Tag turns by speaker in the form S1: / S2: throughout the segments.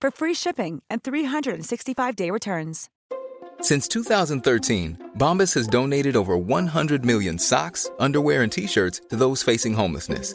S1: for free shipping and 365-day returns.
S2: Since 2013, Bombas has donated over 100 million socks, underwear, and t-shirts to those facing homelessness.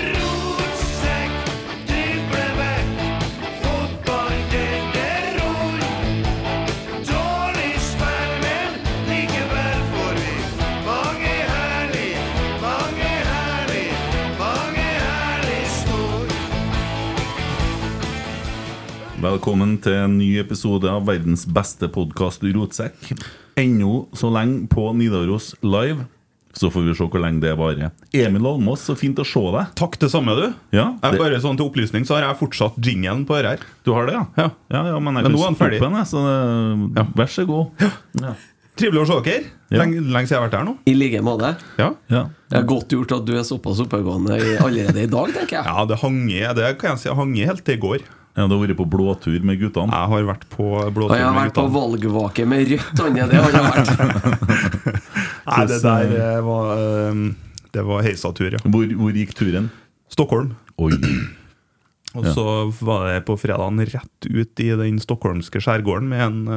S3: Rotsekk, driblevekk, fotball, det er ror. Dårlig spill, men likevel får vi mange herlig, mange herlig, mange herlig snor.
S4: Velkommen til en ny episode av verdens beste podkast Rotsekk. Ennå så lenge på Nidaros live. Så får vi se hvor lenge det varer. Emil Almås, så fint å se deg.
S5: Takk det samme, du.
S4: Ja,
S5: Jeg
S4: det-
S5: bare sånn Til opplysning så har jeg fortsatt jinglen på dette. her.
S4: Du har det, ja?
S5: Ja.
S4: ja, ja, men jeg
S5: Men
S4: kan
S5: nå er han
S4: stoppe
S5: ferdig.
S4: den, jeg, så det,
S5: Ja.
S4: vær så god. Ja.
S5: Trivelig å se dere.
S4: Ja.
S5: Lenge, lenge siden jeg har vært her nå.
S6: I like måte.
S5: Ja,
S4: Ja.
S6: Det er godt gjort at du er såpass oppegående i- allerede i dag, tenker jeg.
S5: ja det hang i det kan jeg si, hang i helt til i går.
S4: ja, du har vært på blåtur med guttene.
S5: Jeg har vært på
S6: Og jeg
S5: blåtur
S6: har
S5: med
S6: vært på
S5: guttene.
S6: valgvake med rødt hånde, det har jeg vært.
S5: Nei, det der eh, var eh, Det var heisatur, ja.
S4: Hvor, hvor gikk turen?
S5: Stockholm.
S4: Oi.
S5: Og så var det på fredagen rett ut i den stockholmske skjærgården med en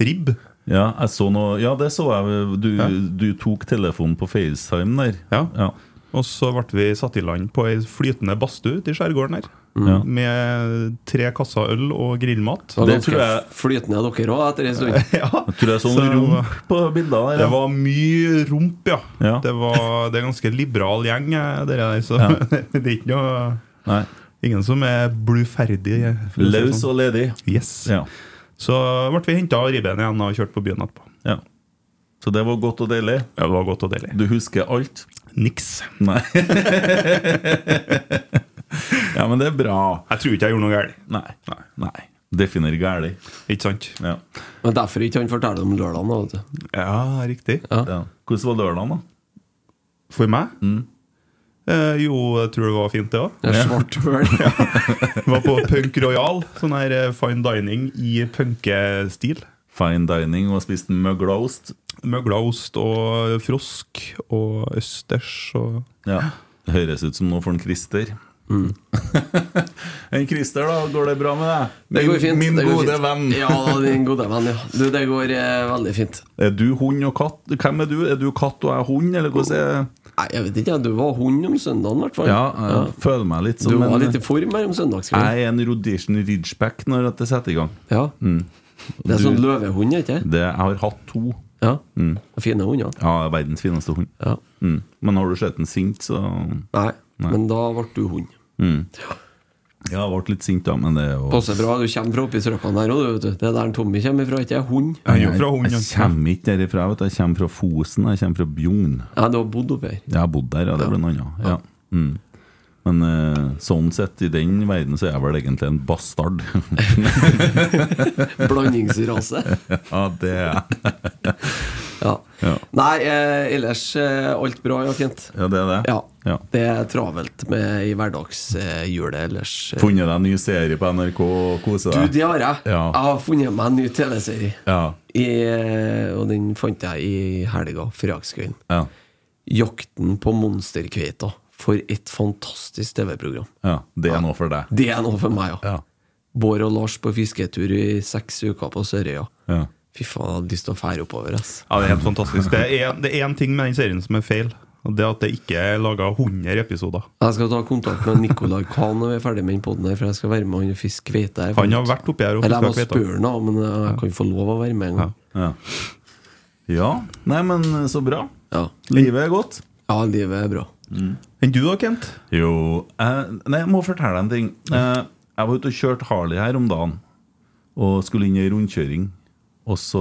S5: eh, ribb.
S4: Ja, jeg så noe Ja, det så jeg. Du, du tok telefonen på FaceTime der.
S5: Ja.
S4: Ja.
S5: Og så ble vi satt i land på ei flytende badstue ute i skjærgården her.
S4: Ja.
S5: Med tre kasser øl og grillmat.
S6: Det var
S4: Det tror
S6: ganske
S4: jeg-
S6: flytende dere òg etter en stund.
S5: Ja.
S4: Jeg tror jeg så noen
S5: Så-
S4: rump på bildene der.
S5: Det
S4: ja.
S5: var mye rump, ja.
S4: Ja.
S5: Det, var, det er ganske liberal gjeng, eh, dere der. Så
S4: Ja.
S5: det er ikke noe
S4: Nei.
S5: Ingen som er bluferdig. for å si det
S4: Løs
S5: sånn.
S4: og ledig.
S5: Yes.
S4: Ja.
S5: Så ble vi henta av ribben igjen og kjørt på byen etterpå.
S4: ja. Så det var godt og deilig.
S5: Ja, Det var godt og deilig.
S4: Du husker alt?
S5: Niks.
S4: Nei. ja, men det er bra.
S5: Jeg tror ikke jeg gjorde noe galt.
S4: Nei. Nei. Definerer gæli.
S5: Ikke sant?
S4: Ja.
S6: Men derfor ikke han forteller om lørdagen. da, Vet du.
S5: Ja, riktig.
S4: ja. Hvordan var lørdagen, da?
S5: For meg? Eh, jo, jeg tror det var fint, det òg.
S6: Det er svart høl.
S5: Var på Punk Royal. Sånn her eh, fine dining i punkestil.
S4: Fine dining og spiste møglaost.
S5: Møglaost og frosk og østers og
S4: Ja. Høres ut som noe for en Christer.
S6: Mm.
S4: en Christer, da. Går det bra med deg?
S6: Det går fint.
S4: Min
S6: det går
S4: gode
S6: fint.
S4: venn.
S6: Ja, da, din gode venn, ja. Du, det går eh, veldig fint.
S4: Er du hund og katt? Hvem er du? Er du katt og jeg hund, eller hvordan er
S6: Nei, jeg vet ikke, jeg. du var hund om søndagen, i hvert fall.
S4: Ja, jeg føler meg litt
S6: Du
S4: som
S6: var
S4: en-
S6: litt i form her om søndagskvelden.
S4: Jeg er en Rhodesian Ridgeback når at det setter i gang.
S6: Ja.
S4: Mm.
S6: Det er sånn løvehund, er ikke det?
S4: Det, jeg har hatt to.
S6: Ja.
S4: Mm.
S6: Fine hunder.
S4: Ja, jeg er verdens fineste hund.
S6: Ja.
S4: Mm. Men har du sett den sint, så
S6: Nei, men da ble du hund.
S4: Ja, jeg ble litt sint, da, men det er jo
S6: Passer bra, du kommer fra oppi strøkkene der òg, du. Det er der Tommy kommer fra, ikke jeg? hund.
S5: Jeg er jo fra Hund.
S4: Jeg kommer ikke derifra. vet du. Jeg kommer fra Fosen. Jeg kommer fra Bjugn.
S6: Ja, du har bodd oppi her.
S4: Jeg har bodd der, ja. Det blir noe annet. Ja. Mm. Men eh, sånn sett, i den verden, så er jeg vel egentlig en bastard.
S6: Blandingsrase.
S4: ja, det er jeg.
S6: Ja.
S4: Ja.
S6: Nei, eh, ellers eh, alt bra, ja, Kent.
S4: Ja, det er det.
S6: Ja.
S4: Ja.
S6: Det er travelt med i hverdagshjulet eh, hjulet ellers.
S4: Funnet deg en ny serie på NRK og kose
S6: Du,
S4: deg?
S6: det har jeg.
S4: Ja.
S6: Jeg har funnet meg en ny TV-serie.
S4: Ja.
S6: I- eh, Og den fant jeg i helga, fredagskvelden.
S4: Ja.
S6: 'Jakten på monsterkveita'. For et fantastisk TV-program.
S4: ja. Det er noe for deg.
S6: Det er noe for meg, ja.
S4: Ja.
S6: Bård og Lars på fisketur i seks uker på Sørøya.
S4: Ja.
S6: Fy faen, jeg hadde lyst til å fære oppover, ass.
S7: Ja, det er helt fantastisk. Det er, det er én ting med den serien som er feil. Og det er at det ikke er laga 100 episoder.
S6: Jeg skal ta kontakt med Nicolai Kahn når vi er ferdig med den podden her, for jeg skal være med han og fiske kveite. her.
S7: Han har vært oppi her og
S6: Eller jeg må
S7: fisket kveite.
S6: spørre han, da, men jeg kan få lov å være med en gang.
S4: Ja. ja. Nei, men eh, så bra.
S6: Ja,
S4: Livet er godt.
S6: ja livet er bra.
S7: Enn du da, Kent?
S4: Jo eh, Nei, jeg må fortelle deg en ting. Eh, jeg var ute og kjørte Harley her om dagen. Og skulle inn i rundkjøring. Og så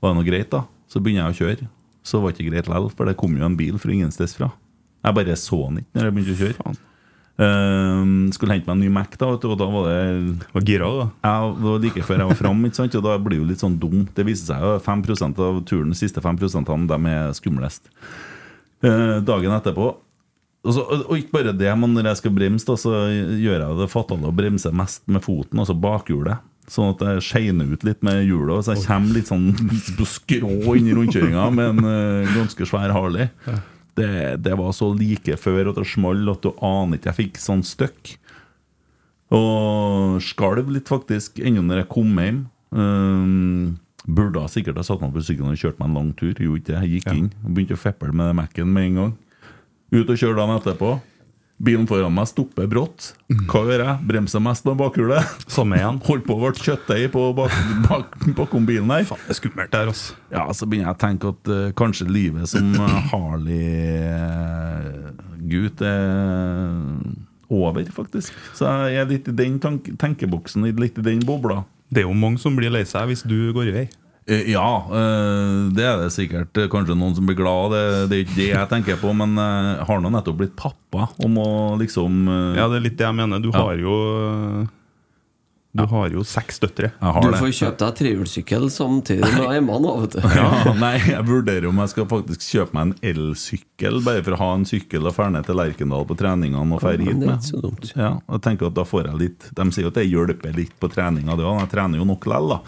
S4: var det noe greit, da. Så begynner jeg å kjøre. Så var det ikke greit likevel, for det kom jo en bil fra ingensteds fra. Jeg bare så den ikke når jeg begynte å kjøre. Eh, skulle hente meg en ny Mac, da, vet du, og da var det
S7: Var gira, da?
S4: jeg, det var like før jeg var fram, ikke sant? og da blir jeg jo litt sånn dum. Det viser seg jo at 5 av turen, de siste 5 de er skumlest. Eh, dagen etterpå og, så, og og ikke bare det, men når jeg skal bremse, da, så gjør jeg det fatale å bremse mest med foten, altså bakhjulet. Sånn at jeg skeiner ut litt med hjulet, og så jeg kommer litt sånn på skrå inn i rundkjøringa med en eh, ganske svær Harley. Det, det var så like før at det smalt at du aner ikke. Jeg fikk sånn støkk. Og skalv litt faktisk ennå når jeg kom hjem. Um, burde ha sikkert ha satt meg på sykkelen og kjørt meg en lang tur. Gjorde ikke det. Jeg gikk inn og begynte å feple med Mac-en med en gang. Ut og kjøre dagen etterpå. Bilen foran meg stopper brått. Hva gjør jeg? Bremser mest med bakhjulet.
S7: Samme igjen.
S4: Holdt på å bli kjøttdeig på bak, bak, bakom bilen her.
S7: Faen, det er skummelt der, altså.
S4: Ja, så begynner jeg å tenke at eh, kanskje livet som eh, Harley-gutt er over, faktisk. Så jeg er litt i den tank tenkeboksen, litt i den bobla.
S7: Det er jo mange som blir lei seg hvis du går i vei.
S4: Eh, Ja, eh, det er det sikkert. Eh, Kanskje noen som blir glad. Det, det er ikke det jeg tenker på, men eh, jeg har nå nettopp blitt pappa og må liksom eh,
S7: Ja, det er litt det jeg mener. Du har jo
S5: eh,
S7: Du har jo seks døtre.
S4: Jeg har
S6: Du
S4: det.
S6: får kjøpe deg trehjulssykkel samtidig med hjemme nå, vet du.
S4: Ja, nei, jeg vurderer om jeg skal faktisk kjøpe meg en elsykkel, bare for å ha en sykkel og ferde ned til Lerkendal på treningene og ferde
S6: men
S4: hit
S6: det er
S4: med.
S6: ikke så dumt.
S4: Ja, og jeg tenker at da får jeg litt De sier jo at det hjelper litt på treninga, det òg. Jeg trener jo nok likevel, da.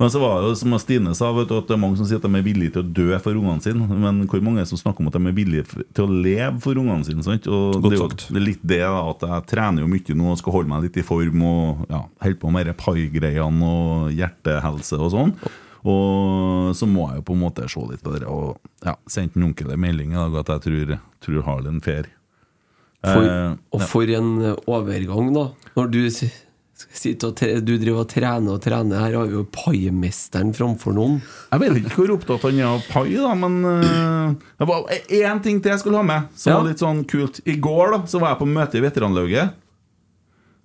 S4: Men så var det jo som Stine sa, vet du, at det er mange som sier at de er villige til å dø for ungene sine. Men hvor mange er det som snakker om at de er villige f- til å leve for ungene sine? Sant? Og
S7: Godt
S4: det er jo
S7: sagt.
S4: det er litt det da, at jeg trener jo mye nå og skal holde meg litt i form og ja, holde på med de pai-greiene og hjertehelse og sånn. Og så må jeg jo på en måte se litt på det. Og ja, sendte en onkel en melding i dag at jeg tror, tror Harlin fer.
S6: For,
S4: Eh,
S6: og for en overgang, da. Når du, si- skal sitte og tre, du driver og trener og trener, her har vi jo paimesteren framfor noen.
S4: Jeg vet ikke hvor opptatt han er av pai, da, men eh, det var én ting til jeg skulle ha med, som
S6: Ja.
S4: var litt sånn kult. I går da, så var jeg på møte i veteranlauget.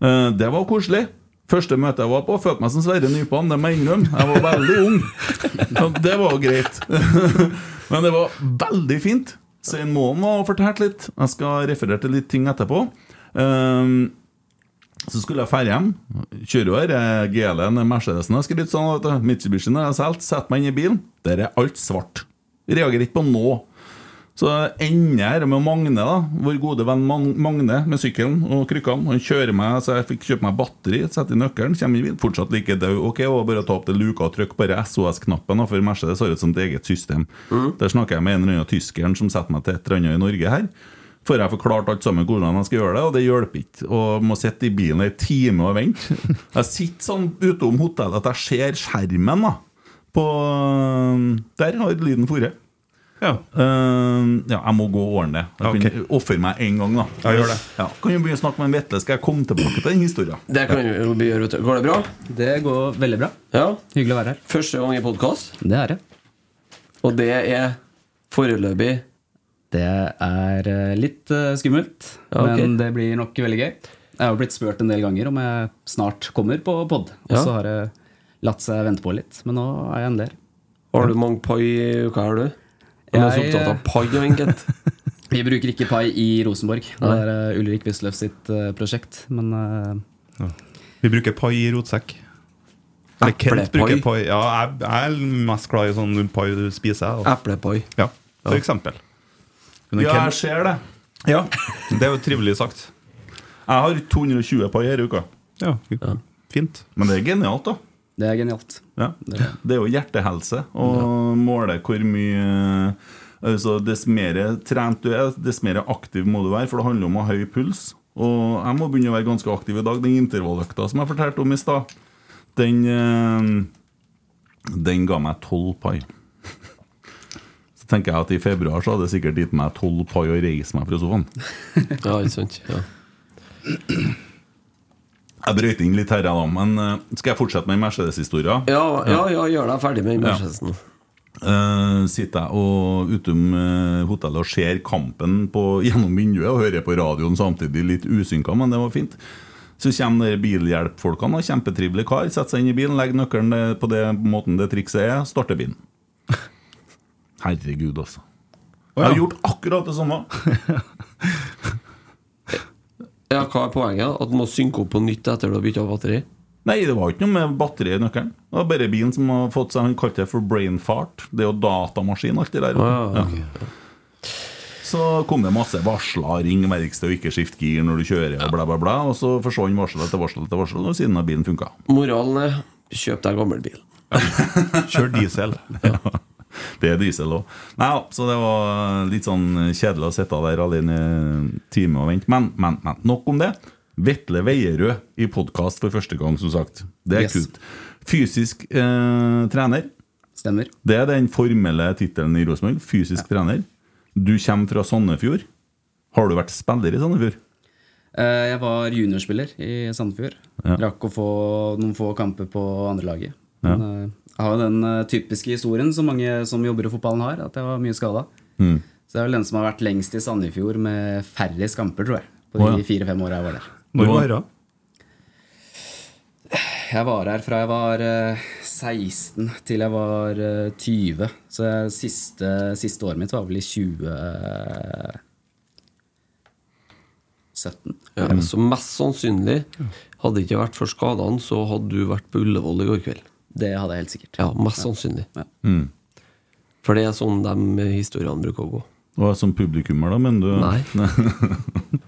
S4: Eh, det var koselig. Første møte jeg var på, følte meg som Sverre Nypan. Det må jeg innrømme. Jeg var veldig ung. Ja, Det var jo greit. Men det var veldig fint. Svein Moen har fortalt litt. Jeg skal referere til litt ting etterpå. Eh, så skulle jeg ferde hjem. Kjører jo her. eh, GL-en, Mercedesen har skrytt sånn. vet du. Mitsubishien har jeg solgt. Setter meg inn i bilen. Der er alt svart. Reagerer ikke på nå. Så ender jeg her med Magne, da. Vår gode venn Mag- Magne med sykkelen og krykkene. Han kjører meg, så jeg fikk kjøpe meg batteri, setter i nøkkelen, kommer inn i bilen. Fortsatt like død. Ok, og bare ta opp til luka og trykk bare SOS-knappen, da, for Mercedes har et sånt eget system. Der snakker jeg med en eller annen tyskeren som setter meg til et eller annet i Norge her. Får jeg forklart alt sammen hvordan jeg skal gjøre det, og det hjelper ikke. Og må sitte i bilen en time og vente. Jeg sitter sånn utom hotellet at jeg ser skjermen, da. På Der har lyden foret.
S7: Ja.
S4: Ehm, ja, jeg må gå og ordne det. Jeg
S7: Ok.
S4: begynner- Offer meg en gang, da.
S7: Ja, gjør det.
S4: Ja. Kan du begynne å snakke med en Vetle? Skal jeg komme tilbake til den historien?
S6: Det kan vi jo gjøre, vet du. Går det bra?
S5: Det går veldig bra.
S6: Ja.
S5: Hyggelig å være her.
S6: Første gang i podkast,
S5: Det er det.
S6: og det er foreløpig
S5: Det er eh, litt eh, skummelt,
S6: Ja, ok.
S5: men det blir nok veldig gøy. Jeg har jo blitt spurt en del ganger om jeg snart kommer på pod, og
S6: Ja.
S5: så har jeg latt seg vente på litt, men nå er jeg endelig her.
S6: Har du mange pai i uka, har du? Jeg er så
S5: Jeg-
S6: opptatt av pai, jo, Enkelt.
S5: Vi bruker ikke pai i Rosenborg. Det er eh, Ulrik Wisløff sitt eh, prosjekt, men eh,
S7: Vi bruker pai i rotsekk. Eller Kent
S6: Eplepai.
S7: bruker pai. Ja, jeg, jeg er mest glad i sånn pai du spiser. jeg, da.
S6: Eplepai.
S7: Ja, for eksempel. Men
S4: Ja,
S7: Kent-
S4: jeg ser det.
S7: Ja, det er jo trivelig sagt.
S4: Jeg har 220 pai denne uka.
S7: Ja, fint.
S4: Men det er genialt, da.
S5: Det er genialt.
S4: Ja. Det er jo hjertehelse å måle hvor mye altså, Dess mer trent du er, dess mer aktiv må du være, for det handler om å ha høy puls. Og jeg må begynne å være ganske aktiv i dag. Den intervalløkta som jeg fortalte om i stad, den, eh, den ga meg tolv pai. Så tenker jeg at i februar så hadde det sikkert gitt meg tolv pai å reise meg fra sofaen.
S6: Ja, ikke sant? Ja.
S4: Jeg brøyt inn litt her, jeg da, men eh, skal jeg fortsette med Mercedes-historia?
S6: Ja, ja, ja, gjør deg ferdig med Mercedesen.
S4: Eh, sitter jeg og utom eh, hotellet og ser kampen på, gjennom vinduet og hører på radioen samtidig, litt usynka, men det var fint. Så kommer de bilhjelpfolkene, og kjempetrivelig kar, setter seg inn i bilen, legger nøkkelen eh, på den måten det trikset er, starter bilen. Herregud, altså. Jeg har gjort akkurat det samme.
S6: Ja, hva er poenget? da? At du må synke opp på nytt etter du har bytta batteri?
S4: Nei, det var ikke noe med batteri i nøkkelen. Det var bare bilen som har fått seg Han kalte det for brain fart. Det er jo datamaskin, alt det der.
S6: Ah, ok.
S4: ja. Så kom det masse varsler. Ring verksted og ikke skift gir når du kjører, og bla, bla, bla. Og så forsvant varsel etter varsel etter varsel, og siden har bilen funka.
S6: Moralen er kjøp deg gammel bil.
S7: Kjør diesel.
S4: Det er diesel òg. Nei da, så det var litt sånn kjedelig å sitte der alene en time og vente. Men, men, men. Nok om det. Vetle Veierød i podkast for første gang, som sagt. Det er
S5: Yes.
S4: kult. Fysisk eh, trener.
S5: Stemmer.
S4: Det er den formelle tittelen i Rosenborg. Fysisk trener. Du kommer fra Sandefjord. Har du vært spiller i Sandefjord?
S5: Eh, Jeg var juniorspiller i Sandefjord.
S4: Ja.
S5: Rakk å få noen få kamper på andrelaget. Men
S4: Ja.
S5: eh, jeg har jo den eh, typiske historien som mange som jobber i fotballen har, at jeg var mye skada.
S4: Mm.
S5: Så det er vel den som har vært lengst i Sandefjord med færrest kamper, tror jeg. På
S4: Å, ja.
S5: de fire-fem åra jeg var der.
S7: Når var det?
S5: Jeg var her fra jeg var eh, 16 til jeg var eh, 20. Så jeg, siste, siste året mitt var vel i 2017.
S6: Ja,
S4: Mm.
S6: så mest sannsynlig, hadde det ikke vært for skadene, så hadde du vært på Ullevål i går kveld.
S5: Det hadde jeg helt sikkert.
S6: Ja, mest sannsynlig.
S5: Ja.
S4: Mm.
S6: For det er sånn de historiene bruker å gå.
S4: Og som publikummer, da, mener du?
S6: Nei.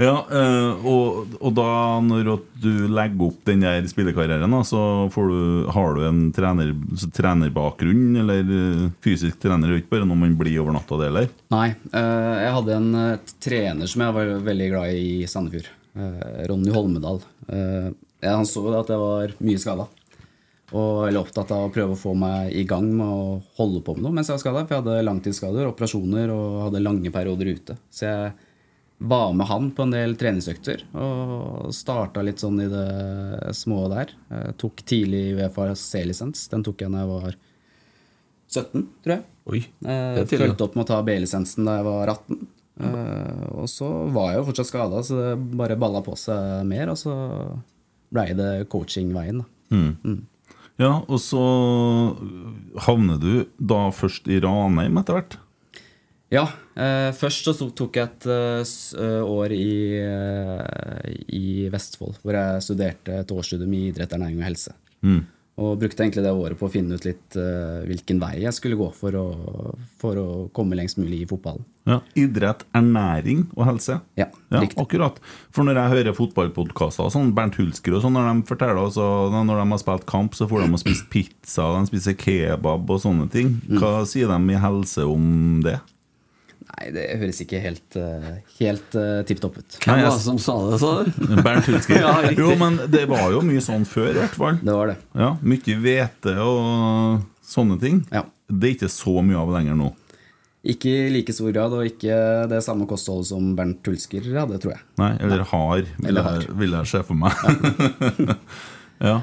S4: ja, eh, og, og da, når at du legger opp den der spillekarrieren, da, så får du, har du en trener, så trenerbakgrunn, eller eh, fysisk trener, det er jo ikke bare noe man blir over natta, det heller.
S5: Nei. eh, jeg hadde en eh, trener som jeg var veldig glad i i Sandefjord. eh, Ronny Holmedal. Eh, ja, han så jo det at jeg var mye skada. Og veldig opptatt av å prøve å få meg i gang med å holde på med noe mens jeg var skada. For jeg hadde langtidsskader, operasjoner og hadde lange perioder ute. Så jeg var med han på en del treningsøkter og starta litt sånn i det små der. Eh, tok tidlig Uefa C-lisens. Den tok jeg da jeg var 17, tror jeg.
S6: Oi,
S5: Eh,
S6: det er tidlig.
S5: fulgte opp med å ta B-lisensen da jeg var 18. Eh, og så var jeg jo fortsatt skada, så det bare balla på seg mer. Og så blei det coachingveien, da.
S4: Mm. Ja, og så havner du da først i Ranheim etter hvert.
S5: Ja. Eh, først så tok- tok jeg et eh, s- eh, år i, eh, i Vestfold, hvor jeg studerte et årsstudium i idrett, ernæring og helse.
S4: Mm.
S5: Og brukte egentlig det året på å finne ut litt eh, hvilken vei jeg skulle gå for å, for å komme lengst mulig i fotballen.
S4: Ja, Idrett, ernæring og helse.
S5: Ja, riktig.
S4: akkurat. For når jeg hører fotballpodkaster og sånn, Bernt Hulsker og sånn, når de forteller oss og når de har spilt kamp, så får de å spise pizza, og de spiser kebab og sånne ting. Hva sier de i helse om det?
S5: Nei, det høres ikke helt, eh, helt uh, tipp topp ut.
S6: Hvem
S4: Nei, jeg-
S6: var det som sa det, sa du?
S4: Bernt Hulsker.
S6: Ja, riktig.
S4: jo, men det var jo mye sånn før, i hvert fall.
S5: Det var det.
S4: Ja, Mye hvete og sånne ting.
S5: Ja.
S4: Det er ikke så mye av lenger nå.
S5: Ikke i like stor grad, og ikke det samme kostholdet som Bernt Hulsker hadde, tror jeg.
S4: Nei, eller har, vil,
S5: Eller har.
S4: Jeg, vil jeg se for meg. ja.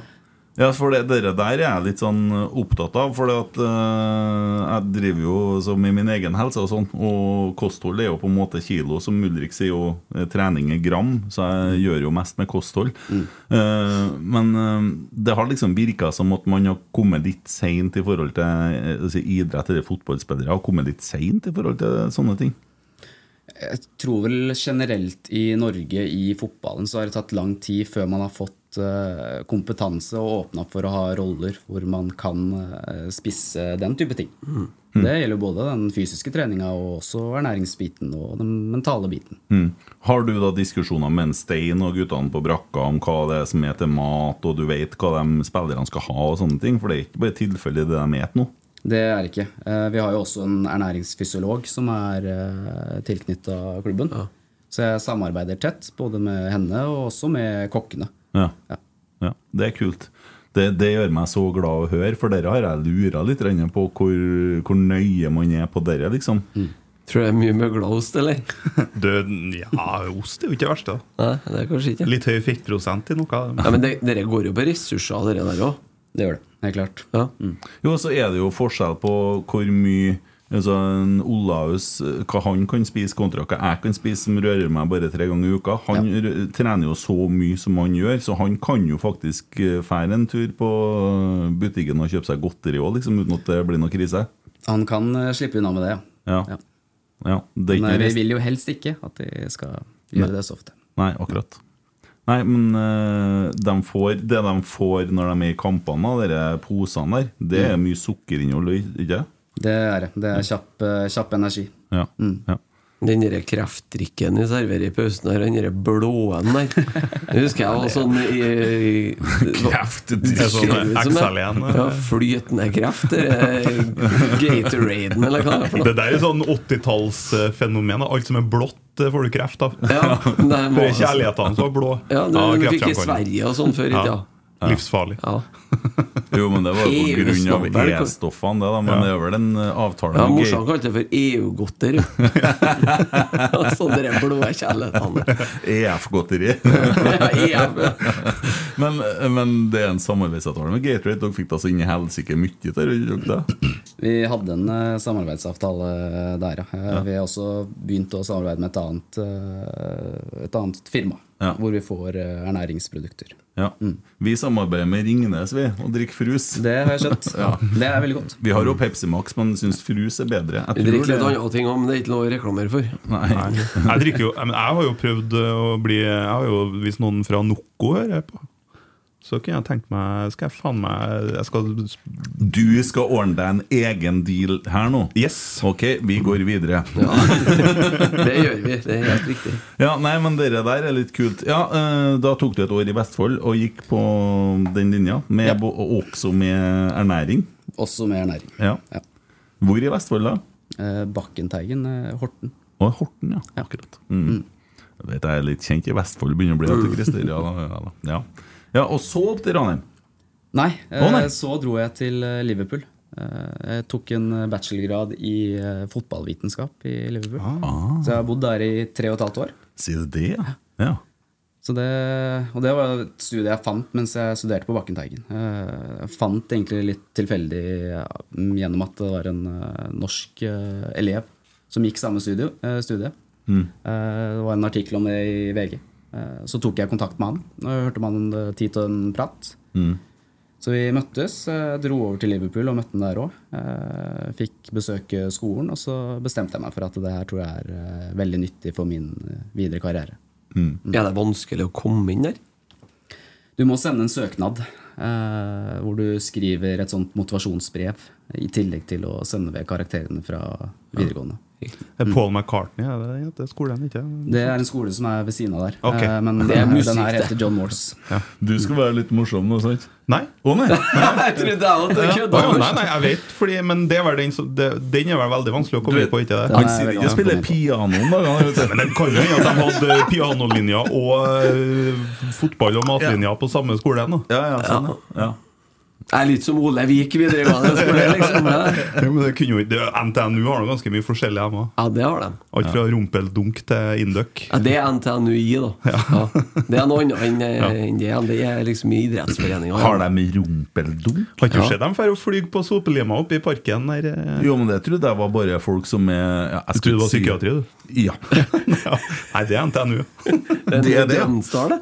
S4: ja, for det dere der er jeg litt sånn opptatt av. For at, eh, jeg driver jo som i min egen helse og sånn, og kosthold er jo på en måte kilo, som Ulrik sier jo, eh, trening er gram, så jeg gjør jo mest med kosthold. Eh, men eh, det har liksom virka som at man har kommet litt seint i forhold til eh, altså, idrett eller fotballspillere, har kommet litt seint i forhold til sånne ting.
S5: Jeg tror vel generelt i Norge i fotballen så har det tatt lang tid før man har fått fått eh, kompetanse og åpna for å ha roller hvor man kan eh, spisse den type ting.
S3: Mm.
S5: Det gjelder både den fysiske treninga og også ernæringsbiten og den mentale biten.
S4: Mm. Har du da diskusjoner med en Stein og guttene på brakka om hva det er som er til mat, og du vet hva de spillerne skal ha og sånne ting? For det er ikke bare tilfeldig det de spiser nå.
S5: Det er det ikke. Eh, Vi har jo også en ernæringsfysiolog som er tilknytta klubben. Så jeg samarbeider tett både med henne og også med kokkene.
S4: Ja. ja. Det er kult. Det, det gjør meg så glad å høre, for dere har jeg lura litt grann på hvor, hvor nøye man er på dere, liksom.
S6: Tror du det er mye møglaost, eller?
S7: ja, ost er jo ikke det verste. da.
S6: Nei, det er kanskje ikke
S7: Litt høy fettprosent i noe.
S6: Ja, Men det- dere går jo på ressurser, dere der òg.
S5: Det gjør det, helt klart.
S6: Ja.
S4: Jo, så er det jo forskjell på hvor mye altså en Olaus, eh, hva han kan spise kontra hva jeg kan spise, som rører meg bare tre ganger i uka. Han r- trener jo så mye som han gjør, så han kan jo faktisk eh, fære en tur på eh, butikken og kjøpe seg godteri òg, liksom, uten at det blir noe krise.
S5: Han kan eh, slippe unna med det, ja.
S4: Ja. ja. det er ikke
S5: Men eh,
S4: noe
S5: vi
S4: rest-
S5: vil jo helst ikke at de skal gjøre
S4: Nei.
S5: det så ofte.
S4: Nei, akkurat. Nei, men eh, de får, det de får når de er i kampene, de der posene der, det er mye sukkerinnhold, ikke det?
S5: Det er det. Det
S4: Mm.
S5: er kjapp, eh, kjapp energi.
S4: Ja. ja.
S6: Den der kreftdrikken de serverer i pausen her, den der blåen der Det husker jeg var sånn i, i
S7: Kreftdrikk. Sånn Excel igjen.
S6: Ja, flytende kreft. det er Gatoraden, eller hva det er for noe.
S7: Det der er sånn 80-tallsfenomen. da. Alt som er blått, eh, får du kreft av.
S6: Ja, nei,
S7: det
S6: må-
S7: er kjærlighetene som er blå.
S6: Ja, det vi fikk i
S7: kreftfremkallende.
S6: Sverige og sånn før i
S7: Ja.
S6: tida.
S7: Livsfarlig.
S4: Jo, men det var jo på
S6: Evig
S4: grunn av
S6: snabel.
S4: E-stoffene, det, da. Men
S6: Ja.
S4: det er vel en eh, avtale
S6: Ja,
S4: med
S6: Morsan kalte det for EU-godteri. sånn dere blå kjærlighetene.
S4: E EF-godteri.
S6: Ja,
S4: men, eh, men det er en samarbeidsavtale med Gatorade. Dere fikk da så inn i helsike mye til dere, gjorde dere det?
S5: Vi hadde en eh, samarbeidsavtale eh, der, ja. Eh,
S4: Ja.
S5: Vi har også begynt å samarbeide med et annet, eh, et annet firma, hvor vi får eh, ernæringsprodukter.
S4: Ja.
S6: Mm.
S4: Vi samarbeider med Ringnes, vi, og drikker Frus.
S5: Det har jeg skjønt. Det er veldig godt.
S4: Vi har jo Pepsi Max, men syns Frus er bedre. Jeg
S6: Vi
S4: tror
S6: drikker
S4: det-
S6: litt andre ting òg, men det er ikke lov å reklamere for.
S7: Nei. Jeg, drikker jo, men jeg har jo prøvd eh, å bli jeg har jo, Hvis noen fra Noco hører på, så kunne jeg tenkt meg Skal jeg faen meg jeg skal,
S4: Du skal ordne deg en egen deal her nå?
S7: Yes
S4: Ok, vi går videre.
S6: Det gjør vi. Det er helt riktig.
S4: Ja, nei, men dere der er litt kult. Ja, eh, Da tok du et år i Vestfold og gikk på den linja, med, bo- og også med ernæring.
S5: Også med ernæring.
S4: Ja. Hvor i Vestfold, da?
S5: Eh, Bakkenteigen, eh, Horten.
S4: Å, Horten, ja. Akkurat. Mm. Jeg vet jeg er litt kjent i Vestfold, begynner å bli
S7: Mm.
S4: etter Christer. Ja, da, ja, da. Ja. ja, og så opp til Ranheim.
S5: Nei,
S4: Å, nei.
S5: eh, så dro jeg til eh, Liverpool. Eh, Jeg tok en bachelorgrad i eh, fotballvitenskap i Liverpool.
S4: Ah.
S7: Ah.
S5: Så jeg har bodd der i tre og et halvt år.
S4: Sier du det, ja? ja.
S5: Så det, og det var et studie jeg fant mens jeg studerte på Bakkenteigen. Eh, Jeg fant egentlig litt tilfeldig ja, gjennom at det var en eh, norsk eh, elev som gikk samme studio, eh, studie.
S3: Mm.
S5: Eh, Det var en artikkel om det i VG. Eh, Så tok jeg kontakt med han, og jeg hørte om han hadde tid til en prat.
S3: Mm.
S5: Så vi møttes, eh, dro over til Liverpool og møtte han der òg. Fikk besøke skolen, og så bestemte jeg meg for at det her tror jeg er eh, veldig nyttig for min eh, videre karriere.
S6: Er det vanskelig å komme inn der?
S5: Du må sende en søknad eh, hvor du skriver et sånt motivasjonsbrev, i tillegg til å sende ved karakterene fra videregående.
S7: Det er
S4: Mm.
S7: Paul McCartney, er det det heter? Skolen, ikke?
S5: Det er en skole som er ved siden av der,
S7: Ok.
S5: eh, men
S7: Det er
S5: eh,
S7: musikk,
S5: den her
S7: det.
S5: heter John Morse.
S4: Du skal være litt morsom nå, sant?
S7: Nei.
S4: Å nei!
S6: Jeg trodde jeg at det
S7: Ja.
S6: kødda.
S7: Å, nei, nei, jeg vet, fordi, men det er vel den, som- det, den er vel veldig vanskelig å komme inn på, ikke det?
S4: Han sier ikke 'spiller piano' om dagene.
S7: Men det kan jo hende at de hadde pianolinja og eh, fotball- og matlinja på samme skole. ennå.
S4: sånn,
S6: Jeg er litt som Ole Vik videregående skole, liksom. Ja.
S7: Ja, men det kunne jo ikke det- NTNU har nå ganske mye forskjellig hjemme.
S6: Ja, det har de.
S7: Alt fra rumpeldunk til induck.
S6: Ja, det er NTNUI, da. Ja. Det er noe annet enn eh, enn det. Det er liksom i idrettsforeninga.
S4: Har de rumpeldunk?
S7: Har ikke du
S6: Ja.
S7: sett dem for å fly på sopelima oppe i parken der? eh?
S4: Jo, men det trodde jeg var bare folk som er ja,
S7: Du trodde det var psykiatri,
S4: du? Ja.
S7: Nei, det er NTNU.
S6: Det
S4: det er
S6: er
S4: det, ja.
S6: Drømsdal, det.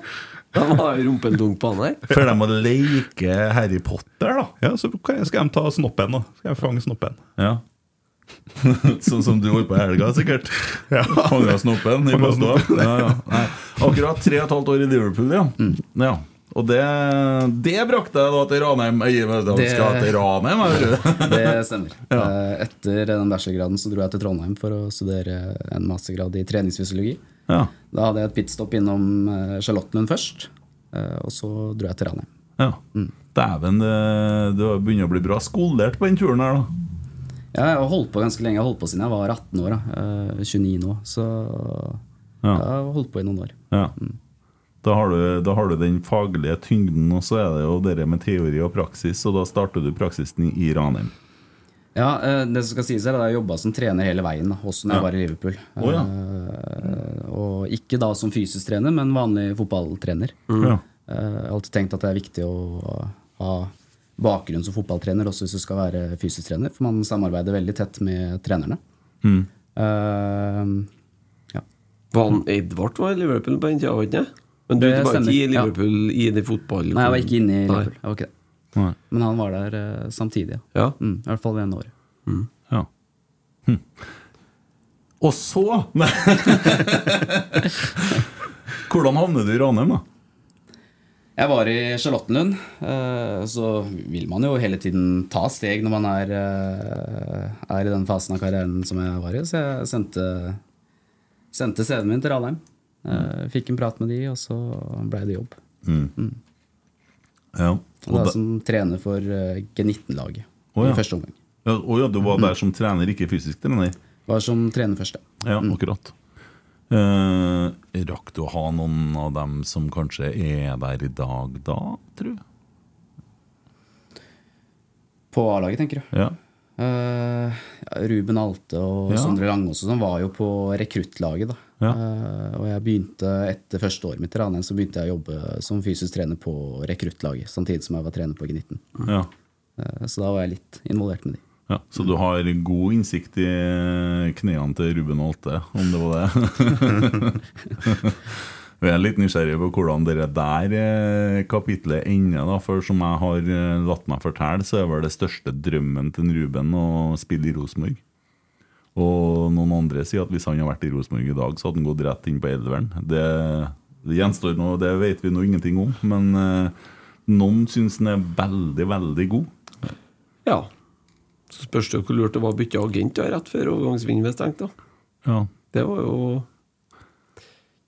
S6: De har jo rumpeldunk på han der.
S4: For de må leke Harry Potter, da.
S7: Ja, så kan jeg- skal de ta snoppen, da. Skal jeg fange snoppen.
S4: Ja. sånn som du holdt på i helga, sikkert.
S7: Ja.
S4: Fanga snoppen i
S7: Fanget
S4: badstua.
S7: snoppen. Mm.
S4: Ja, ja. Nei. Akkurat tre og et halvt år i Liverpool, ja. ja. Og det, det brakte jeg da til Ranheim. Jeg gir meg da, skal jeg til Ranheim, jeg, hører du.
S5: det stemmer. Eh, Etter den bachelorgraden så dro jeg til Trondheim for å studere en mastergrad i treningsfysiologi.
S4: Ja.
S5: Da hadde jeg et pitstop innom eh, Charlottenlund først, eh, og så dro jeg til Ranheim.
S4: Ja.
S7: Mm.
S4: Dæven, det, det begynner å bli bra skolert på den turen her, da.
S5: Ja, jeg har holdt på ganske lenge. Jeg har holdt på siden jeg var 18 år. Da. Eh, 29 nå. Så
S4: Ja.
S5: jeg har holdt på i noen år.
S4: Ja. Da har, du, da har du den faglige tyngden, og så er det jo det med teori og praksis, og da starter du praksisen i Ranheim.
S5: Ja, eh, det som skal sies her, er at jeg jobba som trener hele veien, da, også når jeg var i Liverpool.
S4: Å, ja.
S5: Eh, Og ikke da som fysisk trener, men vanlig fotballtrener.
S4: Mm. Ja.
S5: Eh, Jeg har alltid tenkt at det er viktig å ha bakgrunn som fotballtrener, også hvis du skal være fysisk trener, for man samarbeider veldig tett med trenerne.
S4: Mm.
S5: Eh,
S6: Van Edvard var i Liverpool på den tida, var ikke det? Men du
S5: Det
S6: var ikke i
S5: stemmer, ja.
S6: Liverpool i det fotballen?
S5: Nei, jeg var ikke inne i
S6: Nei.
S5: Liverpool. Jeg var ikke det.
S4: Nei.
S5: Men han var der eh, samtidig, ja.
S6: Ja.
S5: Mm, I hvert fall ved en år.
S4: Ja. Hm. Og så Nei. Hvordan havner du i Ranheim, da?
S5: Jeg var i Charlottenlund, eh, så vil man jo hele tiden ta steg når man er, eh, er i den fasen av karrieren som jeg var i, så jeg sendte, sendte CV-en min til Ranheim. Eh, Fikk en prat med de, og så ble det jobb.
S4: Hm. Mm. Ja.
S5: Og
S4: Og
S5: da
S4: da-
S5: som trener for eh, G19-laget
S4: Å, ja.
S5: i første omgang.
S4: ja, å ja, du var der som trener, ikke fysisk trener?
S5: Var som trener først, ja.
S4: Ja, akkurat. Eh, rakk du å ha noen av dem som kanskje er der i dag, da, tror du?
S5: På A-laget, tenker du.
S4: Ja.
S5: Eh, ja, Ruben Alte og
S4: Ja.
S5: Sondre Langås og sånn var jo på rekruttlaget. da
S4: Ja.
S5: Eh, Og jeg begynte etter første året mitt i Ranheim så begynte jeg å jobbe som fysisk trener på rekruttlaget. Samtidig som jeg var trener på G19.
S4: ja.
S5: Eh, Så da var jeg litt involvert med de.
S4: ja. Så du har god innsikt i knærne til Ruben Alte, om det var det? Jeg er litt nysgjerrig på hvordan det der eh, kapitlet ender. da For som jeg har eh, latt meg fortelle, så er vel det største drømmen til Ruben å spille i Rosenborg. Og noen andre sier at hvis han hadde vært i Rosenborg i dag, så hadde han gått rett inn på Elveren. Det, det gjenstår nå, det vet vi nå ingenting om, men eh, noen syns han er veldig, veldig god.
S6: ja. Så spørs det jo hvor lurt det var å bytte agent da, rett før overgangsvinduet stengte. da.
S4: Ja.
S6: Det var jo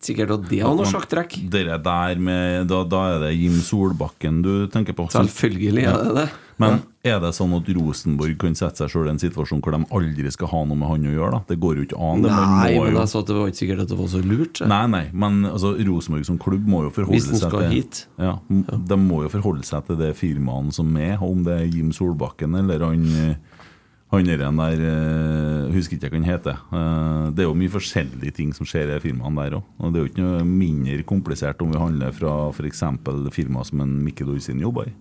S6: sikkert at det var noe sjakktrekk.
S4: Dere der med, da, da er det Jim Solbakken du tenker på?
S6: Selvfølgelig er det det.
S4: Men er det sånn at Rosenborg kan sette seg sjøl i en situasjon hvor de aldri skal ha noe med han å gjøre? da? Det går jo ikke an. Det, man
S6: Nei,
S4: må
S6: men
S4: jo-
S6: jeg sa at det var ikke sikkert at det var så lurt. så.
S4: Nei, nei, men altså, Rosenborg som klubb må jo forholde
S6: Hvis den
S4: seg
S6: skal
S4: til
S6: hit.
S4: Ja, m- De må jo forholde seg til det firmaene som er, om det er Jim Solbakken eller han eh, han der, en der eh, husker ikke hva han heter. Eh, Det er jo mye forskjellige ting som skjer i de firmaene der òg. Og det er jo ikke noe mindre komplisert om vi handler fra f.eks. firmaer som en Mikkel Olsen jobber i.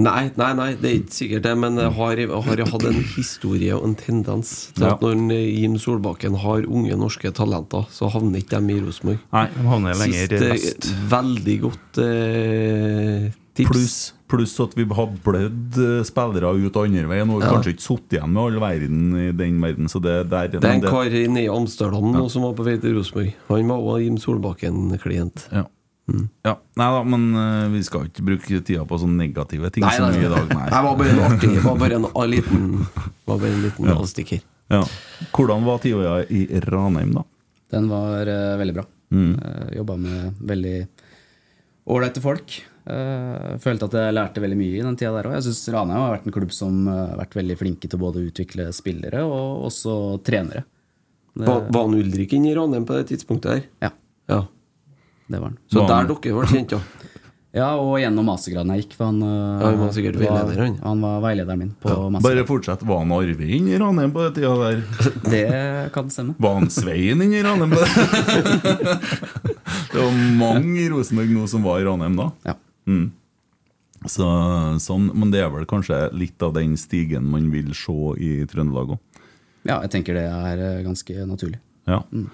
S6: Nei, nei, nei, det er ikke sikkert det, men jeg har, jeg har hatt en historie og en tendens til
S4: Ja.
S6: at når en Jim Solbakken har unge norske talenter, så havner ikke de i Rosenborg.
S4: Nei,
S7: De havner lenger
S6: Siste
S7: vest.
S6: veldig godt eh, tips.
S4: Pluss pluss at vi har blødd eh, spillere ut andre veien, og
S6: Ja.
S4: kanskje ikke sittet igjen med all verden i den verden. Så det, det er
S6: det er
S4: men
S6: en kar nede i Amsterdam nå som var på vei til Rosenborg. Han var også Jim Solbakken-klient.
S4: Ja.
S6: Mm.
S4: ja. Nei da, men eh, vi skal ikke bruke tida på sånne negative ting
S6: Nei,
S4: som
S6: nei,
S4: vi i dag,
S6: nei. Det var bare en artig Det var bare en a- liten, var bare en liten avstikker.
S4: Ja. Hvordan var tida i Ranheim, da?
S5: Den var eh, veldig bra.
S4: Mm.
S5: Eh, Jobba med veldig ålreite folk. Eh, følte at jeg lærte veldig mye i den tida der òg. Jeg syns Ranheim har vært en klubb som eh, har vært veldig flinke til både å utvikle spillere og også trenere. Det,
S6: Var, var han Ulrik inne i Ranheim på det tidspunktet her?
S5: ja,
S6: Eh. Ja.
S5: det var den.
S6: Så
S4: Var han-
S6: der dere ble kjent, ja.
S5: Ja, og gjennom mastergraden jeg gikk, for han, eh,
S6: Ja, han var sikkert veileder, han.
S5: han var veilederen min på
S4: Bare
S5: mastergraden.
S4: fortsett. Var han Arvein i Ranheim på den tida der?
S5: Det kan stemme.
S4: Var han Svein inne i Ranheim? på Det Det var mange i Rosenborg nå som var i Ranheim da.
S5: Ja.
S4: Mm. Så, sånn, men det er vel kanskje litt av den stigen man vil se i Trøndelag òg.
S5: ja, jeg tenker det er eh, ganske naturlig.
S4: Ja.
S6: Mm.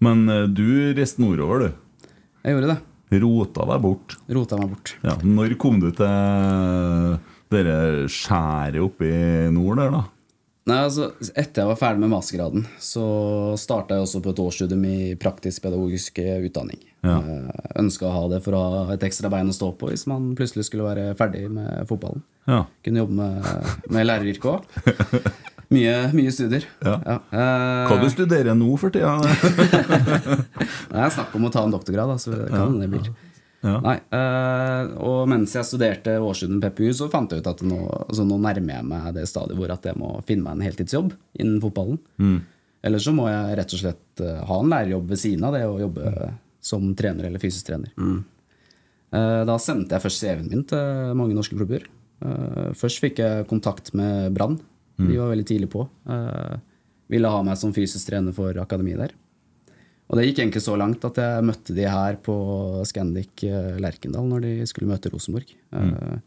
S4: Men eh, du reiste nordover, du.
S5: Jeg gjorde det.
S4: Rota deg bort.
S5: Rota meg bort.
S4: Ja. Når kom du til dere skjæret oppe i nord der, da?
S5: Nei, altså, etter jeg var ferdig med mastergraden, så starta jeg også på et årsstudium i praktisk pedagogisk eh, utdanning.
S4: Ja.
S5: Ønska å ha det for å ha et ekstra bein å stå på hvis man plutselig skulle være ferdig med fotballen.
S4: Ja.
S5: Kunne jobbe med, med læreryrket òg. Mye, mye studier.
S4: Ja.
S5: Eh,
S4: Hva du studerer nå for tida?
S5: Det er snakk om å ta en doktorgrad, da, så det kan
S4: Ja.
S5: det blir.
S4: Ja.
S5: Nei, eh, og mens jeg studerte årsstudium PPU, så fant jeg ut at nå, altså, nå nærmer jeg meg det stadiet hvor at jeg må finne meg en heltidsjobb innen fotballen.
S4: Mm.
S5: Eller så må jeg rett og slett eh, ha en lærerjobb ved siden av det å jobbe som trener eller fysisk trener.
S4: Mm.
S5: Eh, Da sendte jeg først CV-en min til mange norske klubber. Eh, Først fikk jeg kontakt med Brann.
S4: Mm.
S5: De var veldig tidlig på. Eh, Ville ha meg som fysisk trener for akademiet der. Og det gikk egentlig så langt at jeg møtte de her på Scandic eh, Lerkendal når de skulle møte Rosenborg.
S4: Mm.
S5: Eh,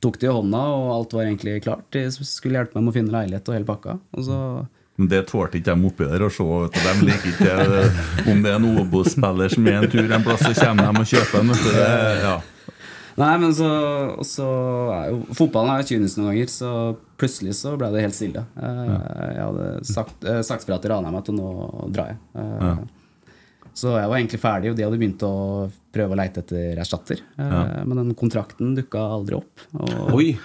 S5: Tok de i hånda, og alt var egentlig klart. De skulle hjelpe meg med å finne leilighet og hele pakka. Og så
S4: Men det tålte ikke de oppi der å se. vet du. De liker ikke eh, om det er en Obos-spiller som er en tur en plass, så kommer de og kjøper den. vet du. Det- Ja.
S5: Nei, men så, og så er jo, Fotballen er jo kynisk noen ganger, så plutselig så ble det helt stille. Eh, Jeg hadde sagt, eh, sagt fra til Ranheim at nå drar jeg. Eh,
S4: Ja.
S5: Så jeg var egentlig ferdig, og de hadde begynt å prøve å leite etter erstatter. Eh,
S4: Ja.
S5: Men den kontrakten dukka aldri opp. Og,
S6: Oi.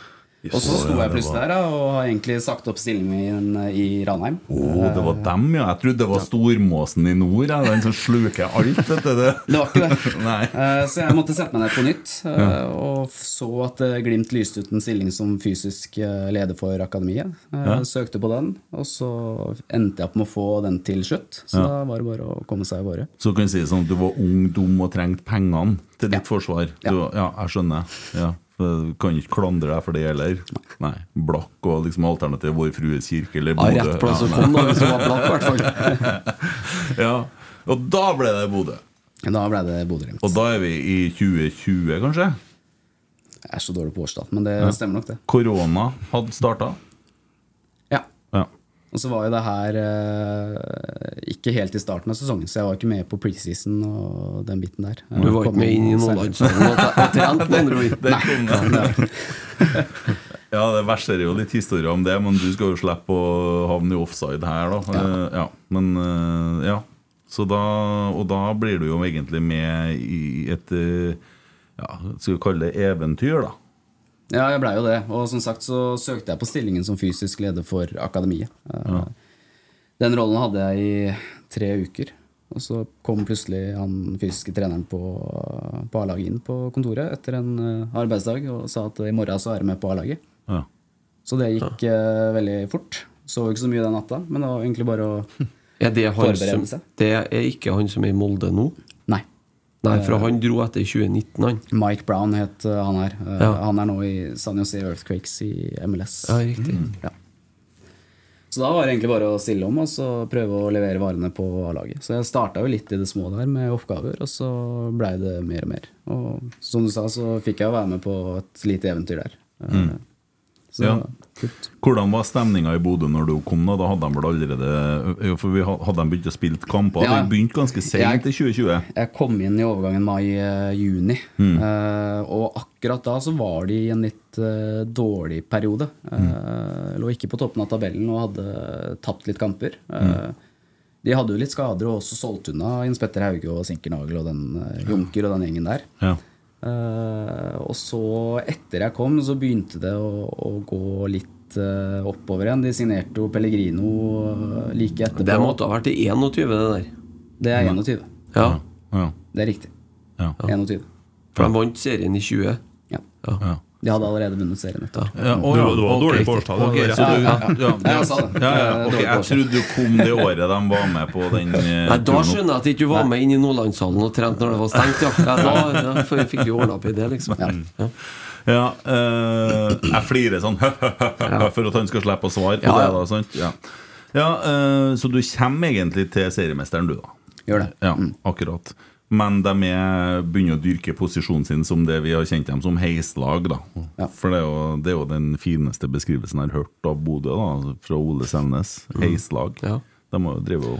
S5: og så sto jeg
S4: Ja, det
S5: plutselig der
S4: var-
S5: da, og har egentlig sagt opp stillingen min eh, i Ranheim.
S4: Å, det var dem, ja. Jeg trodde det var stormåsen i nord. Ja. Den som sluker alt, vet du. Det.
S5: Det var ikke det.
S4: Nei.
S5: Eh, Så jeg måtte sette meg ned på nytt, eh, og f- så at eh, Glimt lyste ut en stilling som fysisk eh, leder for akademiet. Eh,
S4: Ja.
S5: Søkte på den, og så endte jeg opp med å få den til slutt. Så
S4: Ja.
S5: da var det bare å komme seg av gårde.
S4: Så kan jeg si det sånn at du var ung, dum og trengte pengene til ditt forsvar. Du, ja, jeg skjønner. Ja. for Du kan ikke klandre deg for det heller. Nei. Blakk og liksom alternativ Vår Frues kirke eller
S6: Ja, rett plass å
S4: Ja,
S6: komme, da, hvis du var blakk, i hvert fall.
S4: nei. ja. Og da ble det Bodø.
S5: Da ble det Bodø-Glimt.
S4: Og da er vi i 2020, kanskje?
S5: Jeg er så dårlig på årstall, men det
S4: Ja.
S5: stemmer nok, det.
S4: Korona hadde starta.
S5: Ja.
S4: Ja.
S5: Og så var jo det her eh, ikke helt i starten av sesongen, så jeg var ikke med på preseason og den biten der.
S6: Du var ikke med inn i Nordlandshallen og t- og trent, med andre ord.
S4: Der kom den. Ja, det verserer jo litt historier om det, men du skal jo slippe å havne i offside her, da. Ja. ja. Men eh, ja. Så da, og da blir du jo egentlig med i et eh, ja, skal vi kalle det eventyr, da.
S5: Ja, jeg blei jo det. Og som sagt så søkte jeg på stillingen som fysisk leder for akademiet. Eh, Den rollen hadde jeg i tre uker. Og så kom plutselig han fysiske treneren på, på A-laget inn på kontoret etter en eh, arbeidsdag og sa at i morgen så er du med på A-laget.
S4: Ja.
S5: Så det gikk eh, veldig fort. Sov ikke så mye den natta, men det var egentlig bare å
S6: Er det, han som,
S5: Forberedelse.
S6: det er ikke han som er i Molde nå?
S5: Nei.
S6: Nei, for han dro etter 2019, han.
S5: Mike Brown het eh, han her. Eh,
S6: Ja.
S5: Han er nå i San Jose Earthquakes i MLS.
S6: Ja, riktig.
S5: Så da var det egentlig bare å stille om og så prøve å levere varene på A-laget. Så jeg starta jo litt i det små der med oppgaver, og så blei det mer og mer. Og som du sa, så fikk jeg jo være med på et lite eventyr der. Eh, Så
S4: Ja.
S5: kult.
S4: Hvordan var stemninga i Bodø når du kom? Da Da hadde de vel allerede jo, For vi ha- hadde de begynt å spille kamper?
S5: Ja.
S4: De begynte ganske seint
S5: Jeg-
S4: i 2020.
S5: Jeg kom inn i overgangen mai-juni, eh, og akkurat da så var de i en litt eh, dårlig periode. Eh, Lå ikke på toppen av tabellen og hadde tapt litt kamper. Eh, De hadde jo litt skader og også solgt unna Jens Petter Hauge og Sinkernagel og den eh, Junker og den gjengen der.
S4: Ja.
S5: Eh, og så, etter jeg kom, så begynte det å, å gå litt eh, oppover igjen. De signerte jo Pellegrino eh, like etterpå.
S6: Det måtte ha vært i 21, det der.
S5: Det er 21.
S6: Ja,
S4: Ja.
S5: Det er riktig.
S4: Ja.
S5: 21.
S6: For de vant serien i 20.
S5: Ja.
S4: Ja.
S5: De hadde allerede vunnet serien. vet du.
S4: Ja, å,
S7: Du-
S4: ja,
S7: du var
S4: ok.
S7: dårlig på årstall, det
S4: Ok,
S7: var det.
S4: så du-
S5: Ja, ja,
S4: ja,
S5: ja, jeg sa det.
S4: ja, ja, ok,
S5: Dårlig på
S4: Jeg
S5: årstall.
S4: trodde du kom det året de var med på den eh,
S6: Nei, Da
S4: turen opp.
S6: skjønner jeg at ikke du var med inn i Nordlandshallen og trent når det var stengt, ja. ja da, da f- fikk du ordna opp i det, liksom. Ja.
S4: Ja, eh, jeg flirer sånn for at han skal slippe å svare på
S6: Ja, ja.
S4: det. da, sant? Ja, ja eh, Så du kommer egentlig til seriemesteren, du, da.
S5: Gjør det.
S4: Ja, akkurat. Men de er, begynner å dyrke posisjonen sin som det vi har kjent dem som, heislag. da.
S5: Ja.
S4: For det er, jo, det er jo den fineste beskrivelsen jeg har hørt av Bodø, da, altså fra Ole Selnes. Heislag.
S6: Ja.
S4: De har jo drevet og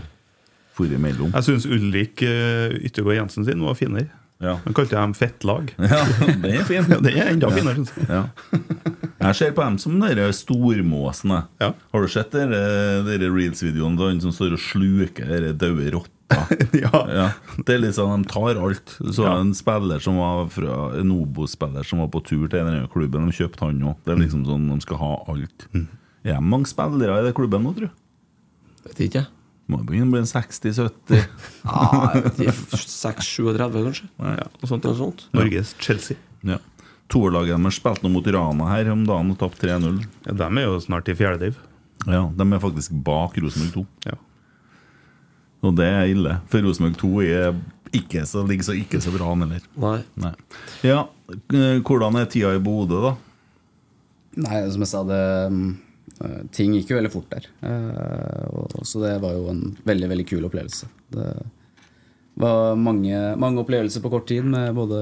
S4: fôret imellom.
S7: Jeg syns Ulrik eh, Yttergård Jensen sin var finere. Han kalte dem fettlag.
S4: Ja, den er fin.
S7: Ja, den er enda finere, synes jeg.
S4: Ja. Jeg ser på dem som dere stormåsene. Har du sett eh, dere, dere reels-videoene av han som står og sluker dere døde rotter? Ja. Det er litt sånn, De tar alt. Så var det en spiller som var fra, en Obo-spiller som var på tur til denne klubben. De kjøpte han òg. Det er
S7: Mm.
S4: liksom sånn, de skal ha alt. Er det mange spillere i den klubben nå, tror du?
S6: Vet ikke. jeg.
S4: Må jo begynne å bli en 60-70.
S6: Ja, jeg vet ikke, 6-37, kanskje.
S4: Ja,
S6: noe sånt. Noe sånt.
S7: Norges Chelsea.
S4: Ja. Toerlaget deres spilte nå mot Rana her om dagen og tapte 3-0.
S7: Ja, de er jo snart i fjerde div.
S4: Ja, De er faktisk bak Rosenborg 2.
S7: Ja.
S4: Og det er ille, for Rosenborg 2 er ikke så, ligger så ikke så bra an heller.
S6: Nei.
S4: Nei. Ja, eh, Hvordan er tida i Bodø, da?
S5: Nei, som jeg sa, det eh, Ting gikk jo veldig fort der. Eh, og, så det var jo en veldig, veldig kul opplevelse. Det var mange, mange opplevelser på kort tid med både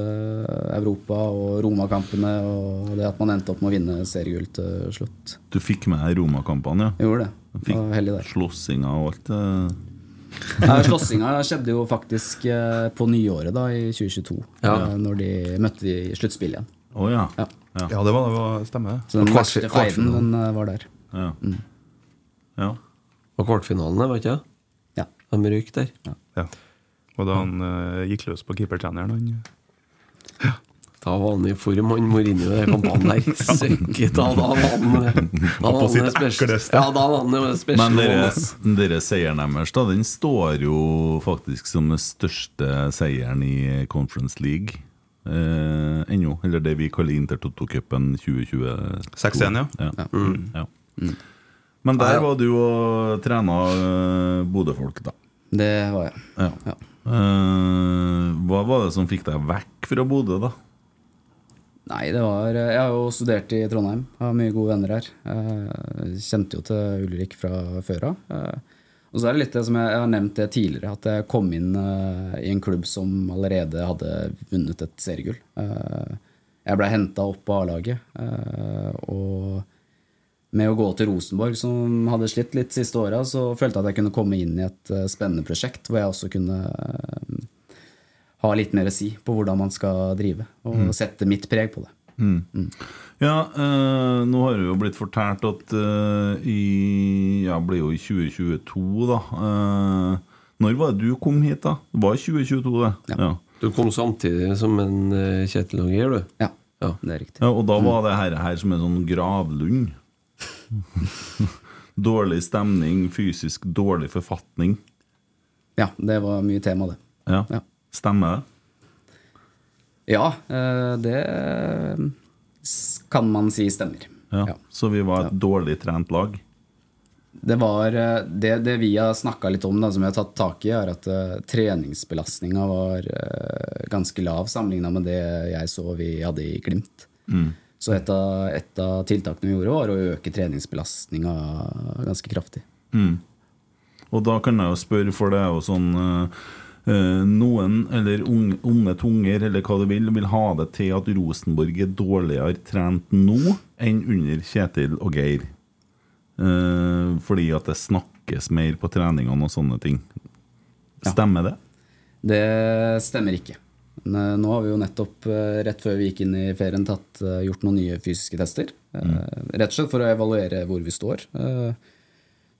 S5: Europa og Roma-kampene og det at man endte opp med å vinne seriegull til slutt.
S4: Du fikk med deg Roma-kampene, ja?
S5: Jeg gjorde det. Jeg var heldig
S4: Fikk
S5: der.
S4: slåssinga og alt eh. det
S5: Nei, Slåssinga skjedde jo faktisk eh, på nyåret da, i 2022,
S6: Ja.
S5: eh, når de møtte de i sluttspillet igjen.
S4: Å ja.
S5: Ja.
S4: Ja.
S7: Ja, det var, det var stemmer, det.
S5: Så den
S6: Og kvart-
S5: verste feiden den eh, var der.
S4: Ja. ja.
S6: Og kvartfinalene, var ikke det?
S5: Ja.
S6: De røyk der.
S7: Ja. Og da han eh, gikk løs på keepertreneren, han
S6: Da var han i form, han Mourinho, i den kampen der. Søkket, da, da var han da var
S7: på sitt
S6: han spes-
S7: ekleste.
S6: Ja, da var han jo special.
S4: Men dere,
S6: one, ass.
S4: dere seieren deres, da, den står jo faktisk som den største seieren i Conference League eh, ennå. Eller det vi kaller Intertoto-cupen 2020.
S7: 6-1, ja.
S4: Ja. Mm. ja. Men der var du og trena eh, Bodø-folk, da.
S5: Det var jeg.
S4: Ja.
S5: Ja.
S4: Eh, hva var det som fikk deg vekk fra Bodø, da?
S5: Nei, det var eh, Jeg har jo studert i Trondheim. Har mye gode venner her. Eh, Kjente jo til Ulrik fra før av. Eh, Og så er det litt det som jeg, jeg har nevnt det tidligere, at jeg kom inn eh, i en klubb som allerede hadde vunnet et seriegull. Eh, Jeg blei henta opp på A-laget. eh, Og med å gå til Rosenborg, som hadde slitt litt siste åra, så følte jeg at jeg kunne komme inn i et eh, spennende prosjekt hvor jeg også kunne eh, ha litt mer å si på hvordan man skal drive, og sette mitt preg på det.
S4: Ja, eh, nå har det jo blitt fortalt at eh, i Ja, det ble jo i 2022, da. Eh, når var det du kom hit, da? Det var i 2022, det. Ja. Ja.
S6: Du kom samtidig som en eh, Kjetil Anger, du.
S5: Ja,
S6: Ja.
S5: det er riktig.
S4: og da var det her, her som en sånn gravlund. dårlig stemning, fysisk dårlig forfatning.
S5: Ja, det var mye tema, det.
S4: Ja.
S5: Ja.
S4: Stemmer det?
S5: Ja, eh, det s- kan man si stemmer.
S4: Ja.
S5: Ja.
S4: Så vi var et dårlig trent lag.
S5: Det, var, eh, det, det vi har snakka litt om, da, som vi har tatt tak i, er at eh, treningsbelastninga var eh, ganske lav sammenligna med det jeg så vi hadde i Glimt. Så et av, et av tiltakene vi gjorde, var å øke treningsbelastninga ganske kraftig.
S4: Og da kan jeg jo spørre, for det er jo sånn eh, eh, Noen, eller unge, onde tunger, eller hva du vil, vil ha det til at Rosenborg er dårligere trent nå enn under Kjetil og Geir. Eh, fordi at det snakkes mer på treningene og sånne ting. Stemmer det?
S5: Det stemmer ikke. Men, eh, Nå har vi jo nettopp, eh, rett før vi gikk inn i ferien, tatt, eh, gjort noen nye fysiske tester. Eh, Rett og slett for å evaluere hvor vi står. Eh,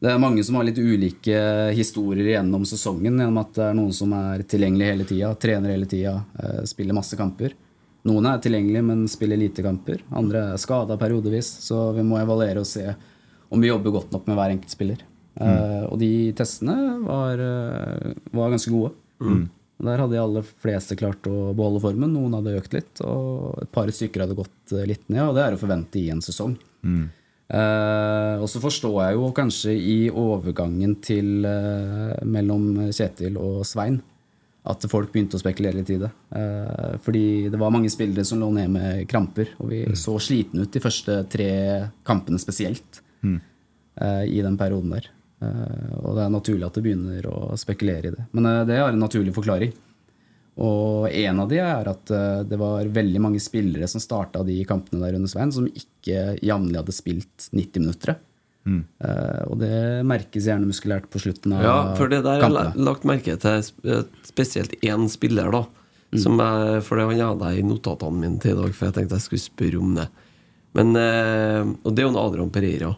S5: Det er mange som har litt ulike historier gjennom sesongen, gjennom at det er noen som er tilgjengelig hele tida, trener hele tida, eh, spiller masse kamper. Noen er tilgjengelige, men spiller lite kamper. Andre er skada periodevis, så vi må evaluere og se om vi jobber godt nok med hver enkelt spiller. Eh, Og de testene var, eh, var ganske gode. Der hadde de aller fleste klart å beholde formen. Noen hadde økt litt, og et par stykker hadde gått eh, litt ned. Og det er å forvente i en sesong. Eh, og så forstår jeg jo kanskje i overgangen til eh, mellom Kjetil og Svein at folk begynte å spekulere litt i det. Eh, fordi det var mange spillere som lå ned med kramper, og vi så slitne ut de første tre kampene spesielt eh, i den perioden der. Eh, Og det er naturlig at det begynner å spekulere i det. Men eh, det har en naturlig forklaring. Og en av de er at eh, det var veldig mange spillere som starta de kampene der under Svein, som ikke jevnlig hadde spilt 90 minutter.
S6: Mm.
S5: Eh, og det merkes gjerne muskulært på slutten av
S6: Ja, for det der har jeg
S5: kampene.
S6: la- lagt merke til sp- eh, spesielt én eh, spiller, da. Som jeg, for det han hadde jeg i notatene mine til i dag, for jeg tenkte jeg skulle spørre om det. Men, eh, og det er jo en Adrian Pereira.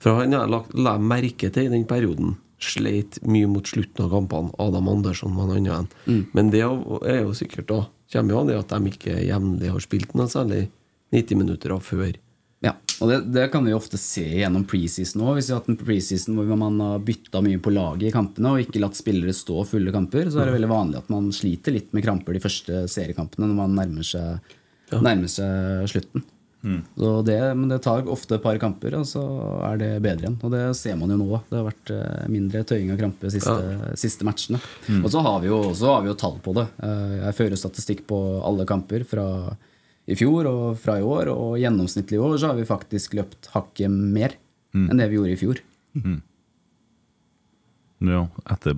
S6: For han har jeg lagt, la jeg merke til i den perioden. Sleit mye mot slutten av kampene. Adam Andersson var en annen. en. Men det er jo sikkert da kommer jo av det at de ikke jevnlig har spilt noe særlig 90 minutter av før.
S5: Ja, og det, det kan vi jo ofte se gjennom preseason òg. Hvis vi har hatt en preseason hvor man har bytta mye på laget i kampene og ikke latt spillere stå fulle kamper, så er det veldig vanlig at man sliter litt med kramper de første seriekampene når man nærmer seg, nærmer seg slutten. Så det, men det tar ofte et par kamper, og så er det bedre igjen. Og det ser man jo nå. Det har vært eh, mindre tøying og krampe de siste, siste matchene.
S8: Mm.
S5: Og så har vi jo, så har vi jo tall på det. Eh, Jeg fører statistikk på alle kamper fra i fjor og fra i år. Og gjennomsnittlig i år så har vi faktisk løpt hakket mer
S4: Mm.
S5: enn det vi gjorde i fjor.
S4: Mm. Ja, etter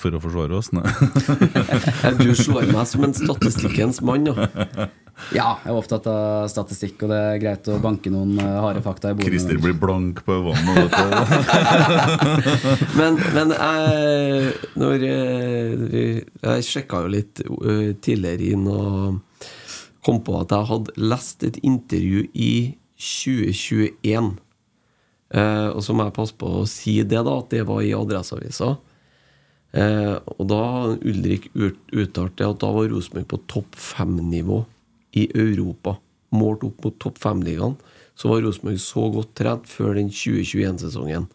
S4: For å forsvare oss, nei.
S6: du slår meg som en statistikkens mann, ja.
S5: Ja, jeg er opptatt av statistikk, og det er greit å banke noen eh, harde fakta i bordet.
S4: Christer blir blank på vannet.
S6: men men jeg, når eh, vi- jeg sjekka jo litt eh, tidligere inn og kom på at jeg hadde lest et intervju i 2021. Eh, og så må jeg passe på å si det, da, at det var i Adresseavisa. Eh, og da har Ulrik ut, uttalt det at da var Rosenborg på topp fem-nivå i Europa. Målt opp mot topp fem-ligaen. Så var Rosenborg så godt trent før den 2021-sesongen.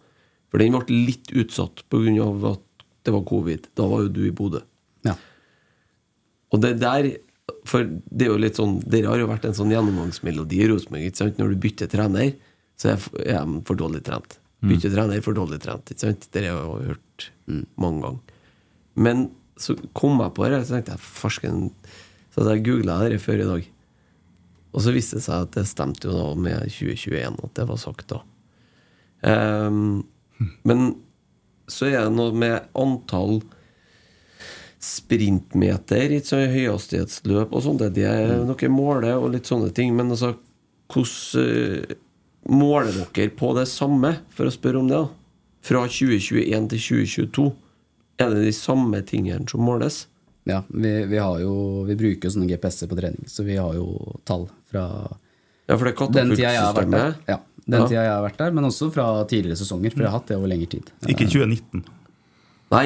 S6: For den ble litt utsatt pga. at det var covid. Da var jo du i Bodø.
S5: Ja.
S6: Og det der For det er jo litt sånn dere har jo vært en sånn gjennomgangsmelodi i Rosenborg. ikke sant? Når du bytter trener, så er f- er de for dårlig trent.
S8: Mm.
S6: Bytter trener, for dårlig trent. ikke sant? Dere har jo hørt mm, mange ganger. Men så kom jeg på det, så tenkte jeg farsken Så jeg googla det før i dag. Og så viste det seg at det stemte jo da med 2021, at det var sagt da. Ehm, men så er det noe med antall sprintmeter, ikke sånn høyhastighetsløp og sånt, det- det
S5: Mm.
S6: er noe måler og litt sånne ting. Men altså, hvordan eh, måler dere på det samme, for å spørre om det? da? Fra 2021 til 2022, er det de samme tingene som måles?
S5: Ja, vi, vi, har jo, vi bruker jo sånne GPS-er på trening, så vi har jo tall fra
S6: Ja, for det er
S5: den tida jeg har vært der.
S6: katapultsystemet.
S5: Ja, den
S6: Ja.
S5: tida jeg har vært der, Men også fra tidligere sesonger, for jeg har hatt det over lengre tid.
S7: Ikke 2019.
S6: Nei,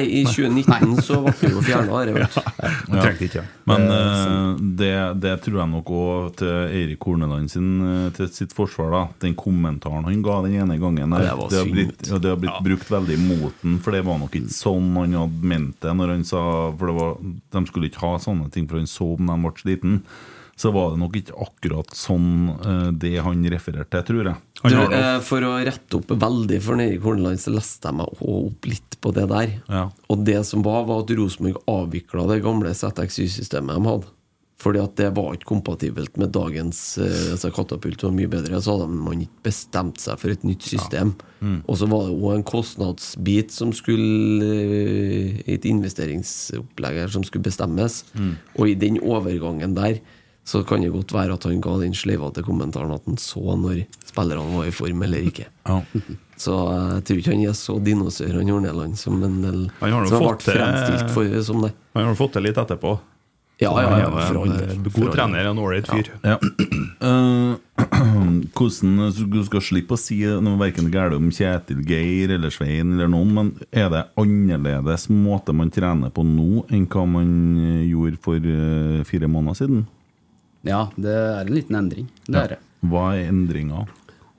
S6: i 2019 så ble det jo fjerna.
S4: Ja. Men eh,
S6: Men
S4: det, det tror jeg nok òg til Eirik Horneland sin, eh, til sitt forsvar. da Den kommentaren han ga den ene gangen, der,
S6: Ja, det var
S4: det har
S6: synd.
S4: blitt, ja, det har blitt brukt veldig imot den. For det var nok ikke sånn han hadde ment det. Når han sa For det var, de skulle ikke ha sånne ting, for han så om de ble sliten. Så var det nok ikke akkurat sånn eh, det han refererte til, tror jeg. Han
S6: Du,
S4: har nok-
S6: eh, for å rette opp veldig for Erik Horneland, så leste jeg meg også opp litt på det der. Og det som var, var at Rosenborg avvikla det gamle ZXY-systemet de hadde. Fordi at det var ikke kompatibelt med dagens eh, altså katapult. var mye bedre, Så hadde man ikke bestemt seg for et nytt system.
S8: Mm.
S6: Og så var det òg en kostnadsbit som skulle eh, Et investeringsopplegg her som skulle bestemmes.
S8: Mm.
S6: Og i den overgangen der så kan det godt være at han ga den sleivete kommentaren at han så når spillerne var i form eller ikke. Så eh, jeg tror ikke han er så dinosaur, han Horneland, som en del
S7: Han har nå
S6: som
S7: fått til-
S6: fremstilt for som det.
S7: Han har fått det litt etterpå.
S6: Ja,
S7: Så
S6: ja,
S7: han
S6: ja,
S7: er en,
S6: for all del,
S7: eh,
S6: for all
S7: God
S6: del.
S7: trener, en ålreit fyr.
S4: Ja. Eh, hvordan eh, Du skal slippe å si eh, noe verken galt om Kjetil Geir eller Svein eller noen, men er det annerledes måte man trener på nå enn hva man eh, gjorde for eh, fire måneder siden?
S5: Ja, det er en liten endring. Det
S4: Ja.
S5: er det.
S4: Hva er
S7: Eh,
S4: endringa,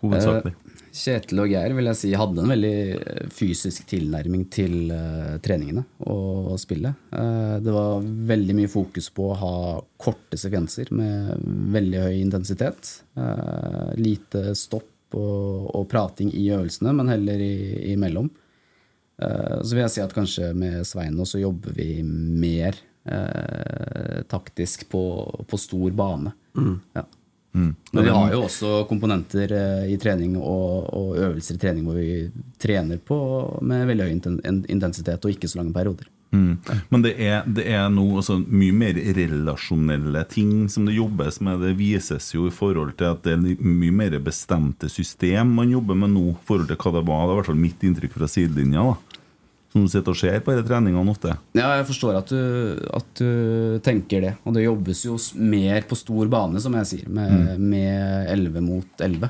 S4: hovedsakelig?
S5: Eh, Kjetil og Geir vil jeg si hadde en veldig eh, fysisk tilnærming til eh, treningene og spillet. Eh, det var veldig mye fokus på å ha korte sekvenser med veldig høy intensitet. Eh, lite stopp og, og prating i øvelsene, men heller i, imellom. Eh, så vil jeg si at kanskje med Svein nå så jobber vi mer eh, taktisk på, på stor bane.
S8: Mm.
S5: Ja.
S4: Mm.
S5: Men vi har jo også komponenter eh, i trening og, og øvelser i trening hvor vi trener på med veldig høy inten- en- intensitet og ikke så lange perioder.
S4: Mm. Men det er, det er noe altså, mye mer relasjonelle ting som det jobbes med. Det vises jo i forhold til at det er li- mye mer bestemte system man jobber med nå, i forhold til hva det var. Det er i hvert fall mitt inntrykk fra sidelinja. da som sitter og ser på disse treningene ofte.
S5: Ja, jeg forstår at du, at du tenker det. Og det jobbes jo s- mer på stor bane, som jeg sier, med, med 11 mot 11.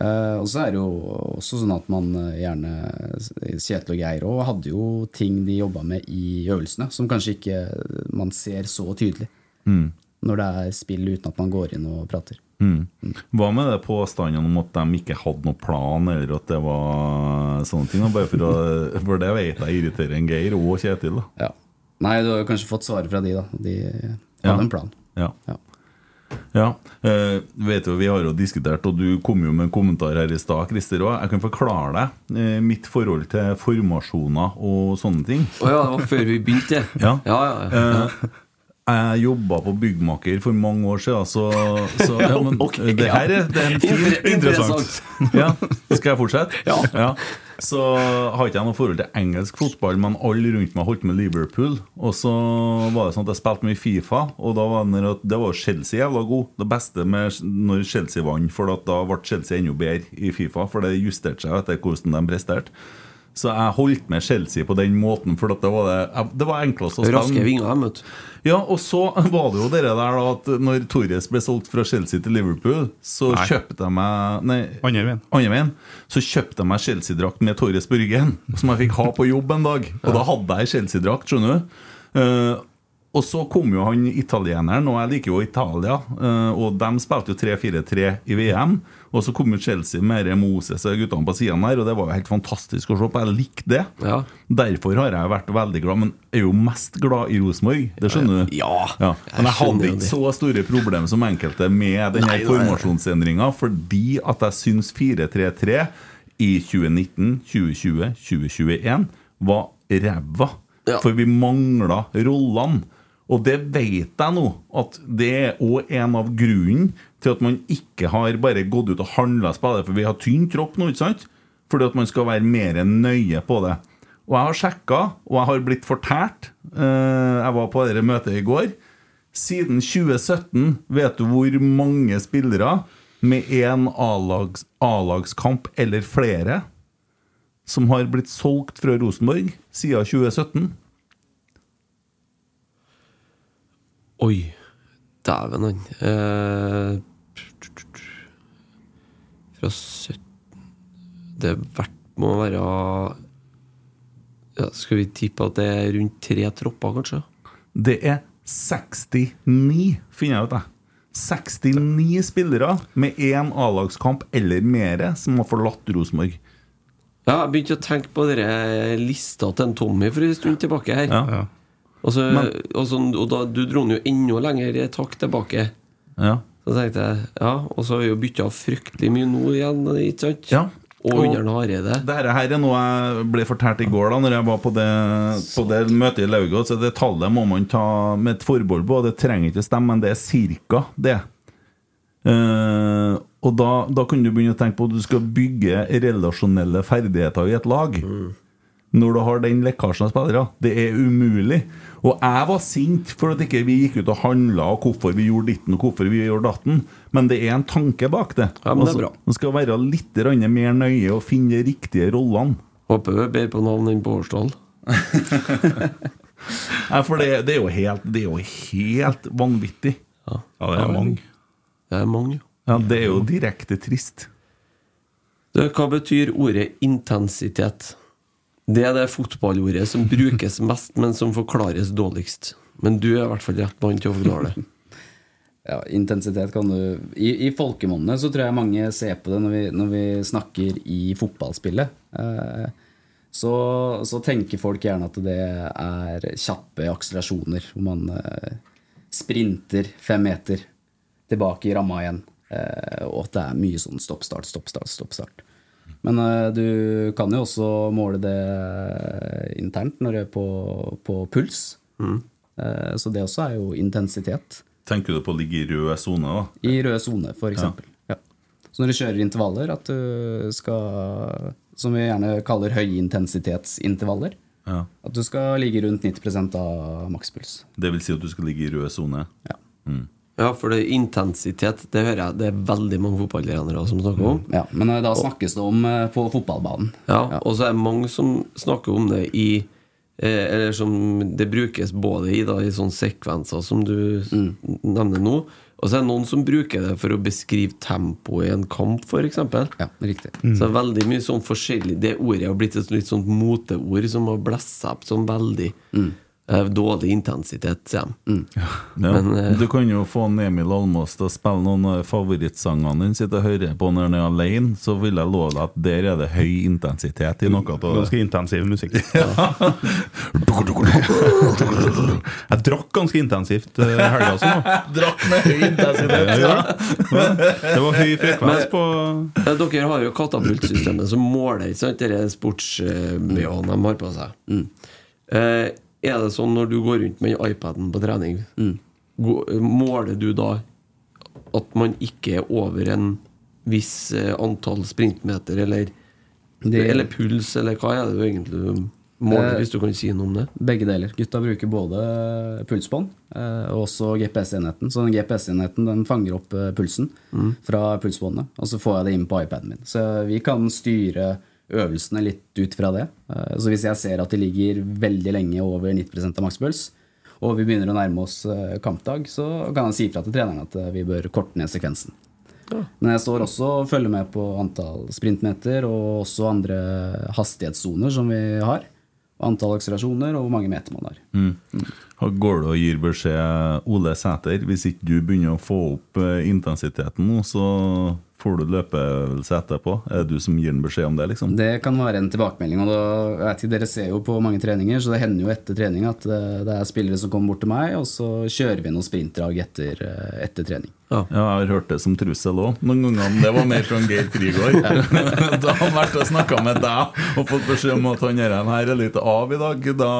S5: Eh, og så er det jo også sånn at man eh, gjerne Kjetil og Geir òg hadde jo ting de jobba med i øvelsene, som kanskje ikke man ser så tydelig
S4: Mm.
S5: når det er spill uten at man går inn og prater.
S4: Mm. Hva med det påstanden om at de ikke hadde noen plan, eller at det var sånne ting? da? Bare for, å, for det vet jeg irriterer en Geir og Kjetil. da
S5: Ja. Nei, du har jo kanskje fått svaret fra de, da. De hadde
S4: Ja.
S5: en plan.
S4: Ja. Ja, eh, vet du, Vi har jo diskutert, og du kom jo med en kommentar her i stad. Christer, og Jeg kan forklare deg eh, mitt forhold til formasjoner og sånne ting.
S6: Å ja, det var før vi begynte, det.
S4: Ja.
S6: Ja, ja, ja.
S4: Eh, jeg jobba på byggmaker for mange år siden, så, så ja, men,
S6: Ok,
S4: det
S6: ja.
S4: her er, det er en fin
S6: Inter- interessant.
S4: ja, Skal jeg fortsette? Ja. Så har ikke jeg noe forhold til engelsk fotball, men alle rundt meg holdt med Liverpool. Og så var det sånn at jeg spilte mye Fifa, og da var det, at- det var Chelsea jævla god. Det beste med når Chelsea vant, for at da ble Chelsea enda bedre i Fifa, for det justerte seg etter hvordan de presterte. Så jeg holdt med Chelsea på den måten, for at det var, det, jeg- det var enklest å spille.
S6: Raske vinger, dem, vet du.
S4: Ja, og så var det jo dere der da at når Torres ble solgt fra Chelsea til Liverpool, så
S7: Nei.
S4: kjøpte jeg meg Nei,
S7: Andre veien.
S4: andre veien. Så kjøpte jeg meg Chelsea-drakt med Torres på ryggen, som jeg fikk ha på jobb en dag. Og da hadde jeg Chelsea-drakt, skjønner du. Eh, og så kom jo han italieneren, og jeg liker jo Italia. eh, og de spilte jo 3-4-3 i VM. Og så kom jo Chelsea med dere Moses og guttene på siden her, og det var jo helt fantastisk å se på. Jeg likte det.
S6: Ja.
S4: Derfor har jeg vært veldig glad, men er jo mest glad i Rosenborg. Det skjønner du?
S6: Ja,
S4: Ja. Men jeg
S6: skjønner
S4: hadde
S6: jo
S4: ikke
S6: det.
S4: så store problemer som enkelte med denne
S6: Nei, nei, nei.
S4: formasjonsendringa, fordi at jeg syns 4-3-3 i 2019, 2020, 2021 var ræva.
S6: Ja.
S4: For vi mangla rollene. Og det vet jeg nå, at det er òg en av grunnen til at man ikke har bare gått ut og handla spillere, for vi har tynn tropp nå, ikke sant? Fordi at man skal være mer nøye på det. Og jeg har sjekka, og jeg har blitt fortært. Eh, Jeg var på dette møtet i går. Siden 2017 vet du hvor mange spillere med én A-lags- A-lagskamp eller flere som har blitt solgt fra Rosenborg siden 2017?
S6: Oi. Dæven, han. Eh, fra 17 Det er verdt må være ja, Skal vi tippe at det er rundt tre tropper, kanskje?
S4: Det er 69, finner jeg ut, jeg. 69 spillere med én A-lagskamp eller mer som har forlatt Rosenborg.
S6: Ja, jeg begynte å tenke på dere eh, lista til en Tommy for en stund tilbake her.
S4: Ja.
S7: Ja.
S6: Og, så,
S4: Men-
S6: og, så, og da, du dro den jo enda lenger i et hakk tilbake.
S4: Ja.
S6: Så tenkte jeg, ja, Og så har vi jo bytta fryktelig mye nå igjen, ikke sant?
S4: Ja.
S6: Og
S4: Og-
S6: under Hareide.
S4: Dette her er noe jeg ble fortalt i går da Når jeg var på det, på det møtet i Laugård Så det tallet må man ta med et forbehold på og Det trenger ikke stemme, men det er cirka det Eh, Og da, da kan du begynne å tenke på At du skal bygge relasjonelle ferdigheter i et lag Når du har den lekkasjen av spillere Det er umulig Og jeg var sint for at ikke vi gikk ut og handlet Og hvorfor vi gjorde ditten og hvorfor vi gjorde datten Men det er en tanke bak det Altså,
S6: Ja, men det er bra.
S4: man skal være litt grann mer nøye og finne de riktige rollene.
S6: Håper vi er bedre på navn enn på årstall.
S4: Nei, for det, det, er jo helt, det er jo helt vanvittig.
S7: Ja, det er mange.
S6: Det er mange. jo.
S4: Ja, det er jo direkte trist.
S6: Du, hva betyr ordet intensitet? Det er det fotballordet som brukes mest, men som forklares dårligst. Men du er i hvert fall rett mann til å forklare det.
S5: Ja, intensitet kan du I, i folkemunne så tror jeg mange ser på det når vi, når vi snakker i fotballspillet. Eh, så, så tenker folk gjerne at det er kjappe akselerasjoner hvor man eh, sprinter fem meter tilbake i ramma igjen. Eh, og at det er mye sånn stopp, start, stopp, start, stopp, start. Men eh, du kan jo også måle det internt når det er på, på puls. Eh, så det også er jo intensitet.
S4: Tenker du på å ligge i rød sone, da?
S5: I rød sone, f.eks. Ja. Så når du kjører intervaller, at du skal Som vi gjerne kaller høyintensitetsintervaller.
S4: Ja.
S5: At du skal ligge rundt 90 av makspuls.
S4: Det vil si at du skal ligge i rød sone?
S5: Ja.
S6: Ja, for det er intensitet, det hører jeg det er veldig mange fotballtrenere som snakker om.
S5: Ja, men eh, da snakkes det om eh, på fotballbanen.
S6: Ja, Og så er det mange som snakker om det i eh, Eller som det brukes både i da, i sånne sekvenser som du s- nevner nå. Og så er det noen som bruker det for å beskrive tempoet i en kamp, f.eks.
S5: Ja, riktig.
S6: Så det er veldig mye sånn forskjellig Det ordet har blitt et litt sånt moteord som har blessa opp sånn veldig. eh, Dårlig intensitet, sier de.
S4: Ja.
S6: Men, eh,
S4: du kan jo få en Emil Almås til å spille noen av favorittsangene hans. Sitte og høre på når han er alene, så vil jeg love deg at der er det høy intensitet i noe av det.
S7: Ganske intensiv musikk. Jeg drakk ganske intensivt eh, i helga også. nå.
S4: Drakk med høy intensitet.
S7: Ja, ja. Det var høy frekvens
S6: Men-
S7: på
S6: Ja, dere har jo katapultsystemet som måler ikke sant? dere sports-BH-en de har på seg.
S5: Mm.
S6: Eh, er det sånn når du går rundt med iPaden på trening,
S5: Mm.
S6: gå- måler du da at man ikke er over en viss eh, antall sprintmeter, eller,
S5: Det-
S6: eller puls, eller hva er det du egentlig måler,
S5: Eh,
S6: hvis du kan si noe om det?
S5: Begge deler. Gutta bruker både pulsbånd eh, og også GPS-enheten. Så den GPS-enheten den fanger opp eh, pulsen fra pulsbåndet, og så får jeg det inn på iPaden min. Så vi kan styre øvelsene litt ut fra det. Eh, Så hvis jeg ser at de ligger veldig lenge over 90 av makspuls, og vi begynner å nærme oss eh, kampdag, så kan jeg si fra til treneren at eh, vi bør korte ned sekvensen. Men jeg står også og følger med på antall sprintmeter og også andre hastighetssoner som vi har. Og antall akselerasjoner og hvor mange meter man har.
S4: Og Går du og gir beskjed Ole Sæter hvis ikke du begynner å få opp eh, intensiteten nå, så får du løpeøvelse etterpå? Er det du som gir en beskjed om det, liksom?
S5: Det kan være en tilbakemelding. og da, jeg vet ikke, Dere ser jo på mange treninger, så det hender jo etter trening at eh, det er spillere som kommer bort til meg, og så kjører vi noen sprintdrag etter, eh, etter trening.
S4: Ja, jeg har hørt det som trussel òg, noen ganger. men Det var mer fra Geir Frigård. da har han vært og snakka med deg og fått beskjed om at han her her er litt av i dag. Da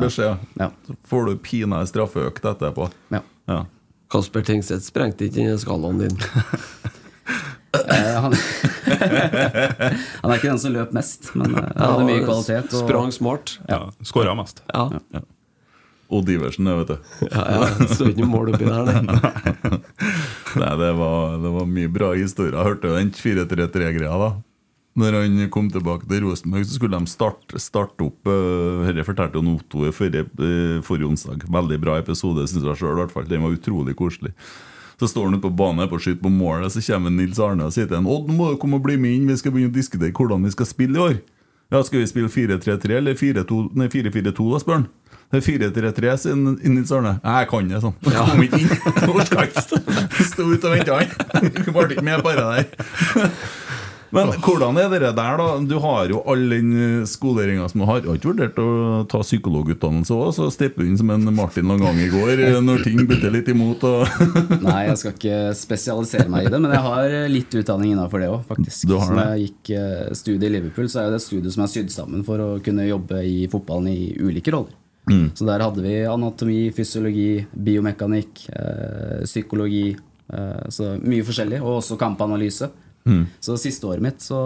S4: beskjed.
S5: Ja.
S4: Så får du pinadø straffeøkt etterpå.
S5: Ja.
S4: Ja.
S6: Kasper Tengseth sprengte ikke den skalaen din.
S5: Eh, Han, han er ikke den som løp mest, men eh, han hadde mye kvalitet. Og,
S6: Sprang smart.
S7: ja, Skåra mest.
S6: Ja,
S4: Odd Iversen, det, vet du.
S6: ja, ja. det Står ikke noe mål oppi der, nei.
S4: Nei, det var, det var mye bra historier. Jeg hørte jo den 4-3-3-greia, da. Når han kom tilbake til Rosenborg, så skulle de starte, starte opp eh, Dette fortalte jo Otto i forrige, eh, forrige onsdag. Veldig bra episode, syns jeg sjøl i hvert fall. Den var utrolig koselig. Så står han ute på banen på skyt på målet, så kommer Nils Arne og sier til ham Odd, nå må du komme og bli med inn, vi skal begynne å diskutere hvordan vi skal spille i år. Ja, skal vi spille 4-3-3 eller 4-2 nei, 4-4-2, da, spør han. Det er 4-3-3, sier Nils Arne. Jeg kan det, sånn. Ja. Kom ikke inn. Orka ikke. stå- Sto ute og venta, han. Ble ikke med på det der. Men hvordan er det der, da? Du har jo all den eh, skoleringa som du har. Jeg har ikke vurdert å ta psykologutdannelse òg, så stepper du inn som en Martin Langang i går eh, når ting butter litt imot. Og
S5: Nei, jeg skal ikke spesialisere meg i det, men jeg har eh, litt utdanning innafor det òg, faktisk.
S4: Du har
S5: Så
S4: det.
S5: når jeg gikk eh, studie i Liverpool, så er jo det et studie som er sydd sammen for å kunne jobbe i fotballen i ulike roller.
S4: Mm.
S5: Så der hadde vi anatomi, fysiologi, biomekanikk, eh, psykologi, eh, så mye forskjellig, og også kampanalyse.
S4: Mm.
S5: Så siste året mitt så,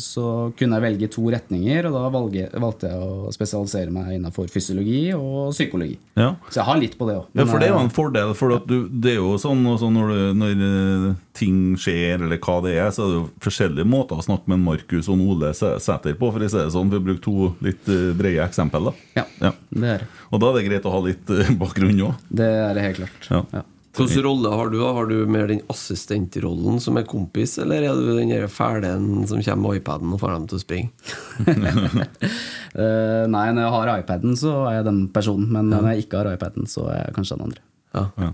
S5: så kunne jeg velge to retninger, og da valge, valgte jeg å spesialisere meg innafor fysiologi og psykologi.
S4: Ja.
S5: Så jeg har litt på det eh, òg.
S4: Ja, for det er jo en fordel, for at du, det er jo sånn også når, du, når eh, ting skjer, eller hva det er, så er det jo forskjellige måter å snakke med en Markus og en Ole Sæ- Sæter på, for å si det sånn, for å bruke to litt eh, brede eksempel. Da.
S5: Ja, det er det.
S4: Og da er det greit å ha litt eh, bakgrunn òg.
S5: Det er det helt klart.
S4: Ja.
S5: Ja.
S6: Hvilken rolle har du? da? Har du mer den assistentrollen som er kompis, eller er du den der fælen som kommer med iPaden og får dem til å springe?
S5: Eh, nei, når jeg har iPaden, så er jeg den personen. Men når jeg ikke har iPaden, så er jeg kanskje den andre.
S4: Ja.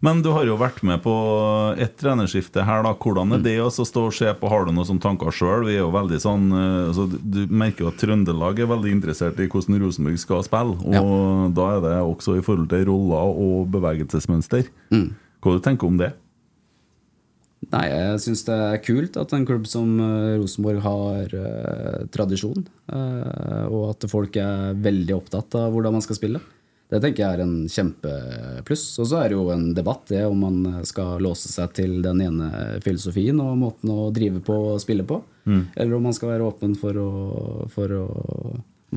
S4: Men du har jo vært med på ett trenerskifte her, da. Hvordan er det å så stå og se på? Har du noen sånne tanker sjøl? Vi er jo veldig sånn eh, altså, Du du merker jo at Trøndelag er veldig interessert i hvordan Rosenborg skal spille. Og da er det også i forhold til roller og bevegelsesmønster. Hva du tenker du om det?
S5: Nei, jeg syns det er kult at en klubb som eh, Rosenborg har eh, tradisjon. eh, og at folk er veldig opptatt av hvordan man skal spille. Det tenker jeg er en kjempepluss. Og så er det jo en debatt det om man skal låse seg til den ene filosofien og måten å drive på og spille på. Eller om man skal være åpen for å, for å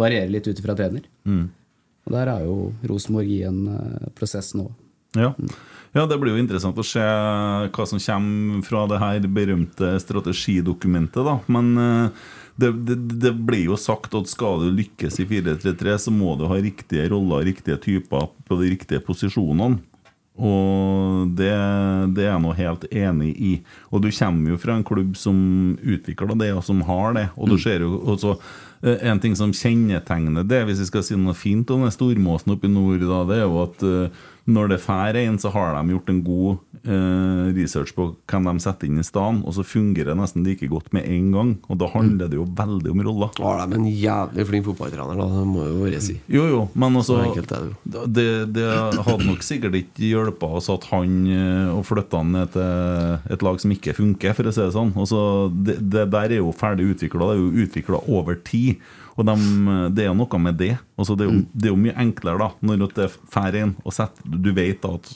S5: variere litt ut ifra trener. Og der er jo Rosenborg i en eh, prosess nå.
S4: Ja. ja, det blir jo interessant å se hva som kommer fra det her berømte strategidokumentet. da Men eh, det, det, det blir jo sagt at skal du lykkes i 433, så må du ha riktige roller riktige typer på de riktige posisjonene. Og det, det er jeg nå helt enig i. Og du kommer jo fra en klubb som utvikler det, og som har det. Og du ser jo også eh, En ting som kjennetegner det, hvis vi skal si noe fint om den stormåsen oppe i nord, da, det er jo at eh, når det fær en, så har de gjort en god eh, research på hvem de setter inn i stedet, og så fungerer det nesten like godt med en gang. Og da handler det jo veldig om roller.
S6: Har de en jævlig flink fotballtrener, da? Det må jo være si.
S4: Jo, jo, men altså
S6: Så enkelt er det
S4: det, det hadde nok sikkert ikke hjulpet oss at han eh, og flytta han ned til et lag som ikke funker, for å si det sånn. Altså, det, det der er jo ferdig utvikla, det er jo utvikla over tid. Og dem, eh, det er jo noe med det. Altså, det, er
S6: Mm.
S4: jo, det er jo mye enklere da når at det drar inn og setter Du vet da at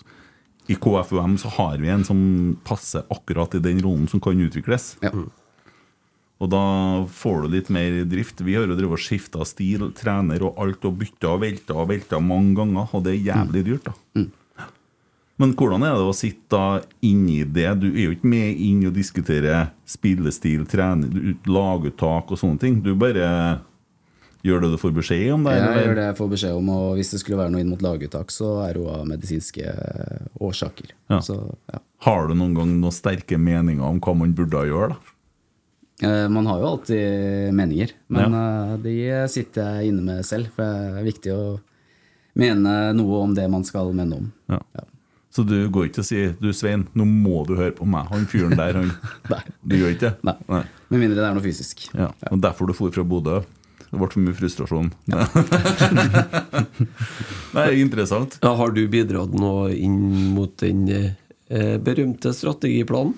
S4: i KFUM så har vi en som passer akkurat i den rollen som kan utvikles. Og da får du litt mer drift. Vi har jo drevet og skifta stil, trener og alt, og bytta og velta og velta mange ganger, og det er jævlig
S5: Mm.
S4: dyrt, da. Men hvordan er det å sitte da inni det? Du er jo ikke med inn og diskutere spillestil, trening, du- laguttak og sånne ting. Du bare gjør det du får beskjed om, da?
S5: Jeg
S4: eller?
S5: gjør det jeg får beskjed om, og hvis det skulle være noe inn mot laguttak, så er det jo av medisinske eh, årsaker.
S4: Ja.
S5: Så, ja.
S4: Har du noen gang noen sterke meninger om hva man burde gjøre, da?
S5: Eh, Man har jo alltid meninger, men eh, de sitter jeg inne med selv. For det er viktig å mene noe om det man skal mene om.
S4: Ja. Så du går ikke og sier Du Svein, nå må du høre på meg. Han fyren der, han. Du gjør ikke det? Nei.
S5: Med mindre det er noe fysisk.
S4: Ja. Og derfor du for fra Bodø. Det ble for mye frustrasjon. Nei, interessant.
S6: Ja, har du bidratt noe inn mot den eh, berømte strategiplanen?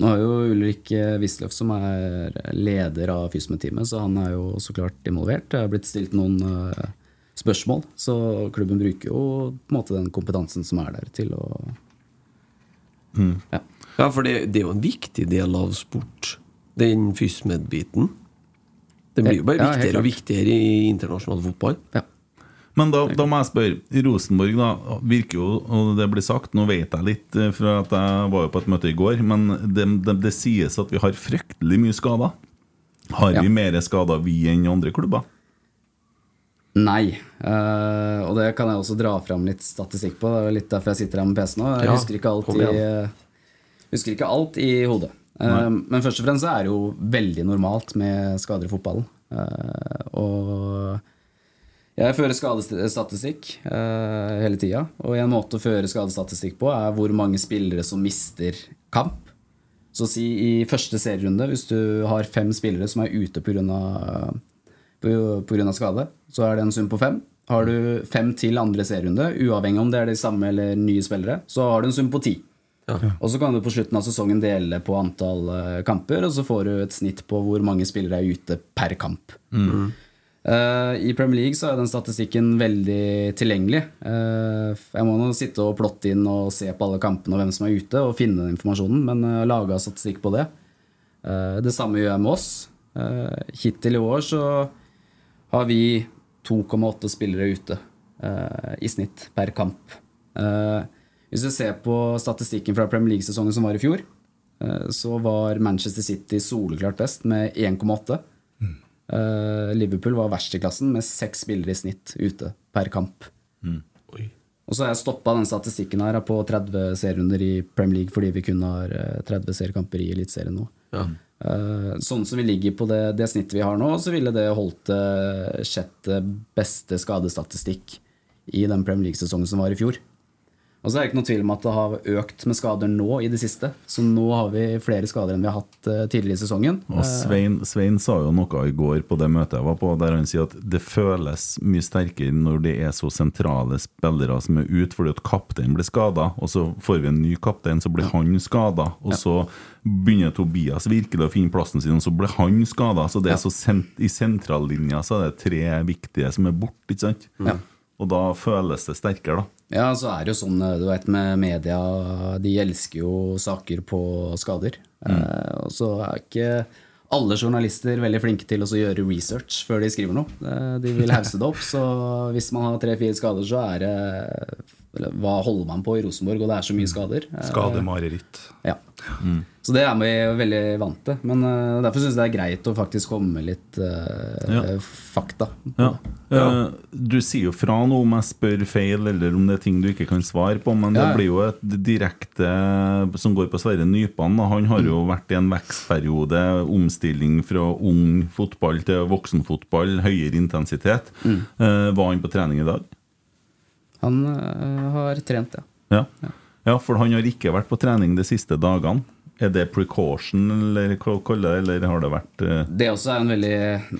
S5: Nå har jo Ulrik eh, Wisløff, som er leder av Fysmed-teamet, så han er jo så klart involvert. Det er blitt stilt noen eh, spørsmål, så klubben bruker jo på en måte den kompetansen som er der, til å
S6: Ja. for det, det er jo en viktig del av sport, den fysmed-biten. Den blir jo bare
S4: Ja, helt
S6: viktigere og
S4: klart.
S6: viktigere i internasjonal fotball.
S4: Men da, da må jeg spørre. Rosenborg da, virker jo, og det blir sagt, nå vet jeg litt, eh, for at jeg var jo på et møte i går, men det, det, det sies at vi har fryktelig mye skader. Har vi mer skader, vi, enn andre klubber?
S5: Nei. Eh, og det kan jeg også dra fram litt statistikk på. Det er litt derfor jeg sitter her med PC nå. Jeg
S6: Ja,
S5: husker, ikke alt
S6: kom
S5: i,
S6: igjen.
S5: husker ikke alt i hodet. Eh,
S6: Nei.
S5: men først og fremst så er det jo veldig normalt med skader i fotballen. Eh, og jeg fører skadestatistikk eh, hele tida. Og en måte å føre skadestatistikk på er hvor mange spillere som mister kamp. Så si i første serierunde, hvis du har fem spillere som er ute pga. skade, så er det en sum på fem. Har du fem til andre serierunde, uavhengig om det er de samme eller nye spillere, så har du en sum på ti. Og så kan du på slutten av sesongen dele på antall eh, kamper, og så får du et snitt på hvor mange spillere er ute per kamp.
S3: Mm.
S5: Eh, I Premier League så er den statistikken veldig tilgjengelig. Eh, jeg må nå sitte og plotte inn og se på alle kampene og hvem som er ute, og finne den informasjonen, men jeg har laga statistikk på det. Eh, det samme gjør jeg med oss. Eh, hittil i år så har vi 2,8 spillere ute eh, i snitt per kamp. Eh, hvis du ser på statistikken fra Premier League-sesongen som var i fjor, eh, så var Manchester City soleklart best med 1,8. Eh, Liverpool var verst i klassen med seks spillere i snitt ute per kamp. Og så har jeg stoppa den statistikken her på 30 serierunder i Premier League fordi vi kun har eh, 30 seriekamper i Eliteserien nå. Eh, Sånn som vi ligger på det, det snittet vi har nå, så ville det holdt eh, sjette beste skadestatistikk i den Premier League-sesongen som var i fjor. Og så er det ikke noe tvil om at det har økt med skader nå i det siste. Så nå har vi flere skader enn vi har hatt eh, tidligere i sesongen.
S4: Og Svein, Svein sa jo noe i går på det møtet jeg var på, der han sier at det føles mye sterkere når det er så sentrale spillere som er ute, fordi at kapteinen blir skada, og så får vi en ny kaptein, så blir han skada, og så begynner Tobias virkelig å finne plassen sin, og så blir han skada. Så det er så sent, i sentrallinja så er det tre viktige som er borte, ikke sant?
S5: Ja.
S4: Og da føles det sterkere, da.
S5: Ja, så er det jo sånn, du vet, med media, de elsker jo saker på skader.
S4: Mm.
S5: Eh, og så er ikke alle journalister veldig flinke til å så gjøre research før de skriver noe. Eh, de vil hause det opp, så hvis man har tre-fire skader, så er det eller, hva holder man på i Rosenborg, og det er så
S4: Mm.
S5: mye skader. Eh,
S7: Skademareritt.
S5: Ja. Så det er vi veldig vant til. Men eh, derfor syns jeg det er greit å faktisk komme med litt eh,
S4: Ja.
S5: fakta.
S4: Ja. Eh, Du sier jo fra nå om jeg spør feil, eller om det er ting du ikke kan svare på, men
S5: Ja,
S4: det
S5: ja.
S4: blir jo et direkte som går på Sverre Nypan. da. Han har jo vært i en vekstperiode, omstilling fra ung fotball til voksenfotball, høyere intensitet. Eh, Var han på trening i dag?
S5: Han eh, har trent, ja.
S4: Ja. ja, for han har ikke vært på trening de siste dagene. Er det precaution, eller hva kaller det, eller har det vært eh,
S5: Det også er en veldig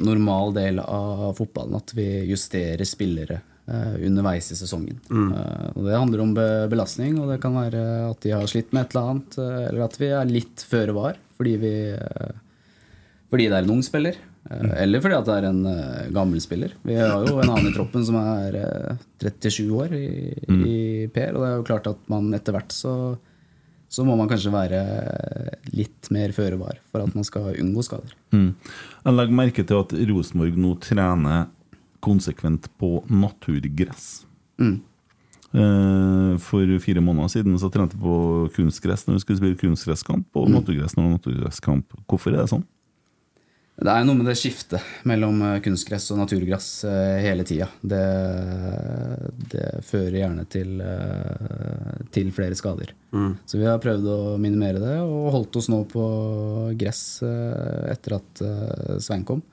S5: normal del av fotballen, at vi justerer spillere eh, underveis i sesongen.
S4: Mm.
S5: Eh, og det handler om be belastning, og det kan være at de har slitt med et eller annet, eh, eller at vi er litt føre var fordi, vi, eh, fordi det er en ung spiller. eh,
S8: Mm.
S5: Eller fordi at det er en eh, gammel spiller. Vi har jo en annen i troppen som er eh, 37 år i,
S8: Mm.
S5: i Per, og det er jo klart at man etter hvert så så må man kanskje være litt mer føre var for at man skal unngå skader.
S4: Mm. Jeg legger merke til at Rosenborg nå trener konsekvent på naturgress.
S5: Mm.
S4: Eh, For fire måneder siden så trente jeg på kunstgress når vi skulle spille kunstgresskamp, og naturgress når det var naturgresskamp. Hvorfor er det sånn?
S5: Det er noe med det skiftet mellom eh, kunstgress og naturgress eh, hele tida. Det, det fører gjerne til, eh, til flere skader.
S8: Mm.
S5: Så vi har prøvd å minimere det, og holdt oss nå på gress eh, etter at eh, Svein kom.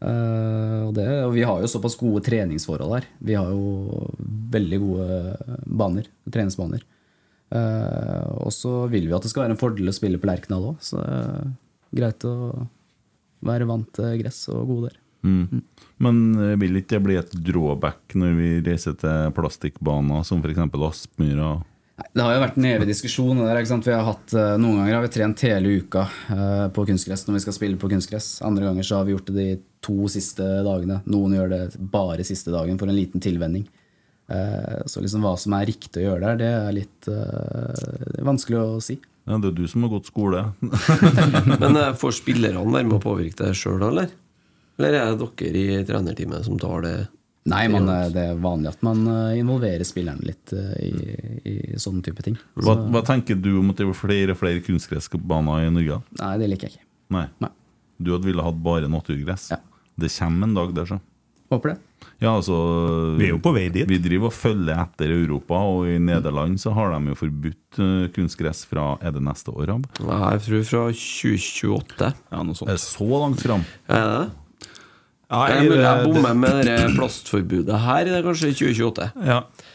S5: Eh, og, det, og vi har jo såpass gode treningsforhold her. Vi har jo veldig gode baner, treningsbaner. Eh, og så vil vi at det skal være en fordel å spille på Lerkendal òg, så det er greit å være vant til gress og gode der.
S4: Mm. Men eh, vil ikke det bli et drawback når vi reiser til plastikkbaner som f.eks. Aspmyra?
S5: Det har jo vært en evig diskusjon. det Der, ikke sant? Vi har hatt, eh, noen ganger har vi trent hele uka eh, på kunstgress når vi skal spille på kunstgress. Andre ganger så har vi gjort det de to siste dagene. Noen gjør det bare siste dagen for en liten tilvenning. Eh, Så liksom hva som er riktig å gjøre der, det er litt eh, det er vanskelig å si.
S4: Ja, det er du som har gått skole.
S6: Men eh, får spillerne være med å påvirke det sjøl, eller? Eller er det dere i trenerteamet som tar det?
S5: Nei, man, eh, det er vanlig at man eh, involverer spillerne litt eh, i, i sånne type ting.
S4: Hva,
S5: Så-
S4: hva tenker du om at det blir flere og flere kunstgressbaner i Norge?
S5: Nei, det liker jeg ikke.
S4: Nei. Du hadde ville hatt bare naturgress. Det kommer en dag der, så.
S5: Håper det.
S4: Ja, altså,
S7: Vi er jo på vei dit.
S4: Vi driver og følger etter Europa, og i Nederland så har de jo forbudt eh, kunstgress fra er det neste år av?
S6: Jeg tror fra 2028.
S7: Ja, noe sånt.
S4: Er det så langt fram?
S6: Er det det?
S7: Nei,
S6: jeg, men jeg
S7: det-
S6: bommer med det plastforbudet her, det er kanskje i 2028.
S7: Ja.
S6: Ja,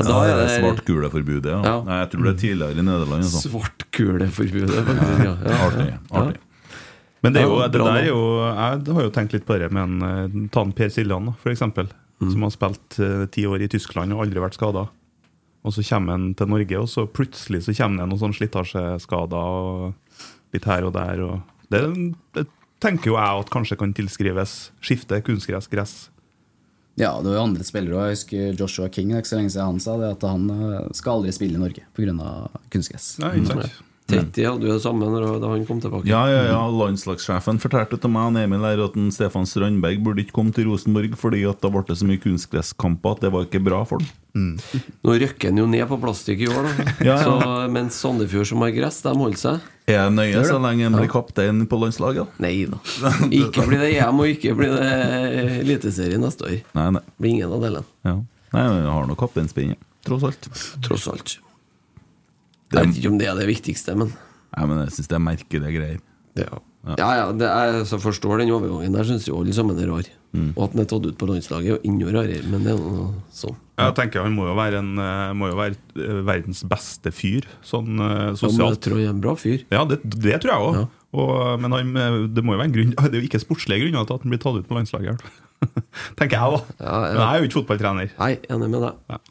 S4: Altså,
S6: da er det
S4: Svartkuleforbudet, ja.
S6: Ja.
S4: Nei, jeg tror det er tidligere i Nederland. Altså.
S6: Svartkuleforbudet,
S4: Ja,
S6: faktisk. Ja, ja, ja.
S4: artig. artig.
S7: Men det, er jo,
S4: Ja,
S7: det
S4: bra
S7: der
S4: nå.
S7: er jo Jeg har jo tenkt litt på det med en eh, Ta en Per Siljan, da, for eksempel. Som har spilt eh, ti år i Tyskland og aldri vært skada. Og så kommer han til Norge, og så plutselig så kommer det noen sånn slitasjeskader og litt her og der. Og det, det tenker jo jeg at kanskje kan tilskrives skifte kunstgress, gress.
S5: Ja, det var jo andre spillere òg. Jeg husker Joshua King. Det er ikke så lenge siden han sa det at han eh, skal aldri spille i Norge pga. kunstgress.
S7: Nei,
S4: ikke sant.
S6: Tetti hadde jo det samme når- da han kom tilbake.
S4: Ja, ja, ja, landslagssjefen fortalte til meg og Emil her at en Stefan Strandberg burde ikke komme til Rosenborg fordi at da ble det så mye kunstgresskamper at det var ikke bra for ham.
S6: Nå røkker han jo ned på plastikk i år, da.
S4: Ja, ja.
S6: Så, mens Sandefjord, som har gress, de holder seg.
S4: Er jeg nøye
S6: Gjør det.
S4: så lenge en
S6: Ja.
S4: blir kaptein på landslaget?
S6: Nei da. Ikke blir det EM, og ikke blir det Eliteserie neste år.
S4: Nei, nei.
S6: Blir ingen av delene.
S4: Ja. Nei, men jeg har nå kapteinspinnet, tross alt.
S6: Tross alt. Jeg vet ikke om det er det viktigste, men
S4: Nei, men jeg syns det er merkelige greier.
S6: Ja, ja, det er, så forstår den overgangen der, syns jo alle sammen er rar. Og at den er tatt ut på landslaget, er enda rarere, men det er nå sånn.
S7: Jeg tenker Han må jo være, en, eh, må jo være eh, verdens beste fyr, sånn eh,
S6: Ja, men jeg
S7: sosialt.
S6: tror jeg er en bra fyr.
S7: Ja, det, det tror jeg òg. Men han, eh, det må jo være en grunn Det er jo ikke sportslige grunner til at han blir tatt ut på landslaget. i hvert fall. Tenker jeg òg. Men jeg er jo ikke fotballtrener.
S6: Nei, enig med deg.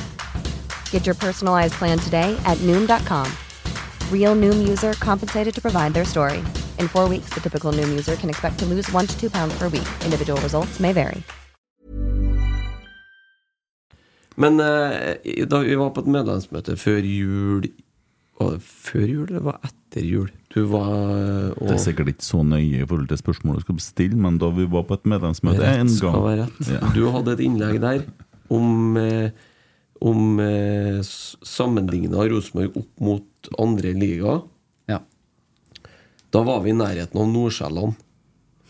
S9: Get your personalized plan today at Noom.com. Real Noom user compensated to provide their story. In four weeks, the typical Noom user can expect to lose one to two pounds per week. Individual results may vary.
S6: Men eh, da vi var på et medlemsmøte før jul Var det før jul, eller var det etter jul? Du var eh, og
S4: Det er sikkert ikke så nøye i forhold til spørsmålet du skal bestille, men da vi var på et medlemsmøte
S6: Rett
S4: en
S6: skal
S4: gang
S6: være rett.
S4: Ja.
S6: Du hadde et innlegg der om, eh, om eh, s- sammenligna Rosenborg opp mot andre liga. Da var vi i nærheten av Nordsjælland